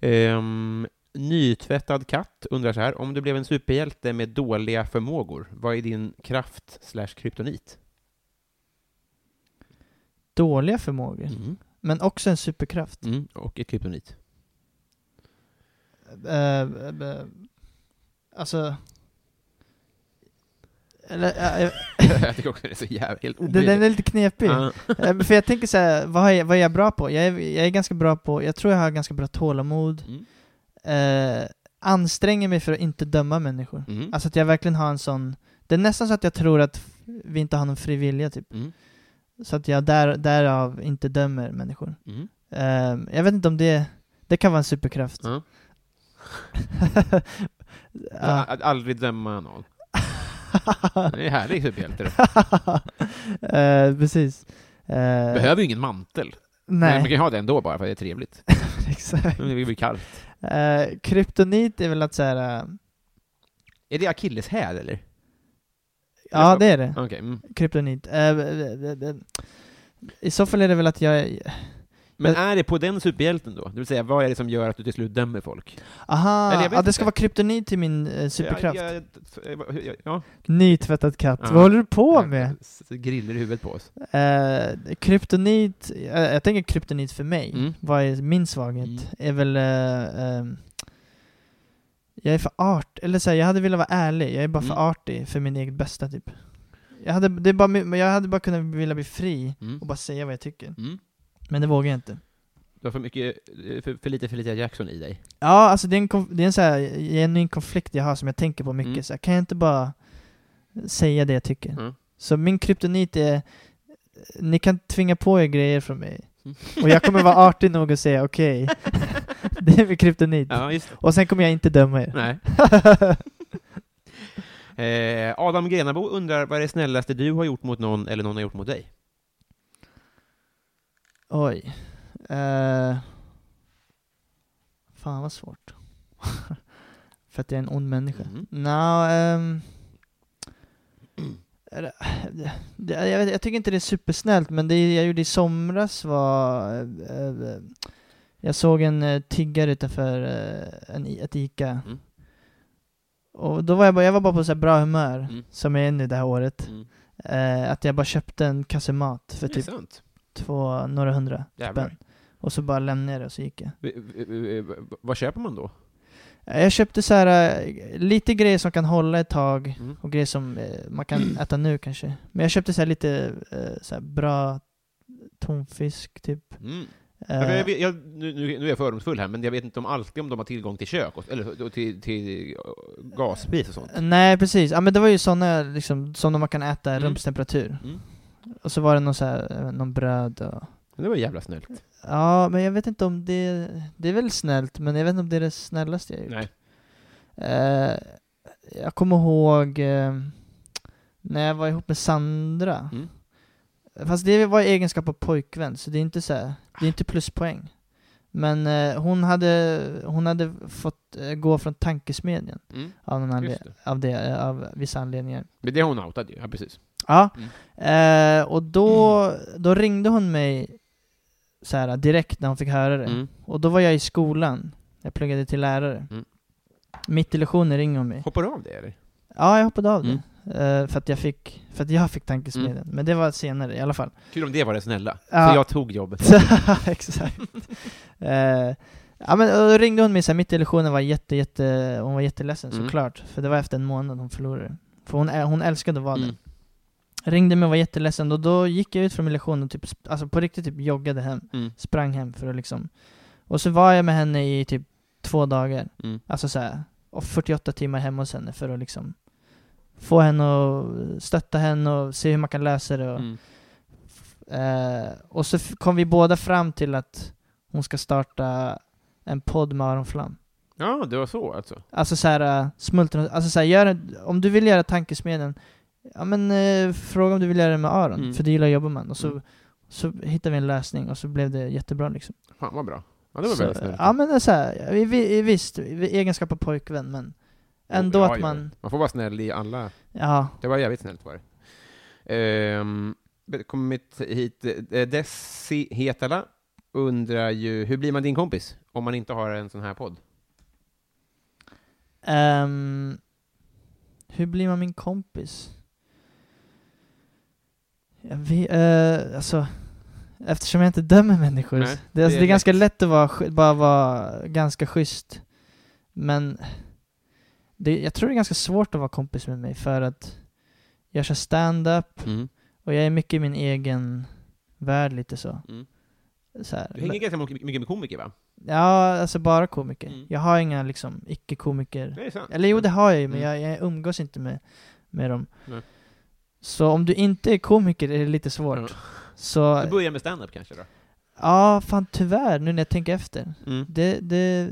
[SPEAKER 1] Ehm, nytvättad katt undrar så här, om du blev en superhjälte med dåliga förmågor, vad är din kraft slash kryptonit?
[SPEAKER 2] Dåliga förmågor. Men också en superkraft.
[SPEAKER 1] Mm. Och ett kryptonit.
[SPEAKER 2] Eh, eh, alltså... Eller, eh, eh,
[SPEAKER 1] *laughs* jag tycker också det är så jävla, helt Ah,
[SPEAKER 2] den, den är lite knepig.
[SPEAKER 1] Ja.
[SPEAKER 2] Eh, För jag tänker så här, vad är, vad är jag bra på? Jag är, jag är ganska bra på, jag tror jag har ganska bra tålamod.
[SPEAKER 1] Mm.
[SPEAKER 2] Eh, anstränger mig för att inte döma människor.
[SPEAKER 1] Mm.
[SPEAKER 2] Alltså att jag verkligen har en sån... Det är nästan så att jag tror att f- vi inte har någon fri vilja typ.
[SPEAKER 1] Mm.
[SPEAKER 2] Så att jag där, därav inte dömer människor.
[SPEAKER 1] Mm.
[SPEAKER 2] Eh, jag vet inte om det... Det kan vara en superkraft.
[SPEAKER 1] Ja.
[SPEAKER 2] *laughs* Ja. *laughs*
[SPEAKER 1] Att aldrig döma någon. Det är typ, härlig superhjälte. det.
[SPEAKER 2] Eh, precis. Eh,
[SPEAKER 1] Behöver ju ingen mantel. Men man
[SPEAKER 2] Nej,
[SPEAKER 1] kan ju ha det ändå bara för att det är trevligt.
[SPEAKER 2] *laughs* exakt.
[SPEAKER 1] Men Det blir kallt.
[SPEAKER 2] Eh, kryptonit är väl att eh, såhär...
[SPEAKER 1] Är det akilleshäl eller?
[SPEAKER 2] ja, det är det.
[SPEAKER 1] Okej. Mm.
[SPEAKER 2] Kryptonit. Eh, eh, eh, eh. I så fall är det väl att jag...
[SPEAKER 1] Men är det på den superhjälten då? Det vill säga, vad är det som gör att du till slut dömer folk?
[SPEAKER 2] Aha!
[SPEAKER 1] Eller jag
[SPEAKER 2] Ja,
[SPEAKER 1] vet
[SPEAKER 2] det ska
[SPEAKER 1] inte.
[SPEAKER 2] vara kryptonit till min eh, superkraft.
[SPEAKER 1] Ja, ja, ja, ja.
[SPEAKER 2] Nytvättad katt.
[SPEAKER 1] Ja.
[SPEAKER 2] Vad håller du på
[SPEAKER 1] Ja,
[SPEAKER 2] med?
[SPEAKER 1] s- Griller i huvudet på oss.
[SPEAKER 2] Eh, kryptonit, eh, jag tänker kryptonit för mig.
[SPEAKER 1] Mm.
[SPEAKER 2] Vad är min svaghet?
[SPEAKER 1] Mm.
[SPEAKER 2] Är väl... eh, ehm, jag är för art, eller så här, jag hade velat vara ärlig, jag är bara för
[SPEAKER 1] Mm.
[SPEAKER 2] artig för min eget bästa typ. Jag hade, det är bara, min- men jag hade bara kunnat vilja bli fri
[SPEAKER 1] Mm.
[SPEAKER 2] och bara säga vad jag tycker.
[SPEAKER 1] Mm.
[SPEAKER 2] Men det vågar jag inte.
[SPEAKER 1] Du har för, mycket, eh, för, för lite Felicia Jackson i dig.
[SPEAKER 2] Ja, alltså det är en, konf- det är en så här genuin konflikt jag har som jag tänker på mycket.
[SPEAKER 1] Mm.
[SPEAKER 2] Så här, kan jag inte bara säga det jag tycker?
[SPEAKER 1] Mm.
[SPEAKER 2] Så min kryptonit är, ni kan tvinga på er grejer från mig.
[SPEAKER 1] Mm. *laughs*
[SPEAKER 2] Och jag kommer vara artig nog att säga okej. *laughs* Det är väl kryptonit.
[SPEAKER 1] Ja, just det.
[SPEAKER 2] Och sen kommer jag inte döma er.
[SPEAKER 1] *laughs* Nej. Eh, Adam Grenabo undrar vad är det snällaste du har gjort mot någon eller någon har gjort mot dig?
[SPEAKER 2] Oj. Uh, fan vad svårt. *laughs* För att jag är en ond människa.
[SPEAKER 1] Mm.
[SPEAKER 2] Nå, ehm, är det- det- jag, vet- jag tycker inte det är supersnällt, men det jag gjorde i somras var... eh, eh, jag såg en eh, tiggare utanför eh, en, i- ett Ica.
[SPEAKER 1] Mm.
[SPEAKER 2] Och då var jag, bara, jag var bara på så här bra humör,
[SPEAKER 1] Mm.
[SPEAKER 2] som jag är nu det här året.
[SPEAKER 1] Mm.
[SPEAKER 2] Eh, att jag bara köpte en kasse mat för
[SPEAKER 1] Det är
[SPEAKER 2] typ
[SPEAKER 1] sant.
[SPEAKER 2] två, några hundra
[SPEAKER 1] Jävlar.
[SPEAKER 2] spänn. Och så bara lämnade jag det och så gick jag.
[SPEAKER 1] V- v- v- v- Vad köper man då?
[SPEAKER 2] Eh, Jag köpte så här eh, lite grejer som kan hålla ett tag
[SPEAKER 1] Mm.
[SPEAKER 2] och grejer som eh,
[SPEAKER 1] *clears throat*
[SPEAKER 2] man kan äta nu kanske. Men jag köpte så här lite eh, så här bra tonfisk typ.
[SPEAKER 1] Mm.
[SPEAKER 2] Eh,
[SPEAKER 1] Jag, jag, jag, nu, nu nu är jag fördomsfull här, men jag vet inte om alltid om de har tillgång till kök, och, eller till, till eh, gasspis och sånt.
[SPEAKER 2] Eh, Nej precis, ja, men det var ju sådana liksom, som man kan äta i
[SPEAKER 1] Mm.
[SPEAKER 2] rumstemperatur.
[SPEAKER 1] Mm.
[SPEAKER 2] Och så var det någon, så här, eh, någon bröd och...
[SPEAKER 1] Men Det var jävla snällt.
[SPEAKER 2] Ja, men jag vet inte om det... Det är väl snällt, men jag vet inte om det är det snällaste jag gjort.
[SPEAKER 1] Nej.
[SPEAKER 2] Eh, jag kommer ihåg eh, när jag var ihop med Sandra.
[SPEAKER 1] Mm.
[SPEAKER 2] Fast det var i egenskap av pojkvän, så det är inte så här, det är inte pluspoäng. Men eh, hon, hade, hon hade fått eh, gå från tankesmedjan
[SPEAKER 1] Mm.
[SPEAKER 2] av, någon anled-
[SPEAKER 1] Just det.
[SPEAKER 2] av, det, eh, av vissa anledningar.
[SPEAKER 1] Men det har hon outat ju, ja Mm. precis.
[SPEAKER 2] Ja, eh, och då, då ringde hon mig så här, direkt när hon fick höra det.
[SPEAKER 1] Mm.
[SPEAKER 2] Och då var jag i skolan, jag pluggade till lärare.
[SPEAKER 1] Mm.
[SPEAKER 2] Mitt i lektionen ringer hon mig.
[SPEAKER 1] Hoppar du av det eller?
[SPEAKER 2] Ja, jag hoppade av
[SPEAKER 1] Mm.
[SPEAKER 2] det. Eh, för, att jag fick, för att jag fick tankesmedjan. Men det var senare i alla fall. *laughs*
[SPEAKER 1] Kul om det var det snälla.
[SPEAKER 2] Ja.
[SPEAKER 1] För jag tog
[SPEAKER 2] *laughs*
[SPEAKER 1] jobbet.
[SPEAKER 2] Exakt. Eh, ja, men, och då ringde hon mig så här, mitt i lektionen var jätte, jätte, hon var jätteledsen
[SPEAKER 1] Mm.
[SPEAKER 2] såklart. För det var efter en månad hon förlorade. För hon, ä- hon älskade att vara
[SPEAKER 1] Mm.
[SPEAKER 2] där. Ringde mig och var jätteledsen och då gick jag ut från min lektion och typ, sp- alltså på riktigt typ joggade hem.
[SPEAKER 1] Mm.
[SPEAKER 2] Sprang hem för att liksom... Och så var jag med henne i typ två dagar.
[SPEAKER 1] Mm.
[SPEAKER 2] Alltså så här, och 48 timmar hemma hos henne för att liksom få henne och stötta henne och se hur man kan lösa det. Och,
[SPEAKER 1] Mm.
[SPEAKER 2] eh, och så f- kom vi båda fram till att hon ska starta en podd med Aron Flam.
[SPEAKER 1] Ja, det var så alltså.
[SPEAKER 2] Alltså så här, eh, smultron, alltså så här, gör, en- om du vill göra tankesmedjan, ja men eh, fråga om du vill göra det med Aron,
[SPEAKER 1] Mm.
[SPEAKER 2] för det gillar att jobba med. Och så,
[SPEAKER 1] Mm.
[SPEAKER 2] så hittade vi en lösning och så blev det jättebra liksom.
[SPEAKER 1] Fan vad bra. Ja, det var
[SPEAKER 2] så,
[SPEAKER 1] väldigt snällt.
[SPEAKER 2] Ja men det är så här, vi, vi, visst, vi, egenskap av pojkvän men ändå
[SPEAKER 1] Ja,
[SPEAKER 2] att
[SPEAKER 1] ja, ja.
[SPEAKER 2] man,
[SPEAKER 1] Man får vara snäll i alla
[SPEAKER 2] ja.
[SPEAKER 1] Det var jävligt snällt var det. Ehm, kommit hit, eh, Desi Hetala undrar ju, hur blir man din kompis om man inte har en sån här podd?
[SPEAKER 2] Ehm, hur blir man min kompis? Jag vet, eh, alltså, eftersom jag inte dömer människor.
[SPEAKER 1] Nej,
[SPEAKER 2] så- det,
[SPEAKER 1] det
[SPEAKER 2] är alltså,
[SPEAKER 1] är
[SPEAKER 2] det är ganska
[SPEAKER 1] lätt.
[SPEAKER 2] lätt att vara, sch- bara vara ganska schysst. Men det, jag tror det är ganska svårt att vara kompis med mig för att jag kör stand-up och jag är mycket i min egen värld lite så.
[SPEAKER 1] Mm.
[SPEAKER 2] så här.
[SPEAKER 1] Du hänger ganska mycket mycket med komiker va?
[SPEAKER 2] Ja, alltså bara komiker.
[SPEAKER 1] Mm.
[SPEAKER 2] Jag har inga liksom icke-komiker.
[SPEAKER 1] Det är sant.
[SPEAKER 2] Eller jo, det har jag ju, men
[SPEAKER 1] Mm.
[SPEAKER 2] jag, jag umgås inte med, med dem.
[SPEAKER 1] Nej.
[SPEAKER 2] Så om du inte är komiker är det lite svårt.
[SPEAKER 1] Ja.
[SPEAKER 2] Så,
[SPEAKER 1] Du börjar med stand-up kanske då?
[SPEAKER 2] ja fan tyvärr, nu när jag tänker efter. Det, det,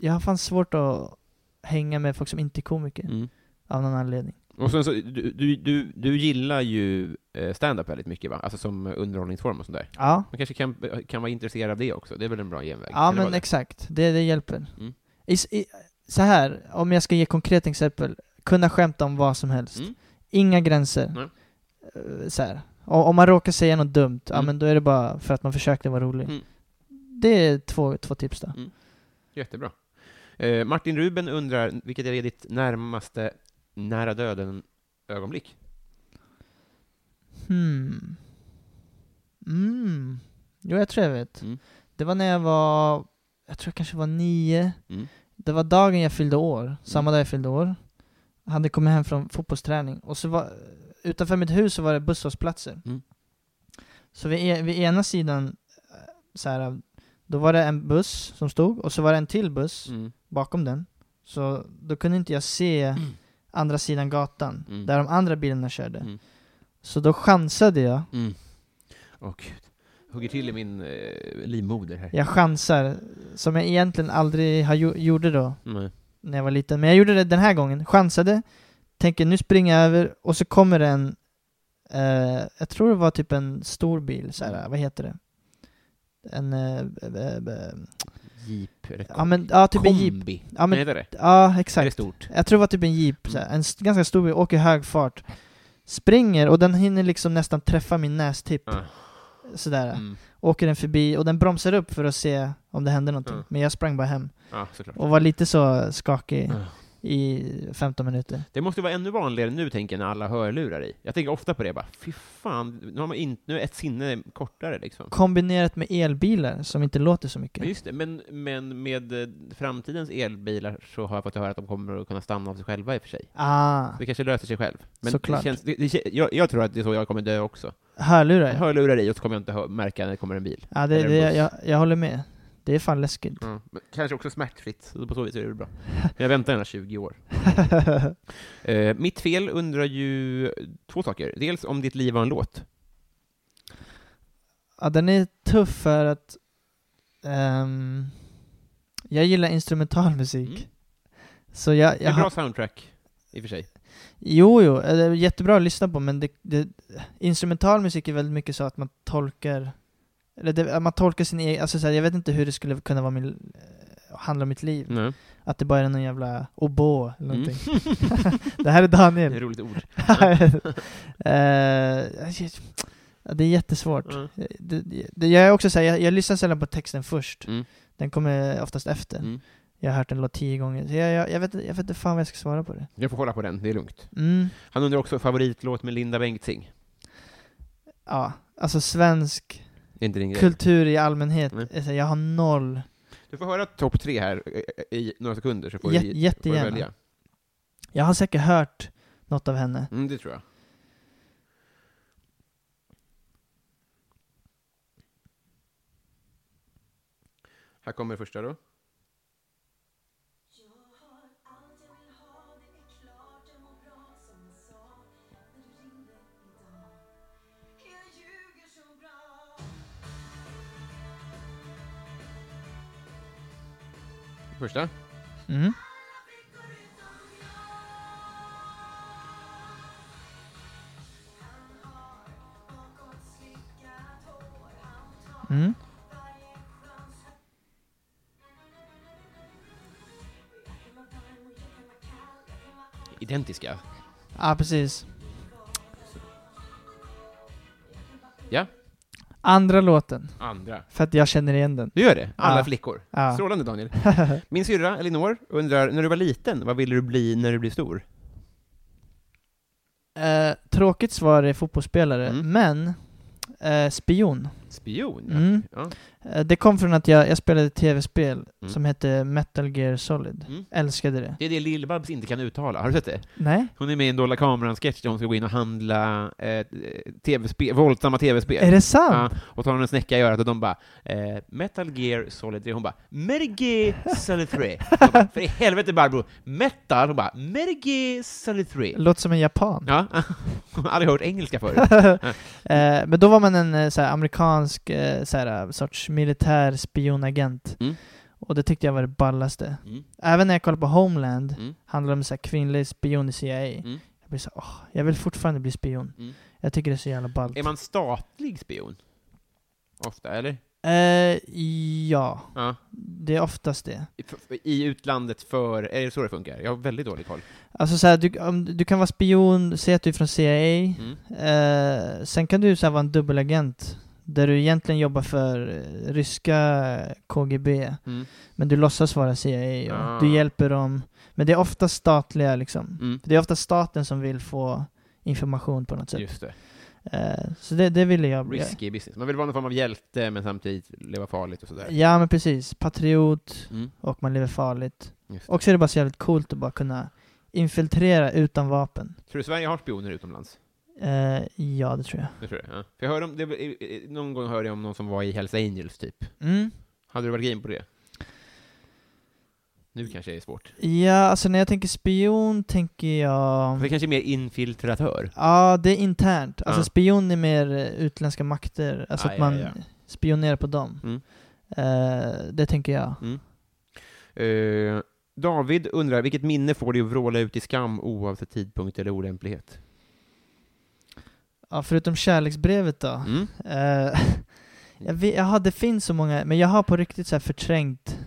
[SPEAKER 2] jag har fan svårt att hänga med folk som inte är komiker,
[SPEAKER 1] Mm.
[SPEAKER 2] av någon anledning.
[SPEAKER 1] Och sen så, du, du, du, du gillar ju eh, stand-up väldigt mycket va? Alltså som underhållningsform och sånt där.
[SPEAKER 2] Ja,
[SPEAKER 1] Man kanske kan, kan vara intresserad av det också, det är väl en bra genväg?
[SPEAKER 2] ja
[SPEAKER 1] Kan det vara
[SPEAKER 2] men
[SPEAKER 1] det?
[SPEAKER 2] exakt. Det, det hjälper.
[SPEAKER 1] Mm.
[SPEAKER 2] I, s- i, så här, om jag ska ge konkret exempel. Kunna skämta om vad som helst.
[SPEAKER 1] Mm.
[SPEAKER 2] Inga gränser.
[SPEAKER 1] Nej.
[SPEAKER 2] Eh, Så här. Och, om man råkar säga något dumt, ja,
[SPEAKER 1] Mm.
[SPEAKER 2] men då är det bara för att man försökte vara rolig.
[SPEAKER 1] Mm.
[SPEAKER 2] Det är två, två tips då.
[SPEAKER 1] Jättebra. Eh, Martin Ruben undrar, vilket är ditt närmaste nära döden-ögonblick?
[SPEAKER 2] Hmm. Mm. Jo, jag tror jag vet.
[SPEAKER 1] Mm.
[SPEAKER 2] Det var när jag var, jag tror jag kanske var nio.
[SPEAKER 1] Mm.
[SPEAKER 2] Det var dagen jag fyllde år, samma dag jag fyllde år. Jag hade kommit hem från fotbollsträning och så var, utanför mitt hus så var det busshållplatser.
[SPEAKER 1] Mm.
[SPEAKER 2] Så vid, e- vid ena sidan, eh, så här, då var det en buss som stod och så var det en till buss bakom den. Så då kunde inte jag se andra sidan gatan,
[SPEAKER 1] Mm.
[SPEAKER 2] där de andra bilarna körde.
[SPEAKER 1] Mm.
[SPEAKER 2] Så då chansade jag
[SPEAKER 1] Mm. Åh gud. hugger till i min eh, livmoder här.
[SPEAKER 2] Jag chansar, som jag egentligen aldrig har gjo- gjorde då,
[SPEAKER 1] Mm.
[SPEAKER 2] när jag var liten. Men jag gjorde det den här gången. Chansade, tänker nu springer jag över och så kommer det en, eh, jag tror det var typ en stor bil, så här, vad heter det? En, eh, b- b- b-
[SPEAKER 1] Jeep eller
[SPEAKER 2] ja men, ja typ en jeep.
[SPEAKER 1] kombi.
[SPEAKER 2] Ja men,
[SPEAKER 1] Nej, det är det.
[SPEAKER 2] ja
[SPEAKER 1] Är det
[SPEAKER 2] exakt.
[SPEAKER 1] stort?
[SPEAKER 2] Jag tror det var typ en jeep, så här, en s- ganska stor bil, åker i hög fart. Springer och den hinner liksom nästan träffa min nästipp.
[SPEAKER 1] Ah.
[SPEAKER 2] Sådär.
[SPEAKER 1] Mm.
[SPEAKER 2] Åker den förbi och den bromsar upp för att se om det hände någonting.
[SPEAKER 1] Mm.
[SPEAKER 2] Men jag sprang bara hem.
[SPEAKER 1] Ja, såklart.
[SPEAKER 2] Och var lite så skakig
[SPEAKER 1] Mm.
[SPEAKER 2] i 15 minuter.
[SPEAKER 1] Det måste vara ännu vanligare nu, tänker jag, när alla har hörlurar i. Jag tänker ofta på det, bara fy fan, nu, har man in, nu är ett sinne kortare liksom.
[SPEAKER 2] Kombinerat med elbilar som inte låter så mycket.
[SPEAKER 1] Men just det, men, men med eh, framtidens elbilar så har jag fått höra att de kommer att kunna stanna av sig själva i och för sig.
[SPEAKER 2] Ah,
[SPEAKER 1] Det kanske löser sig själv. Men det
[SPEAKER 2] Såklart.
[SPEAKER 1] känns, det, det, kän- jag, jag tror att det är så jag kommer dö också.
[SPEAKER 2] hörlurar
[SPEAKER 1] Jag
[SPEAKER 2] ja.
[SPEAKER 1] hörlurar i och så kommer jag inte hö- märka när det kommer en bil.
[SPEAKER 2] ja det,
[SPEAKER 1] Eller en
[SPEAKER 2] det,
[SPEAKER 1] buss.
[SPEAKER 2] jag, jag håller med. Det är fan läskigt.
[SPEAKER 1] Ja, Mm. men kanske också smärtfritt, så på så vis är det väl bra. Men jag väntar gärna 20
[SPEAKER 2] *laughs*
[SPEAKER 1] år. Eh, mitt fel undrar ju två saker. Dels om ditt liv var en låt.
[SPEAKER 2] ja, den är tuff för att ehm, jag gillar instrumental musik.
[SPEAKER 1] Mm.
[SPEAKER 2] Så jag,
[SPEAKER 1] Det är
[SPEAKER 2] jag
[SPEAKER 1] en bra
[SPEAKER 2] har,
[SPEAKER 1] soundtrack, i och för sig.
[SPEAKER 2] jo, jo, det är jättebra att lyssna på men det, det, instrumental musik är väldigt mycket så att man tolkar, eller det, man tolkar sin egen, alltså så här, jag vet inte hur det skulle kunna vara min, eh, handla om mitt liv.
[SPEAKER 1] Mm.
[SPEAKER 2] Att det bara är någon jävla oboe eller någonting.
[SPEAKER 1] *laughs*
[SPEAKER 2] det här är Daniel.
[SPEAKER 1] Ett roligt
[SPEAKER 2] *laughs*
[SPEAKER 1] ord.
[SPEAKER 2] Eh, shit. Ja, det är jättesvårt.
[SPEAKER 1] Mm.
[SPEAKER 2] Det, det, det, jag är också så här, jag, jag lyssnar sällan på texten först.
[SPEAKER 1] Mm.
[SPEAKER 2] Den kommer oftast efter.
[SPEAKER 1] Mm.
[SPEAKER 2] Jag har hört den låt tio gånger. Så jag, jag, jag, vet, jag vet inte fan vad jag ska svara på det.
[SPEAKER 1] Jag får kolla på den, det är lugnt.
[SPEAKER 2] Mm.
[SPEAKER 1] Han undrar också favoritlåt med Linda Bengtzing.
[SPEAKER 2] Ja, alltså svensk
[SPEAKER 1] Det är inte din grej. Mm.
[SPEAKER 2] kultur i allmänhet.
[SPEAKER 1] Nej.
[SPEAKER 2] är så här, Jag har noll.
[SPEAKER 1] Du får höra topp tre här eh, i några sekunder, så får
[SPEAKER 2] Jä-
[SPEAKER 1] du, får du
[SPEAKER 2] jättegärna.
[SPEAKER 1] välja.
[SPEAKER 2] Jag har säkert hört något av henne.
[SPEAKER 1] Mm, det tror jag. Här kommer första då. Första.
[SPEAKER 2] Mm. Mm.
[SPEAKER 1] Identiska.
[SPEAKER 2] Ja, precis.
[SPEAKER 1] Ja.
[SPEAKER 2] Andra låten,
[SPEAKER 1] Andra.
[SPEAKER 2] för att jag känner igen den.
[SPEAKER 1] Du gör det? Alla
[SPEAKER 2] Ja.
[SPEAKER 1] flickor.
[SPEAKER 2] Ja.
[SPEAKER 1] Strålande
[SPEAKER 2] *laughs*
[SPEAKER 1] Daniel. Min syrra Elinor undrar, när du var liten, vad ville du bli när du blev stor?
[SPEAKER 2] Eh, tråkigt svar är fotbollsspelare,
[SPEAKER 1] Mm.
[SPEAKER 2] men eh, spion.
[SPEAKER 1] Spion? ja.
[SPEAKER 2] Mm.
[SPEAKER 1] Ja.
[SPEAKER 2] Eh, det kom från att jag, jag spelade ett tv-spel
[SPEAKER 1] Mm.
[SPEAKER 2] som hette Metal Gear Solid.
[SPEAKER 1] Mm.
[SPEAKER 2] Älskade det.
[SPEAKER 1] Det är det Lill-Babs inte kan uttala, har du sett det?
[SPEAKER 2] Nej?
[SPEAKER 1] Hon är med i en Dolda kameran-sketch där hon ska gå in och handla eh, TV-spel, våldsamma
[SPEAKER 2] Är
[SPEAKER 1] tv-spel.
[SPEAKER 2] det sant?
[SPEAKER 1] Ja, och tar hon en snäcka i örat och de bara eh, ”Metal Gear Solid 3” Hon bara ”Metal Gear Solid
[SPEAKER 2] *laughs*
[SPEAKER 1] 3”. Jag bara, För i helvete Barbro! Metal! Hon bara ”Metal Gear Solid 3”.
[SPEAKER 2] Låter som en japan. *laughs*
[SPEAKER 1] Ja, *laughs* hon har aldrig hört engelska förut.
[SPEAKER 2] Eh, men då var man en eh, såhär, amerikansk eh, såhär, sorts militär spionagent.
[SPEAKER 1] Mm.
[SPEAKER 2] Och det tyckte jag var det ballaste.
[SPEAKER 1] Mm.
[SPEAKER 2] Även när jag kollade på Homeland,
[SPEAKER 1] Mm.
[SPEAKER 2] handlade det om såhär, kvinnlig spion i CIA.
[SPEAKER 1] Mm.
[SPEAKER 2] Jag blir såhär, åh, jag vill fortfarande bli spion.
[SPEAKER 1] Mm.
[SPEAKER 2] Jag tycker det är så jävla ballt.
[SPEAKER 1] Är man statlig spion? Ofta, eller?
[SPEAKER 2] Eh, ja,
[SPEAKER 1] Ja.
[SPEAKER 2] det är oftast det.
[SPEAKER 1] I- f- I utlandet för... Är det så det funkar? Jag har väldigt dålig koll.
[SPEAKER 2] Alltså såhär, du, om, du kan vara spion, säg att du är från CIA.
[SPEAKER 1] Mm.
[SPEAKER 2] Eh, sen kan du såhär, vara en dubbelagent. Där du egentligen jobbar för eh, ryska KGB.
[SPEAKER 1] Mm.
[SPEAKER 2] Men du låtsas vara CIA och
[SPEAKER 1] Ah.
[SPEAKER 2] du hjälper dem. Men det är ofta statliga liksom.
[SPEAKER 1] Mm.
[SPEAKER 2] Det är ofta staten som vill få information på något sätt.
[SPEAKER 1] Just det.
[SPEAKER 2] Eh, så det, det ville jag bli.
[SPEAKER 1] Risky business. Man vill vara någon form av hjälte, men samtidigt leva farligt och sådär.
[SPEAKER 2] Ja men precis, patriot
[SPEAKER 1] Mm.
[SPEAKER 2] och man lever farligt.
[SPEAKER 1] Just det.
[SPEAKER 2] Och så är det bara så jävligt coolt att bara kunna infiltrera utan vapen.
[SPEAKER 1] Tror du Sverige har spioner utomlands?
[SPEAKER 2] Eh, ja, det tror jag.
[SPEAKER 1] Det tror jag. Ja. För jag hörde om, det, eh, eh, någon gång hörde jag om någon som var i Hells Angels, typ.
[SPEAKER 2] Mm.
[SPEAKER 1] Hade du varit game på det? Nu kanske det är svårt.
[SPEAKER 2] Ja, alltså när jag tänker spion tänker jag...
[SPEAKER 1] Det kanske är mer infiltratör.
[SPEAKER 2] Ja, det är internt. Alltså
[SPEAKER 1] Ja.
[SPEAKER 2] spion är mer eh, utländska makter. Alltså
[SPEAKER 1] Ah,
[SPEAKER 2] att
[SPEAKER 1] ja,
[SPEAKER 2] man
[SPEAKER 1] ja.
[SPEAKER 2] spionera på dem.
[SPEAKER 1] Mm.
[SPEAKER 2] Eh, det tänker jag.
[SPEAKER 1] Eh, David undrar, vilket minne får dig att vråla ut i skam oavsett tidpunkt eller olämplighet?
[SPEAKER 2] Ja, förutom kärleksbrevet då.
[SPEAKER 1] Mm.
[SPEAKER 2] Eh, jag vet, jaha, det finns så många, men jag har på riktigt så här förträngt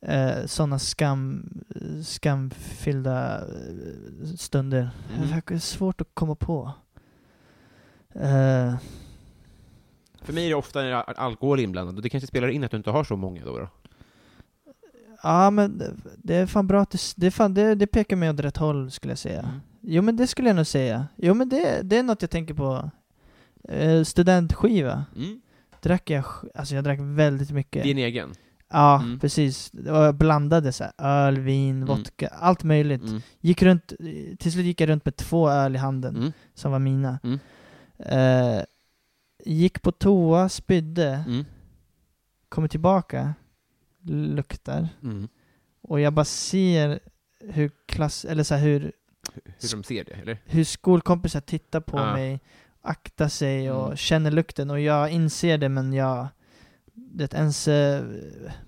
[SPEAKER 2] eh, sådana skam, skamfyllda eh, stunder.
[SPEAKER 1] Mm.
[SPEAKER 2] Det är svårt att komma på. Eh,
[SPEAKER 1] För mig är det ofta när al- alkohol är inblandad, och det kanske spelar in att du inte har så många då? då.
[SPEAKER 2] ja, men det- det är fan bra att du, s- det, är fan, det, det pekar mig åt rätt håll skulle jag säga.
[SPEAKER 1] Mm.
[SPEAKER 2] Jo, men det skulle jag nog säga. Jo, men det, det är något jag tänker på. Eh, studentskiva.
[SPEAKER 1] Mm.
[SPEAKER 2] Drack jag, sk- alltså jag drack väldigt mycket.
[SPEAKER 1] Din egen?
[SPEAKER 2] Ja,
[SPEAKER 1] Mm.
[SPEAKER 2] precis. Och jag blandade så här, öl, vin,
[SPEAKER 1] Mm.
[SPEAKER 2] vodka, allt möjligt.
[SPEAKER 1] Mm.
[SPEAKER 2] Gick runt, till slut gick jag runt med två öl i handen
[SPEAKER 1] Mm.
[SPEAKER 2] som var mina.
[SPEAKER 1] Mm.
[SPEAKER 2] Eh, gick på toa, spydde,
[SPEAKER 1] Mm.
[SPEAKER 2] kommer tillbaka, luktar.
[SPEAKER 1] Mm.
[SPEAKER 2] Och jag bara ser hur klass, eller så här, hur,
[SPEAKER 1] Hur de ser det, eller?
[SPEAKER 2] hur skolkompisar tittar på
[SPEAKER 1] Ah.
[SPEAKER 2] mig, aktar sig och
[SPEAKER 1] Mm.
[SPEAKER 2] känner lukten. Och jag inser det men jag, det ens, eh,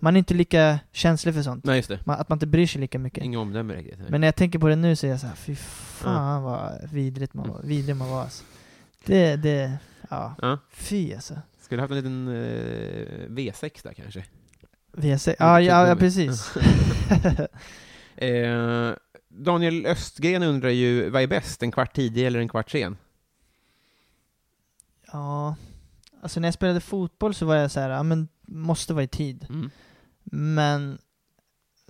[SPEAKER 2] man är inte lika känslig för sånt.
[SPEAKER 1] Nej, just det.
[SPEAKER 2] Man, att man inte bryr sig lika mycket.
[SPEAKER 1] Inga omdömen riktigt. nej.
[SPEAKER 2] Men när jag tänker på det nu så är jag så här, fy fan vad vidrigt
[SPEAKER 1] Mm.
[SPEAKER 2] man var, vidrig man var alltså. Det, det, ja.
[SPEAKER 1] Ja.
[SPEAKER 2] Fy alltså.
[SPEAKER 1] Skulle haft en liten eh, V6 där kanske.
[SPEAKER 2] VC,
[SPEAKER 1] Ja,
[SPEAKER 2] ja, ja, ja
[SPEAKER 1] typ. *laughs*
[SPEAKER 2] precis.
[SPEAKER 1] Eh, Daniel Östgren undrar ju, vad är bäst? En kvart tidig eller en kvart sen?
[SPEAKER 2] Ja. Alltså när jag spelade fotboll så var jag så här, ja men måste vara i tid.
[SPEAKER 1] Mm.
[SPEAKER 2] Men,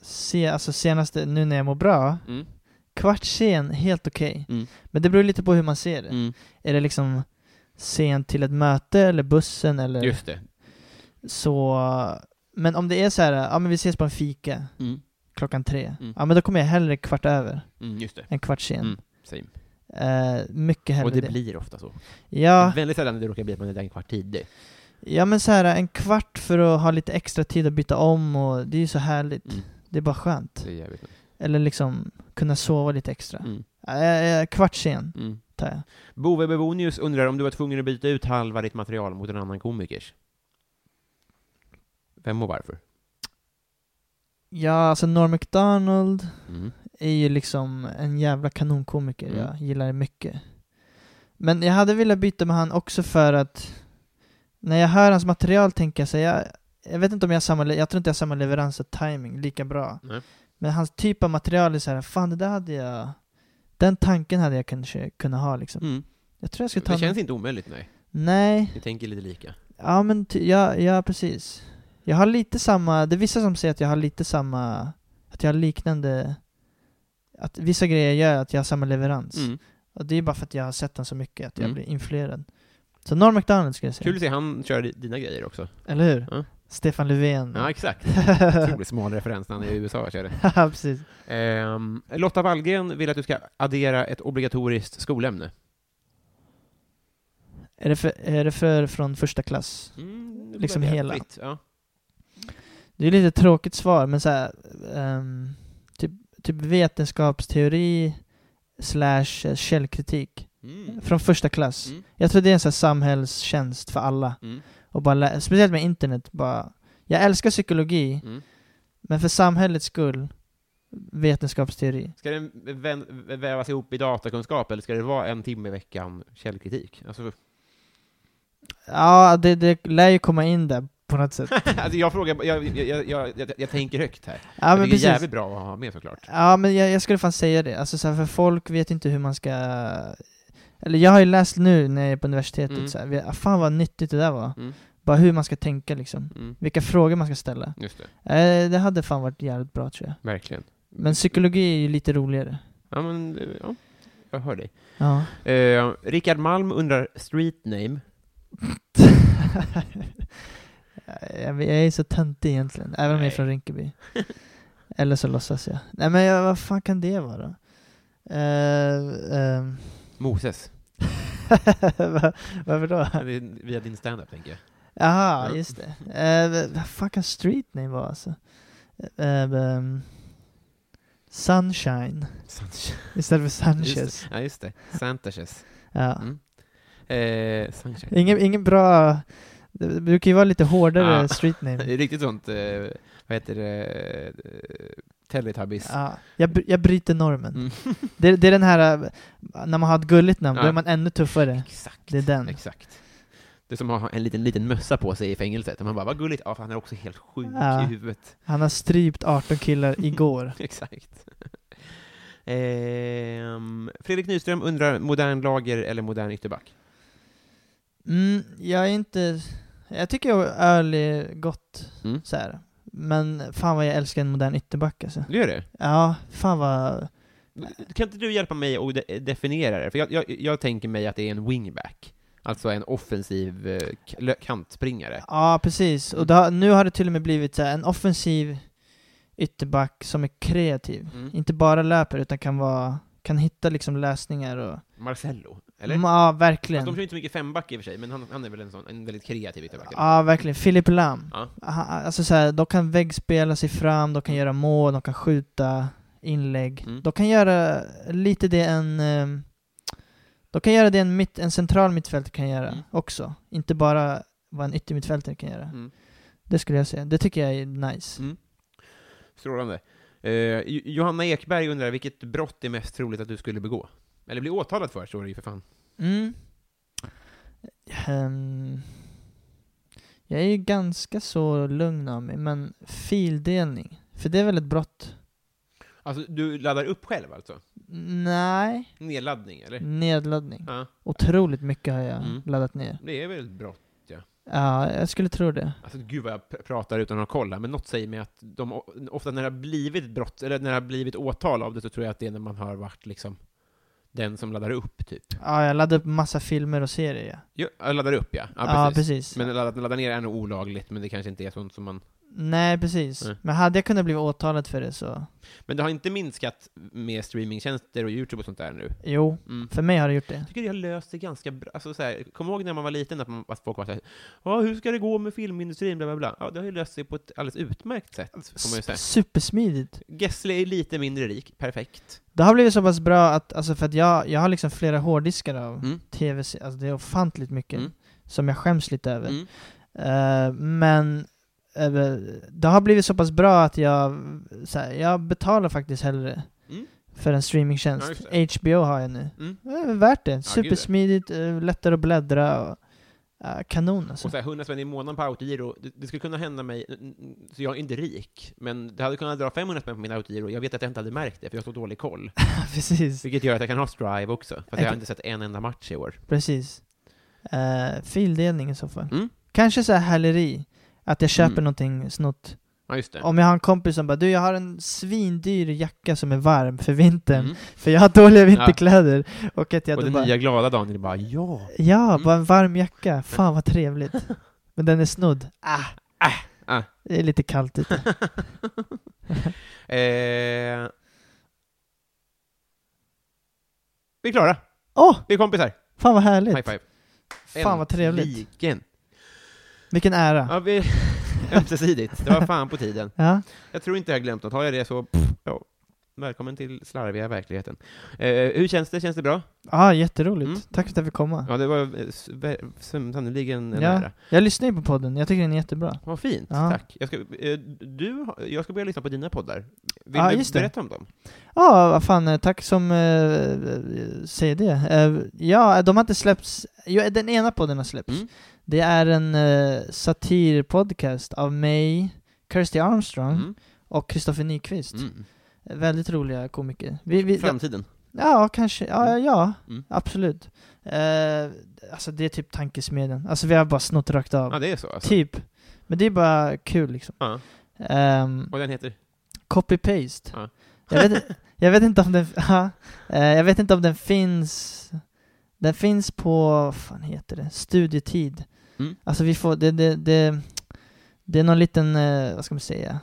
[SPEAKER 2] se, alltså senaste, nu när jag mår bra,
[SPEAKER 1] Mm.
[SPEAKER 2] kvart sen, helt okej.
[SPEAKER 1] Mm.
[SPEAKER 2] Men det beror lite på hur man ser det.
[SPEAKER 1] Mm.
[SPEAKER 2] Är det liksom sent till ett möte eller bussen eller
[SPEAKER 1] Just det.
[SPEAKER 2] så. Men om det är så här, ja men vi ses på en fika.
[SPEAKER 1] Mm.
[SPEAKER 2] klockan tre.
[SPEAKER 1] Mm.
[SPEAKER 2] Ja men då kommer jag hellre kvart över
[SPEAKER 1] Mm, just det.
[SPEAKER 2] än kvart sen.
[SPEAKER 1] Mm. Same.
[SPEAKER 2] Eh, mycket hellre
[SPEAKER 1] Och det blir ofta så.
[SPEAKER 2] Ja,
[SPEAKER 1] Väldigt sällan det råkar bli att man är där en kvart tidig.
[SPEAKER 2] ja men så här en kvart för att ha lite extra tid att byta om och det är ju så härligt.
[SPEAKER 1] Mm.
[SPEAKER 2] Det är bara skönt.
[SPEAKER 1] Det är jävligt nice.
[SPEAKER 2] Eller liksom kunna sova lite extra.
[SPEAKER 1] Mm.
[SPEAKER 2] Eh, eh, kvart sen
[SPEAKER 1] Mm.
[SPEAKER 2] tar jag.
[SPEAKER 1] Bove Bebonius undrar om du var tvungen att byta ut halva ditt material mot en annan komikers? Vem och varför?
[SPEAKER 2] Ja, alltså Norm Macdonald
[SPEAKER 1] Mm.
[SPEAKER 2] är ju liksom en jävla kanonkomiker.
[SPEAKER 1] Mm.
[SPEAKER 2] Jag gillar det mycket. Men jag hade velat byta med han också för att när jag hör hans material tänker jag så här, jag, jag vet inte om jag har samma, le- jag tror inte jag har samma leverans och timing lika bra.
[SPEAKER 1] Nej.
[SPEAKER 2] Men hans typ av material är så här, fan det där hade jag, den tanken hade jag kanske kunnat ha liksom.
[SPEAKER 1] Mm.
[SPEAKER 2] Jag tror jag ska ta
[SPEAKER 1] Det
[SPEAKER 2] någon-
[SPEAKER 1] känns inte omöjligt, nej.
[SPEAKER 2] Nej,
[SPEAKER 1] Vi tänker lite lika.
[SPEAKER 2] ja men ty, ja, ja precis. Jag har lite samma, det är vissa som säger att jag har lite samma, att jag har liknande, att vissa grejer gör att jag har samma leverans.
[SPEAKER 1] Mm.
[SPEAKER 2] Och det är bara för att jag har sett den så mycket att jag
[SPEAKER 1] Mm.
[SPEAKER 2] blir influerad. Så Norm MacDonald skulle jag säga.
[SPEAKER 1] Kul att se han köra di- dina grejer också.
[SPEAKER 2] Eller hur?
[SPEAKER 1] Ja.
[SPEAKER 2] Stefan Löfven.
[SPEAKER 1] Ja, *laughs* exakt. Otroligt smal referens när han är i USA och kör det.
[SPEAKER 2] Ja, *laughs* precis.
[SPEAKER 1] Ehm, Lotta Wallgren vill att du ska addera ett obligatoriskt skolämne.
[SPEAKER 2] Är det, för, är det för från första klass?
[SPEAKER 1] Mm,
[SPEAKER 2] Liksom
[SPEAKER 1] det är
[SPEAKER 2] hela.
[SPEAKER 1] fritt, Ja.
[SPEAKER 2] Det är lite tråkigt svar, men så här, ehm, typ, typ vetenskapsteori slash källkritik.
[SPEAKER 1] Mm.
[SPEAKER 2] Från första klass.
[SPEAKER 1] Mm.
[SPEAKER 2] Jag tror det är en så här samhällstjänst för alla.
[SPEAKER 1] Mm.
[SPEAKER 2] Och bara lä- speciellt med internet. Bara, jag älskar psykologi,
[SPEAKER 1] Mm.
[SPEAKER 2] men för samhällets skull, vetenskapsteori.
[SPEAKER 1] Ska den vän- vävas ihop i datakunskap eller ska det vara en timme i veckan källkritik? Alltså,
[SPEAKER 2] Ja, det, det lär ju komma in där på
[SPEAKER 1] *laughs*
[SPEAKER 2] något sätt.
[SPEAKER 1] alltså jag frågar, jag, jag, jag, jag, jag, jag tänker högt här.
[SPEAKER 2] Ja,
[SPEAKER 1] jag tycker
[SPEAKER 2] men
[SPEAKER 1] det är
[SPEAKER 2] precis.
[SPEAKER 1] jävligt bra att ha med såklart.
[SPEAKER 2] Ja, men jag, jag skulle fan säga det. Alltså så här, för folk vet inte hur man ska... Eller jag har ju läst nu när jag är på universitetet,
[SPEAKER 1] Mm.
[SPEAKER 2] så här, vi- fan vad nyttigt det där var.
[SPEAKER 1] Mm.
[SPEAKER 2] Bara hur man ska tänka liksom.
[SPEAKER 1] Mm.
[SPEAKER 2] Vilka frågor man ska ställa.
[SPEAKER 1] Just det,
[SPEAKER 2] Eh, det hade fan varit jävligt bra tror jag.
[SPEAKER 1] verkligen.
[SPEAKER 2] Men
[SPEAKER 1] Mm.
[SPEAKER 2] psykologi är ju lite roligare.
[SPEAKER 1] Ja, men, eh, ja, jag hör dig.
[SPEAKER 2] Ja.
[SPEAKER 1] Eh, Rickard Malm undrar street name.
[SPEAKER 2] *laughs* jag, jag är så töntig egentligen, även om jag
[SPEAKER 1] Nej.
[SPEAKER 2] är från Rinkeby. Eller så låtsas jag. Nej men jag, vad fan kan det vara? Eh, ehm. *laughs*
[SPEAKER 1] Moses.
[SPEAKER 2] Va- Varför då?
[SPEAKER 1] Det är Via din standup, tänker jag.
[SPEAKER 2] Jaha,
[SPEAKER 1] Ja.
[SPEAKER 2] just det. Eh, v- vad fan kan street name vara alltså? Eh, ehm, sunshine
[SPEAKER 1] Sanchez.
[SPEAKER 2] istället för
[SPEAKER 1] Just
[SPEAKER 2] Sanchez.
[SPEAKER 1] det. Mm. Ja, just det. Sanchez.
[SPEAKER 2] Ja.
[SPEAKER 1] Mm. Eh, Sanchez.
[SPEAKER 2] Ingen, ingen bra Det det brukar ju vara lite hårdare
[SPEAKER 1] Ja.
[SPEAKER 2] street name.
[SPEAKER 1] Det är riktigt sånt, eh, vad heter det, eh, Teletubbies.
[SPEAKER 2] Ja, jag, br- jag bryter normen.
[SPEAKER 1] Mm.
[SPEAKER 2] *laughs* Det, det är den här, äh, när man har ett gulligt namn, då
[SPEAKER 1] Ja.
[SPEAKER 2] är man ännu tuffare.
[SPEAKER 1] Exakt.
[SPEAKER 2] Det är den.
[SPEAKER 1] Exakt. Det är som att ha en liten, liten mössa på sig i fängelset. Och man bara, vad gulligt. Ja, för han är också helt sjuk
[SPEAKER 2] Ja.
[SPEAKER 1] i huvudet. *laughs*
[SPEAKER 2] Han har strypt 18 killar igår.
[SPEAKER 1] Exakt. *laughs* Ehm, Fredrik Nyström undrar, modern lager eller modern ytterback?
[SPEAKER 2] Mm, jag är inte... Jag tycker öl är gott,
[SPEAKER 1] Mm.
[SPEAKER 2] så här. Men fan vad jag älskar en modern ytterback alltså.
[SPEAKER 1] Du gör det?
[SPEAKER 2] Ja, fan vad...
[SPEAKER 1] Kan inte du hjälpa mig att de- definiera det? För jag, jag, jag tänker mig att det är en wingback. Alltså en offensiv eh, k- lö- kantspringare.
[SPEAKER 2] Ja, precis. Och det har, nu har det till och med blivit så här, en offensiv ytterback som är kreativ.
[SPEAKER 1] Mm.
[SPEAKER 2] Inte bara löper, utan kan vara... Kan hitta liksom lösningar och...
[SPEAKER 1] Marcello, eller?
[SPEAKER 2] Mm, Ja,
[SPEAKER 1] Fast de kör
[SPEAKER 2] verkligen.
[SPEAKER 1] inte så mycket femback i och för sig, men han, han är väl en sån, en väldigt kreativ ytterback? eller?
[SPEAKER 2] Ja, verkligen. Filip Lam.
[SPEAKER 1] Ja.
[SPEAKER 2] Aha, Alltså så här, de kan väggspela sig fram, de kan göra mål, de kan skjuta inlägg.
[SPEAKER 1] Mm.
[SPEAKER 2] De kan göra lite det en... ehm, De kan göra det en, mitt, en central mittfältare kan göra
[SPEAKER 1] Mm.
[SPEAKER 2] också. Inte bara vad en yttermittfältare kan göra.
[SPEAKER 1] Mm.
[SPEAKER 2] Det skulle jag säga. Det tycker jag är nice.
[SPEAKER 1] Mm. Strålande. Eh, Jo- Johanna Ekberg undrar, vilket brott är mest troligt att du skulle begå? Eller bli åtalad för, står det ju för fan.
[SPEAKER 2] Mm. Ehm, jag är ju ganska så lugn av mig, men fildelning. För det är väl ett brott?
[SPEAKER 1] Alltså, du laddar upp själv alltså?
[SPEAKER 2] Nej.
[SPEAKER 1] Nedladdning,
[SPEAKER 2] Mm.
[SPEAKER 1] eller?
[SPEAKER 2] Nedladdning.
[SPEAKER 1] Ja,
[SPEAKER 2] Otroligt mycket har jag
[SPEAKER 1] Mm.
[SPEAKER 2] laddat ner.
[SPEAKER 1] det är väl ett brott?
[SPEAKER 2] Ja, jag skulle tro det.
[SPEAKER 1] Alltså, gud vad jag pr- pratar utan att kolla, men något säger mig att de, o- ofta när det har blivit brott, eller när det har blivit åtal av det, så tror jag att det är när man har varit liksom den som laddar upp, typ.
[SPEAKER 2] Ja, jag laddade upp massa filmer och serier.
[SPEAKER 1] Jo, ja, laddar upp, ja. Ja,
[SPEAKER 2] Ja,
[SPEAKER 1] precis.
[SPEAKER 2] precis.
[SPEAKER 1] Men ladda, ladda ner är nog olagligt, men det kanske inte är sånt som man...
[SPEAKER 2] Nej, precis.
[SPEAKER 1] Nej.
[SPEAKER 2] Men hade jag kunnat bli åtalad för det så...
[SPEAKER 1] Men det har inte minskat med streamingtjänster och YouTube och sånt där nu?
[SPEAKER 2] Jo,
[SPEAKER 1] Mm.
[SPEAKER 2] för mig har det gjort det.
[SPEAKER 1] Jag tycker det har löst det ganska bra. Alltså, så här, kom ihåg när man var liten att, man, att folk var såhär ”Ja, hur ska det gå med filmindustrin?” bla, bla, bla. Ja, det har ju löst sig på ett alldeles utmärkt sätt,
[SPEAKER 2] Alltså,
[SPEAKER 1] får man ju säga.
[SPEAKER 2] S- Supersmidigt.
[SPEAKER 1] Gessle är lite mindre rik, perfekt.
[SPEAKER 2] Det har blivit så pass bra att, alltså för att jag, jag har liksom flera hårddiskar av
[SPEAKER 1] Mm.
[SPEAKER 2] tv alltså det är ofantligt mycket
[SPEAKER 1] Mm.
[SPEAKER 2] som jag skäms lite över.
[SPEAKER 1] Mm.
[SPEAKER 2] Eh, men eh, det har blivit så pass bra att jag, så här, jag betalar faktiskt hellre
[SPEAKER 1] Mm.
[SPEAKER 2] för en
[SPEAKER 1] Ja,
[SPEAKER 2] streamingtjänst.
[SPEAKER 1] just det.
[SPEAKER 2] HBO har jag nu.
[SPEAKER 1] Mm.
[SPEAKER 2] Det är värt det.
[SPEAKER 1] gud, ja.
[SPEAKER 2] Supersmidigt, eh, lättare att bläddra och eh, kanon alltså.
[SPEAKER 1] Och så här, 100 spänn i månaden på autogiro, det, det skulle kunna hända mig, n- n- så jag är inte rik, men det hade kunnat dra 500 spänn på min autogiro, jag vet att jag inte hade märkt det, för jag har så dålig koll.
[SPEAKER 2] *laughs* precis,
[SPEAKER 1] Vilket gör att jag kan ha Strive också, fast jag har
[SPEAKER 2] Okej.
[SPEAKER 1] inte sett en enda match i år.
[SPEAKER 2] precis. Eh, fildelning i så fall.
[SPEAKER 1] Mm.
[SPEAKER 2] Kanske så här häleri, att jag köper
[SPEAKER 1] Mm.
[SPEAKER 2] någonting snott.
[SPEAKER 1] Ja, just det.
[SPEAKER 2] Om jag har en kompis som bara du jag har en svindyr jacka som är varm för vintern,
[SPEAKER 1] Mm.
[SPEAKER 2] för jag har dåliga vinterkläder. Och att jag
[SPEAKER 1] Och
[SPEAKER 2] då
[SPEAKER 1] den
[SPEAKER 2] bara,
[SPEAKER 1] nya glada Daniel bara ”Ja!”
[SPEAKER 2] ja,
[SPEAKER 1] Mm.
[SPEAKER 2] bara en varm jacka, fan
[SPEAKER 1] *laughs*
[SPEAKER 2] vad trevligt. Men den är snodd. Ah,
[SPEAKER 1] ah.
[SPEAKER 2] Det är lite kallt ute.
[SPEAKER 1] Eh... Vi är klara.
[SPEAKER 2] Åh,
[SPEAKER 1] Vi är kompisar.
[SPEAKER 2] fan vad härligt.
[SPEAKER 1] High five.
[SPEAKER 2] Fan vad trevligt.
[SPEAKER 1] Äntligen.
[SPEAKER 2] Vilken ära.
[SPEAKER 1] Ja,
[SPEAKER 2] *laughs*
[SPEAKER 1] vi... Ömsesidigt. Det var fan på tiden.
[SPEAKER 2] Ja.
[SPEAKER 1] Jag tror inte jag har glömt något. Har jag det så... Pff, ja. Välkommen till slarviga verkligheten. Eh, hur känns det? Känns det bra?
[SPEAKER 2] Ja, Ah, jätteroligt.
[SPEAKER 1] Mm.
[SPEAKER 2] Tack för att jag fick komma.
[SPEAKER 1] Ja, det var eh, s- ver- san- sannoliken en
[SPEAKER 2] Ja.
[SPEAKER 1] ära.
[SPEAKER 2] Jag lyssnar ju på podden, jag tycker den är jättebra.
[SPEAKER 1] Vad fint.
[SPEAKER 2] Ja.
[SPEAKER 1] Tack. Jag ska, eh, du, har- jag ska börja lyssna på dina poddar. Vill
[SPEAKER 2] Ja,
[SPEAKER 1] du
[SPEAKER 2] just det.
[SPEAKER 1] berätta om dem?
[SPEAKER 2] Ja, vad fan, eh, tack som eh, säger det. Eh, ja, de har inte släppts... Jo, den ena podden har släppts.
[SPEAKER 1] Mm.
[SPEAKER 2] Det är en eh, satirpodcast av mig, Kirsty Armstrong
[SPEAKER 1] Mm.
[SPEAKER 2] och Kristoffer Nyqvist.
[SPEAKER 1] Mm.
[SPEAKER 2] Väldigt roliga komiker. Vi, vi,
[SPEAKER 1] Framtiden.
[SPEAKER 2] ja, kanske. Ja,
[SPEAKER 1] Mm.
[SPEAKER 2] ja
[SPEAKER 1] Mm.
[SPEAKER 2] absolut. Eh, alltså, det är typ tankesmedjan. Alltså, vi har bara snott rakt av.
[SPEAKER 1] Ja, det är så alltså.
[SPEAKER 2] typ. Men det är bara kul liksom.
[SPEAKER 1] Ja.
[SPEAKER 2] Ehm,
[SPEAKER 1] Och den heter?
[SPEAKER 2] Copy-paste.
[SPEAKER 1] Ja.
[SPEAKER 2] Jag, vet, jag vet inte om den... *laughs* ja. Eh, jag vet inte om den finns... Den finns på... Vad fan heter det? Studietid.
[SPEAKER 1] Mm.
[SPEAKER 2] Alltså vi får... Det, det, det, det är någon liten... eh, Vad ska man säga?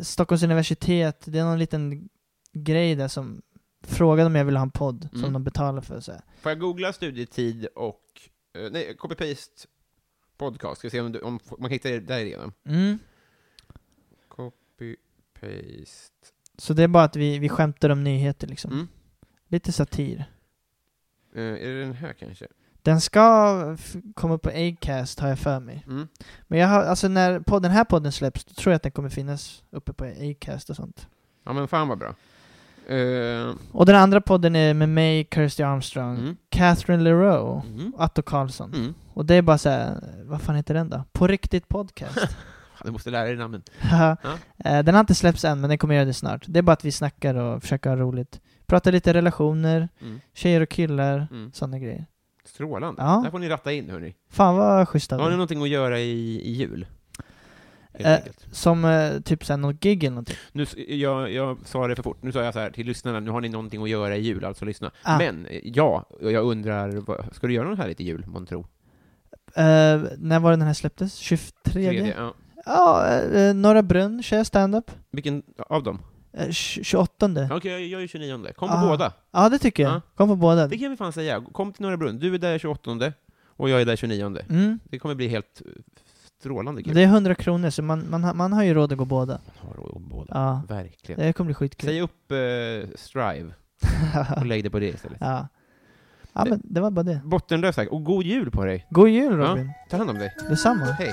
[SPEAKER 2] Stockholms universitet. Det är någon liten grej där som frågade om jag ville ha en podd
[SPEAKER 1] Mm.
[SPEAKER 2] som de betalar för. Så här.
[SPEAKER 1] Får jag googla studietid och... eh, nej, copy-paste podcast. Ska vi se om, du, om f- man kan hitta det där igenom.
[SPEAKER 2] Mm.
[SPEAKER 1] Copy-paste.
[SPEAKER 2] Så det är bara att vi, vi skämtar om nyheter liksom.
[SPEAKER 1] Mm.
[SPEAKER 2] Lite satir.
[SPEAKER 1] Eh, är det den här kanske?
[SPEAKER 2] Den ska f- komma upp på Acast har jag för mig.
[SPEAKER 1] Mm.
[SPEAKER 2] Men jag har, alltså när på den här podden släpps, då tror jag att den kommer finnas uppe på Acast och sånt.
[SPEAKER 1] Ja men fan vad bra. Eh,
[SPEAKER 2] Och den andra podden är med mig, Kirsty Armstrong,
[SPEAKER 1] mm.
[SPEAKER 2] Catherine Leroux,
[SPEAKER 1] Mm.
[SPEAKER 2] och Atto Karlsson.
[SPEAKER 1] Mm.
[SPEAKER 2] Och det är bara så här, vad fan heter den då? På
[SPEAKER 1] *laughs*
[SPEAKER 2] riktigt podcast.
[SPEAKER 1] Fan, Du måste lära dig namnen.
[SPEAKER 2] Haha. Eh, den har inte släppts än, men den kommer göra det snart. Det är bara att vi snackar och försöker ha roligt. Prata lite relationer,
[SPEAKER 1] Mm.
[SPEAKER 2] tjejer och killar,
[SPEAKER 1] Mm.
[SPEAKER 2] sådana grejer.
[SPEAKER 1] Strålande.
[SPEAKER 2] Ja.
[SPEAKER 1] Där får ni ratta in hörni.
[SPEAKER 2] Fan vad schysst av
[SPEAKER 1] Har ni
[SPEAKER 2] dig.
[SPEAKER 1] någonting att göra i, i jul? Helt
[SPEAKER 2] Eh.
[SPEAKER 1] enkelt.
[SPEAKER 2] Som eh, typ såhär något gig eller någonting.
[SPEAKER 1] Nu, s- jag, jag sa det för fort, nu sa jag så här till lyssnarna, nu har ni någonting att göra i jul, alltså lyssna.
[SPEAKER 2] Ah.
[SPEAKER 1] Men, eh, ja, jag undrar, vad, ska du göra något härligt i jul, månntro?
[SPEAKER 2] Eh, när var det den här släpptes? 23?
[SPEAKER 1] Ja.
[SPEAKER 2] Ja, eh, Norra Brunn kör jag stand-up.
[SPEAKER 1] Vilken av dem?
[SPEAKER 2] Eh, tj- 28.
[SPEAKER 1] Ja, Okej, jag, jag är 29. Kom på
[SPEAKER 2] Ah.
[SPEAKER 1] båda.
[SPEAKER 2] Ja, det tycker jag.
[SPEAKER 1] Ja.
[SPEAKER 2] Kom på båda.
[SPEAKER 1] Det kan vi fan säga. Kom till Norra Brunn. Du är där 28 och jag är där 29.
[SPEAKER 2] Mm.
[SPEAKER 1] Det kommer bli helt eh, strålande kul.
[SPEAKER 2] Det är 100 kronor, så man, man, har- man har ju råd att gå båda.
[SPEAKER 1] Man har råd om båda.
[SPEAKER 2] Ja,
[SPEAKER 1] Verkligen.
[SPEAKER 2] det kommer bli skitkul.
[SPEAKER 1] Säg upp eh,
[SPEAKER 2] *laughs*
[SPEAKER 1] Strive och lägg det på det istället.
[SPEAKER 2] ja. ja, men det var bara det.
[SPEAKER 1] Bottenlöst tack, och god jul på dig!
[SPEAKER 2] God jul
[SPEAKER 1] Ja.
[SPEAKER 2] Robin.
[SPEAKER 1] Ta hand om dig.
[SPEAKER 2] Detsamma.
[SPEAKER 1] Hej!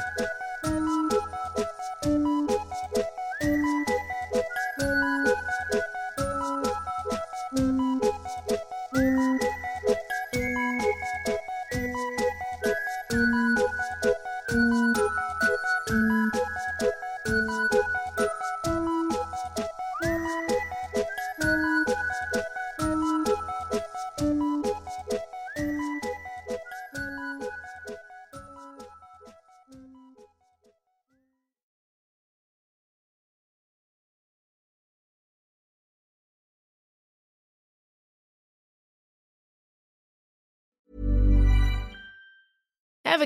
[SPEAKER 5] Ever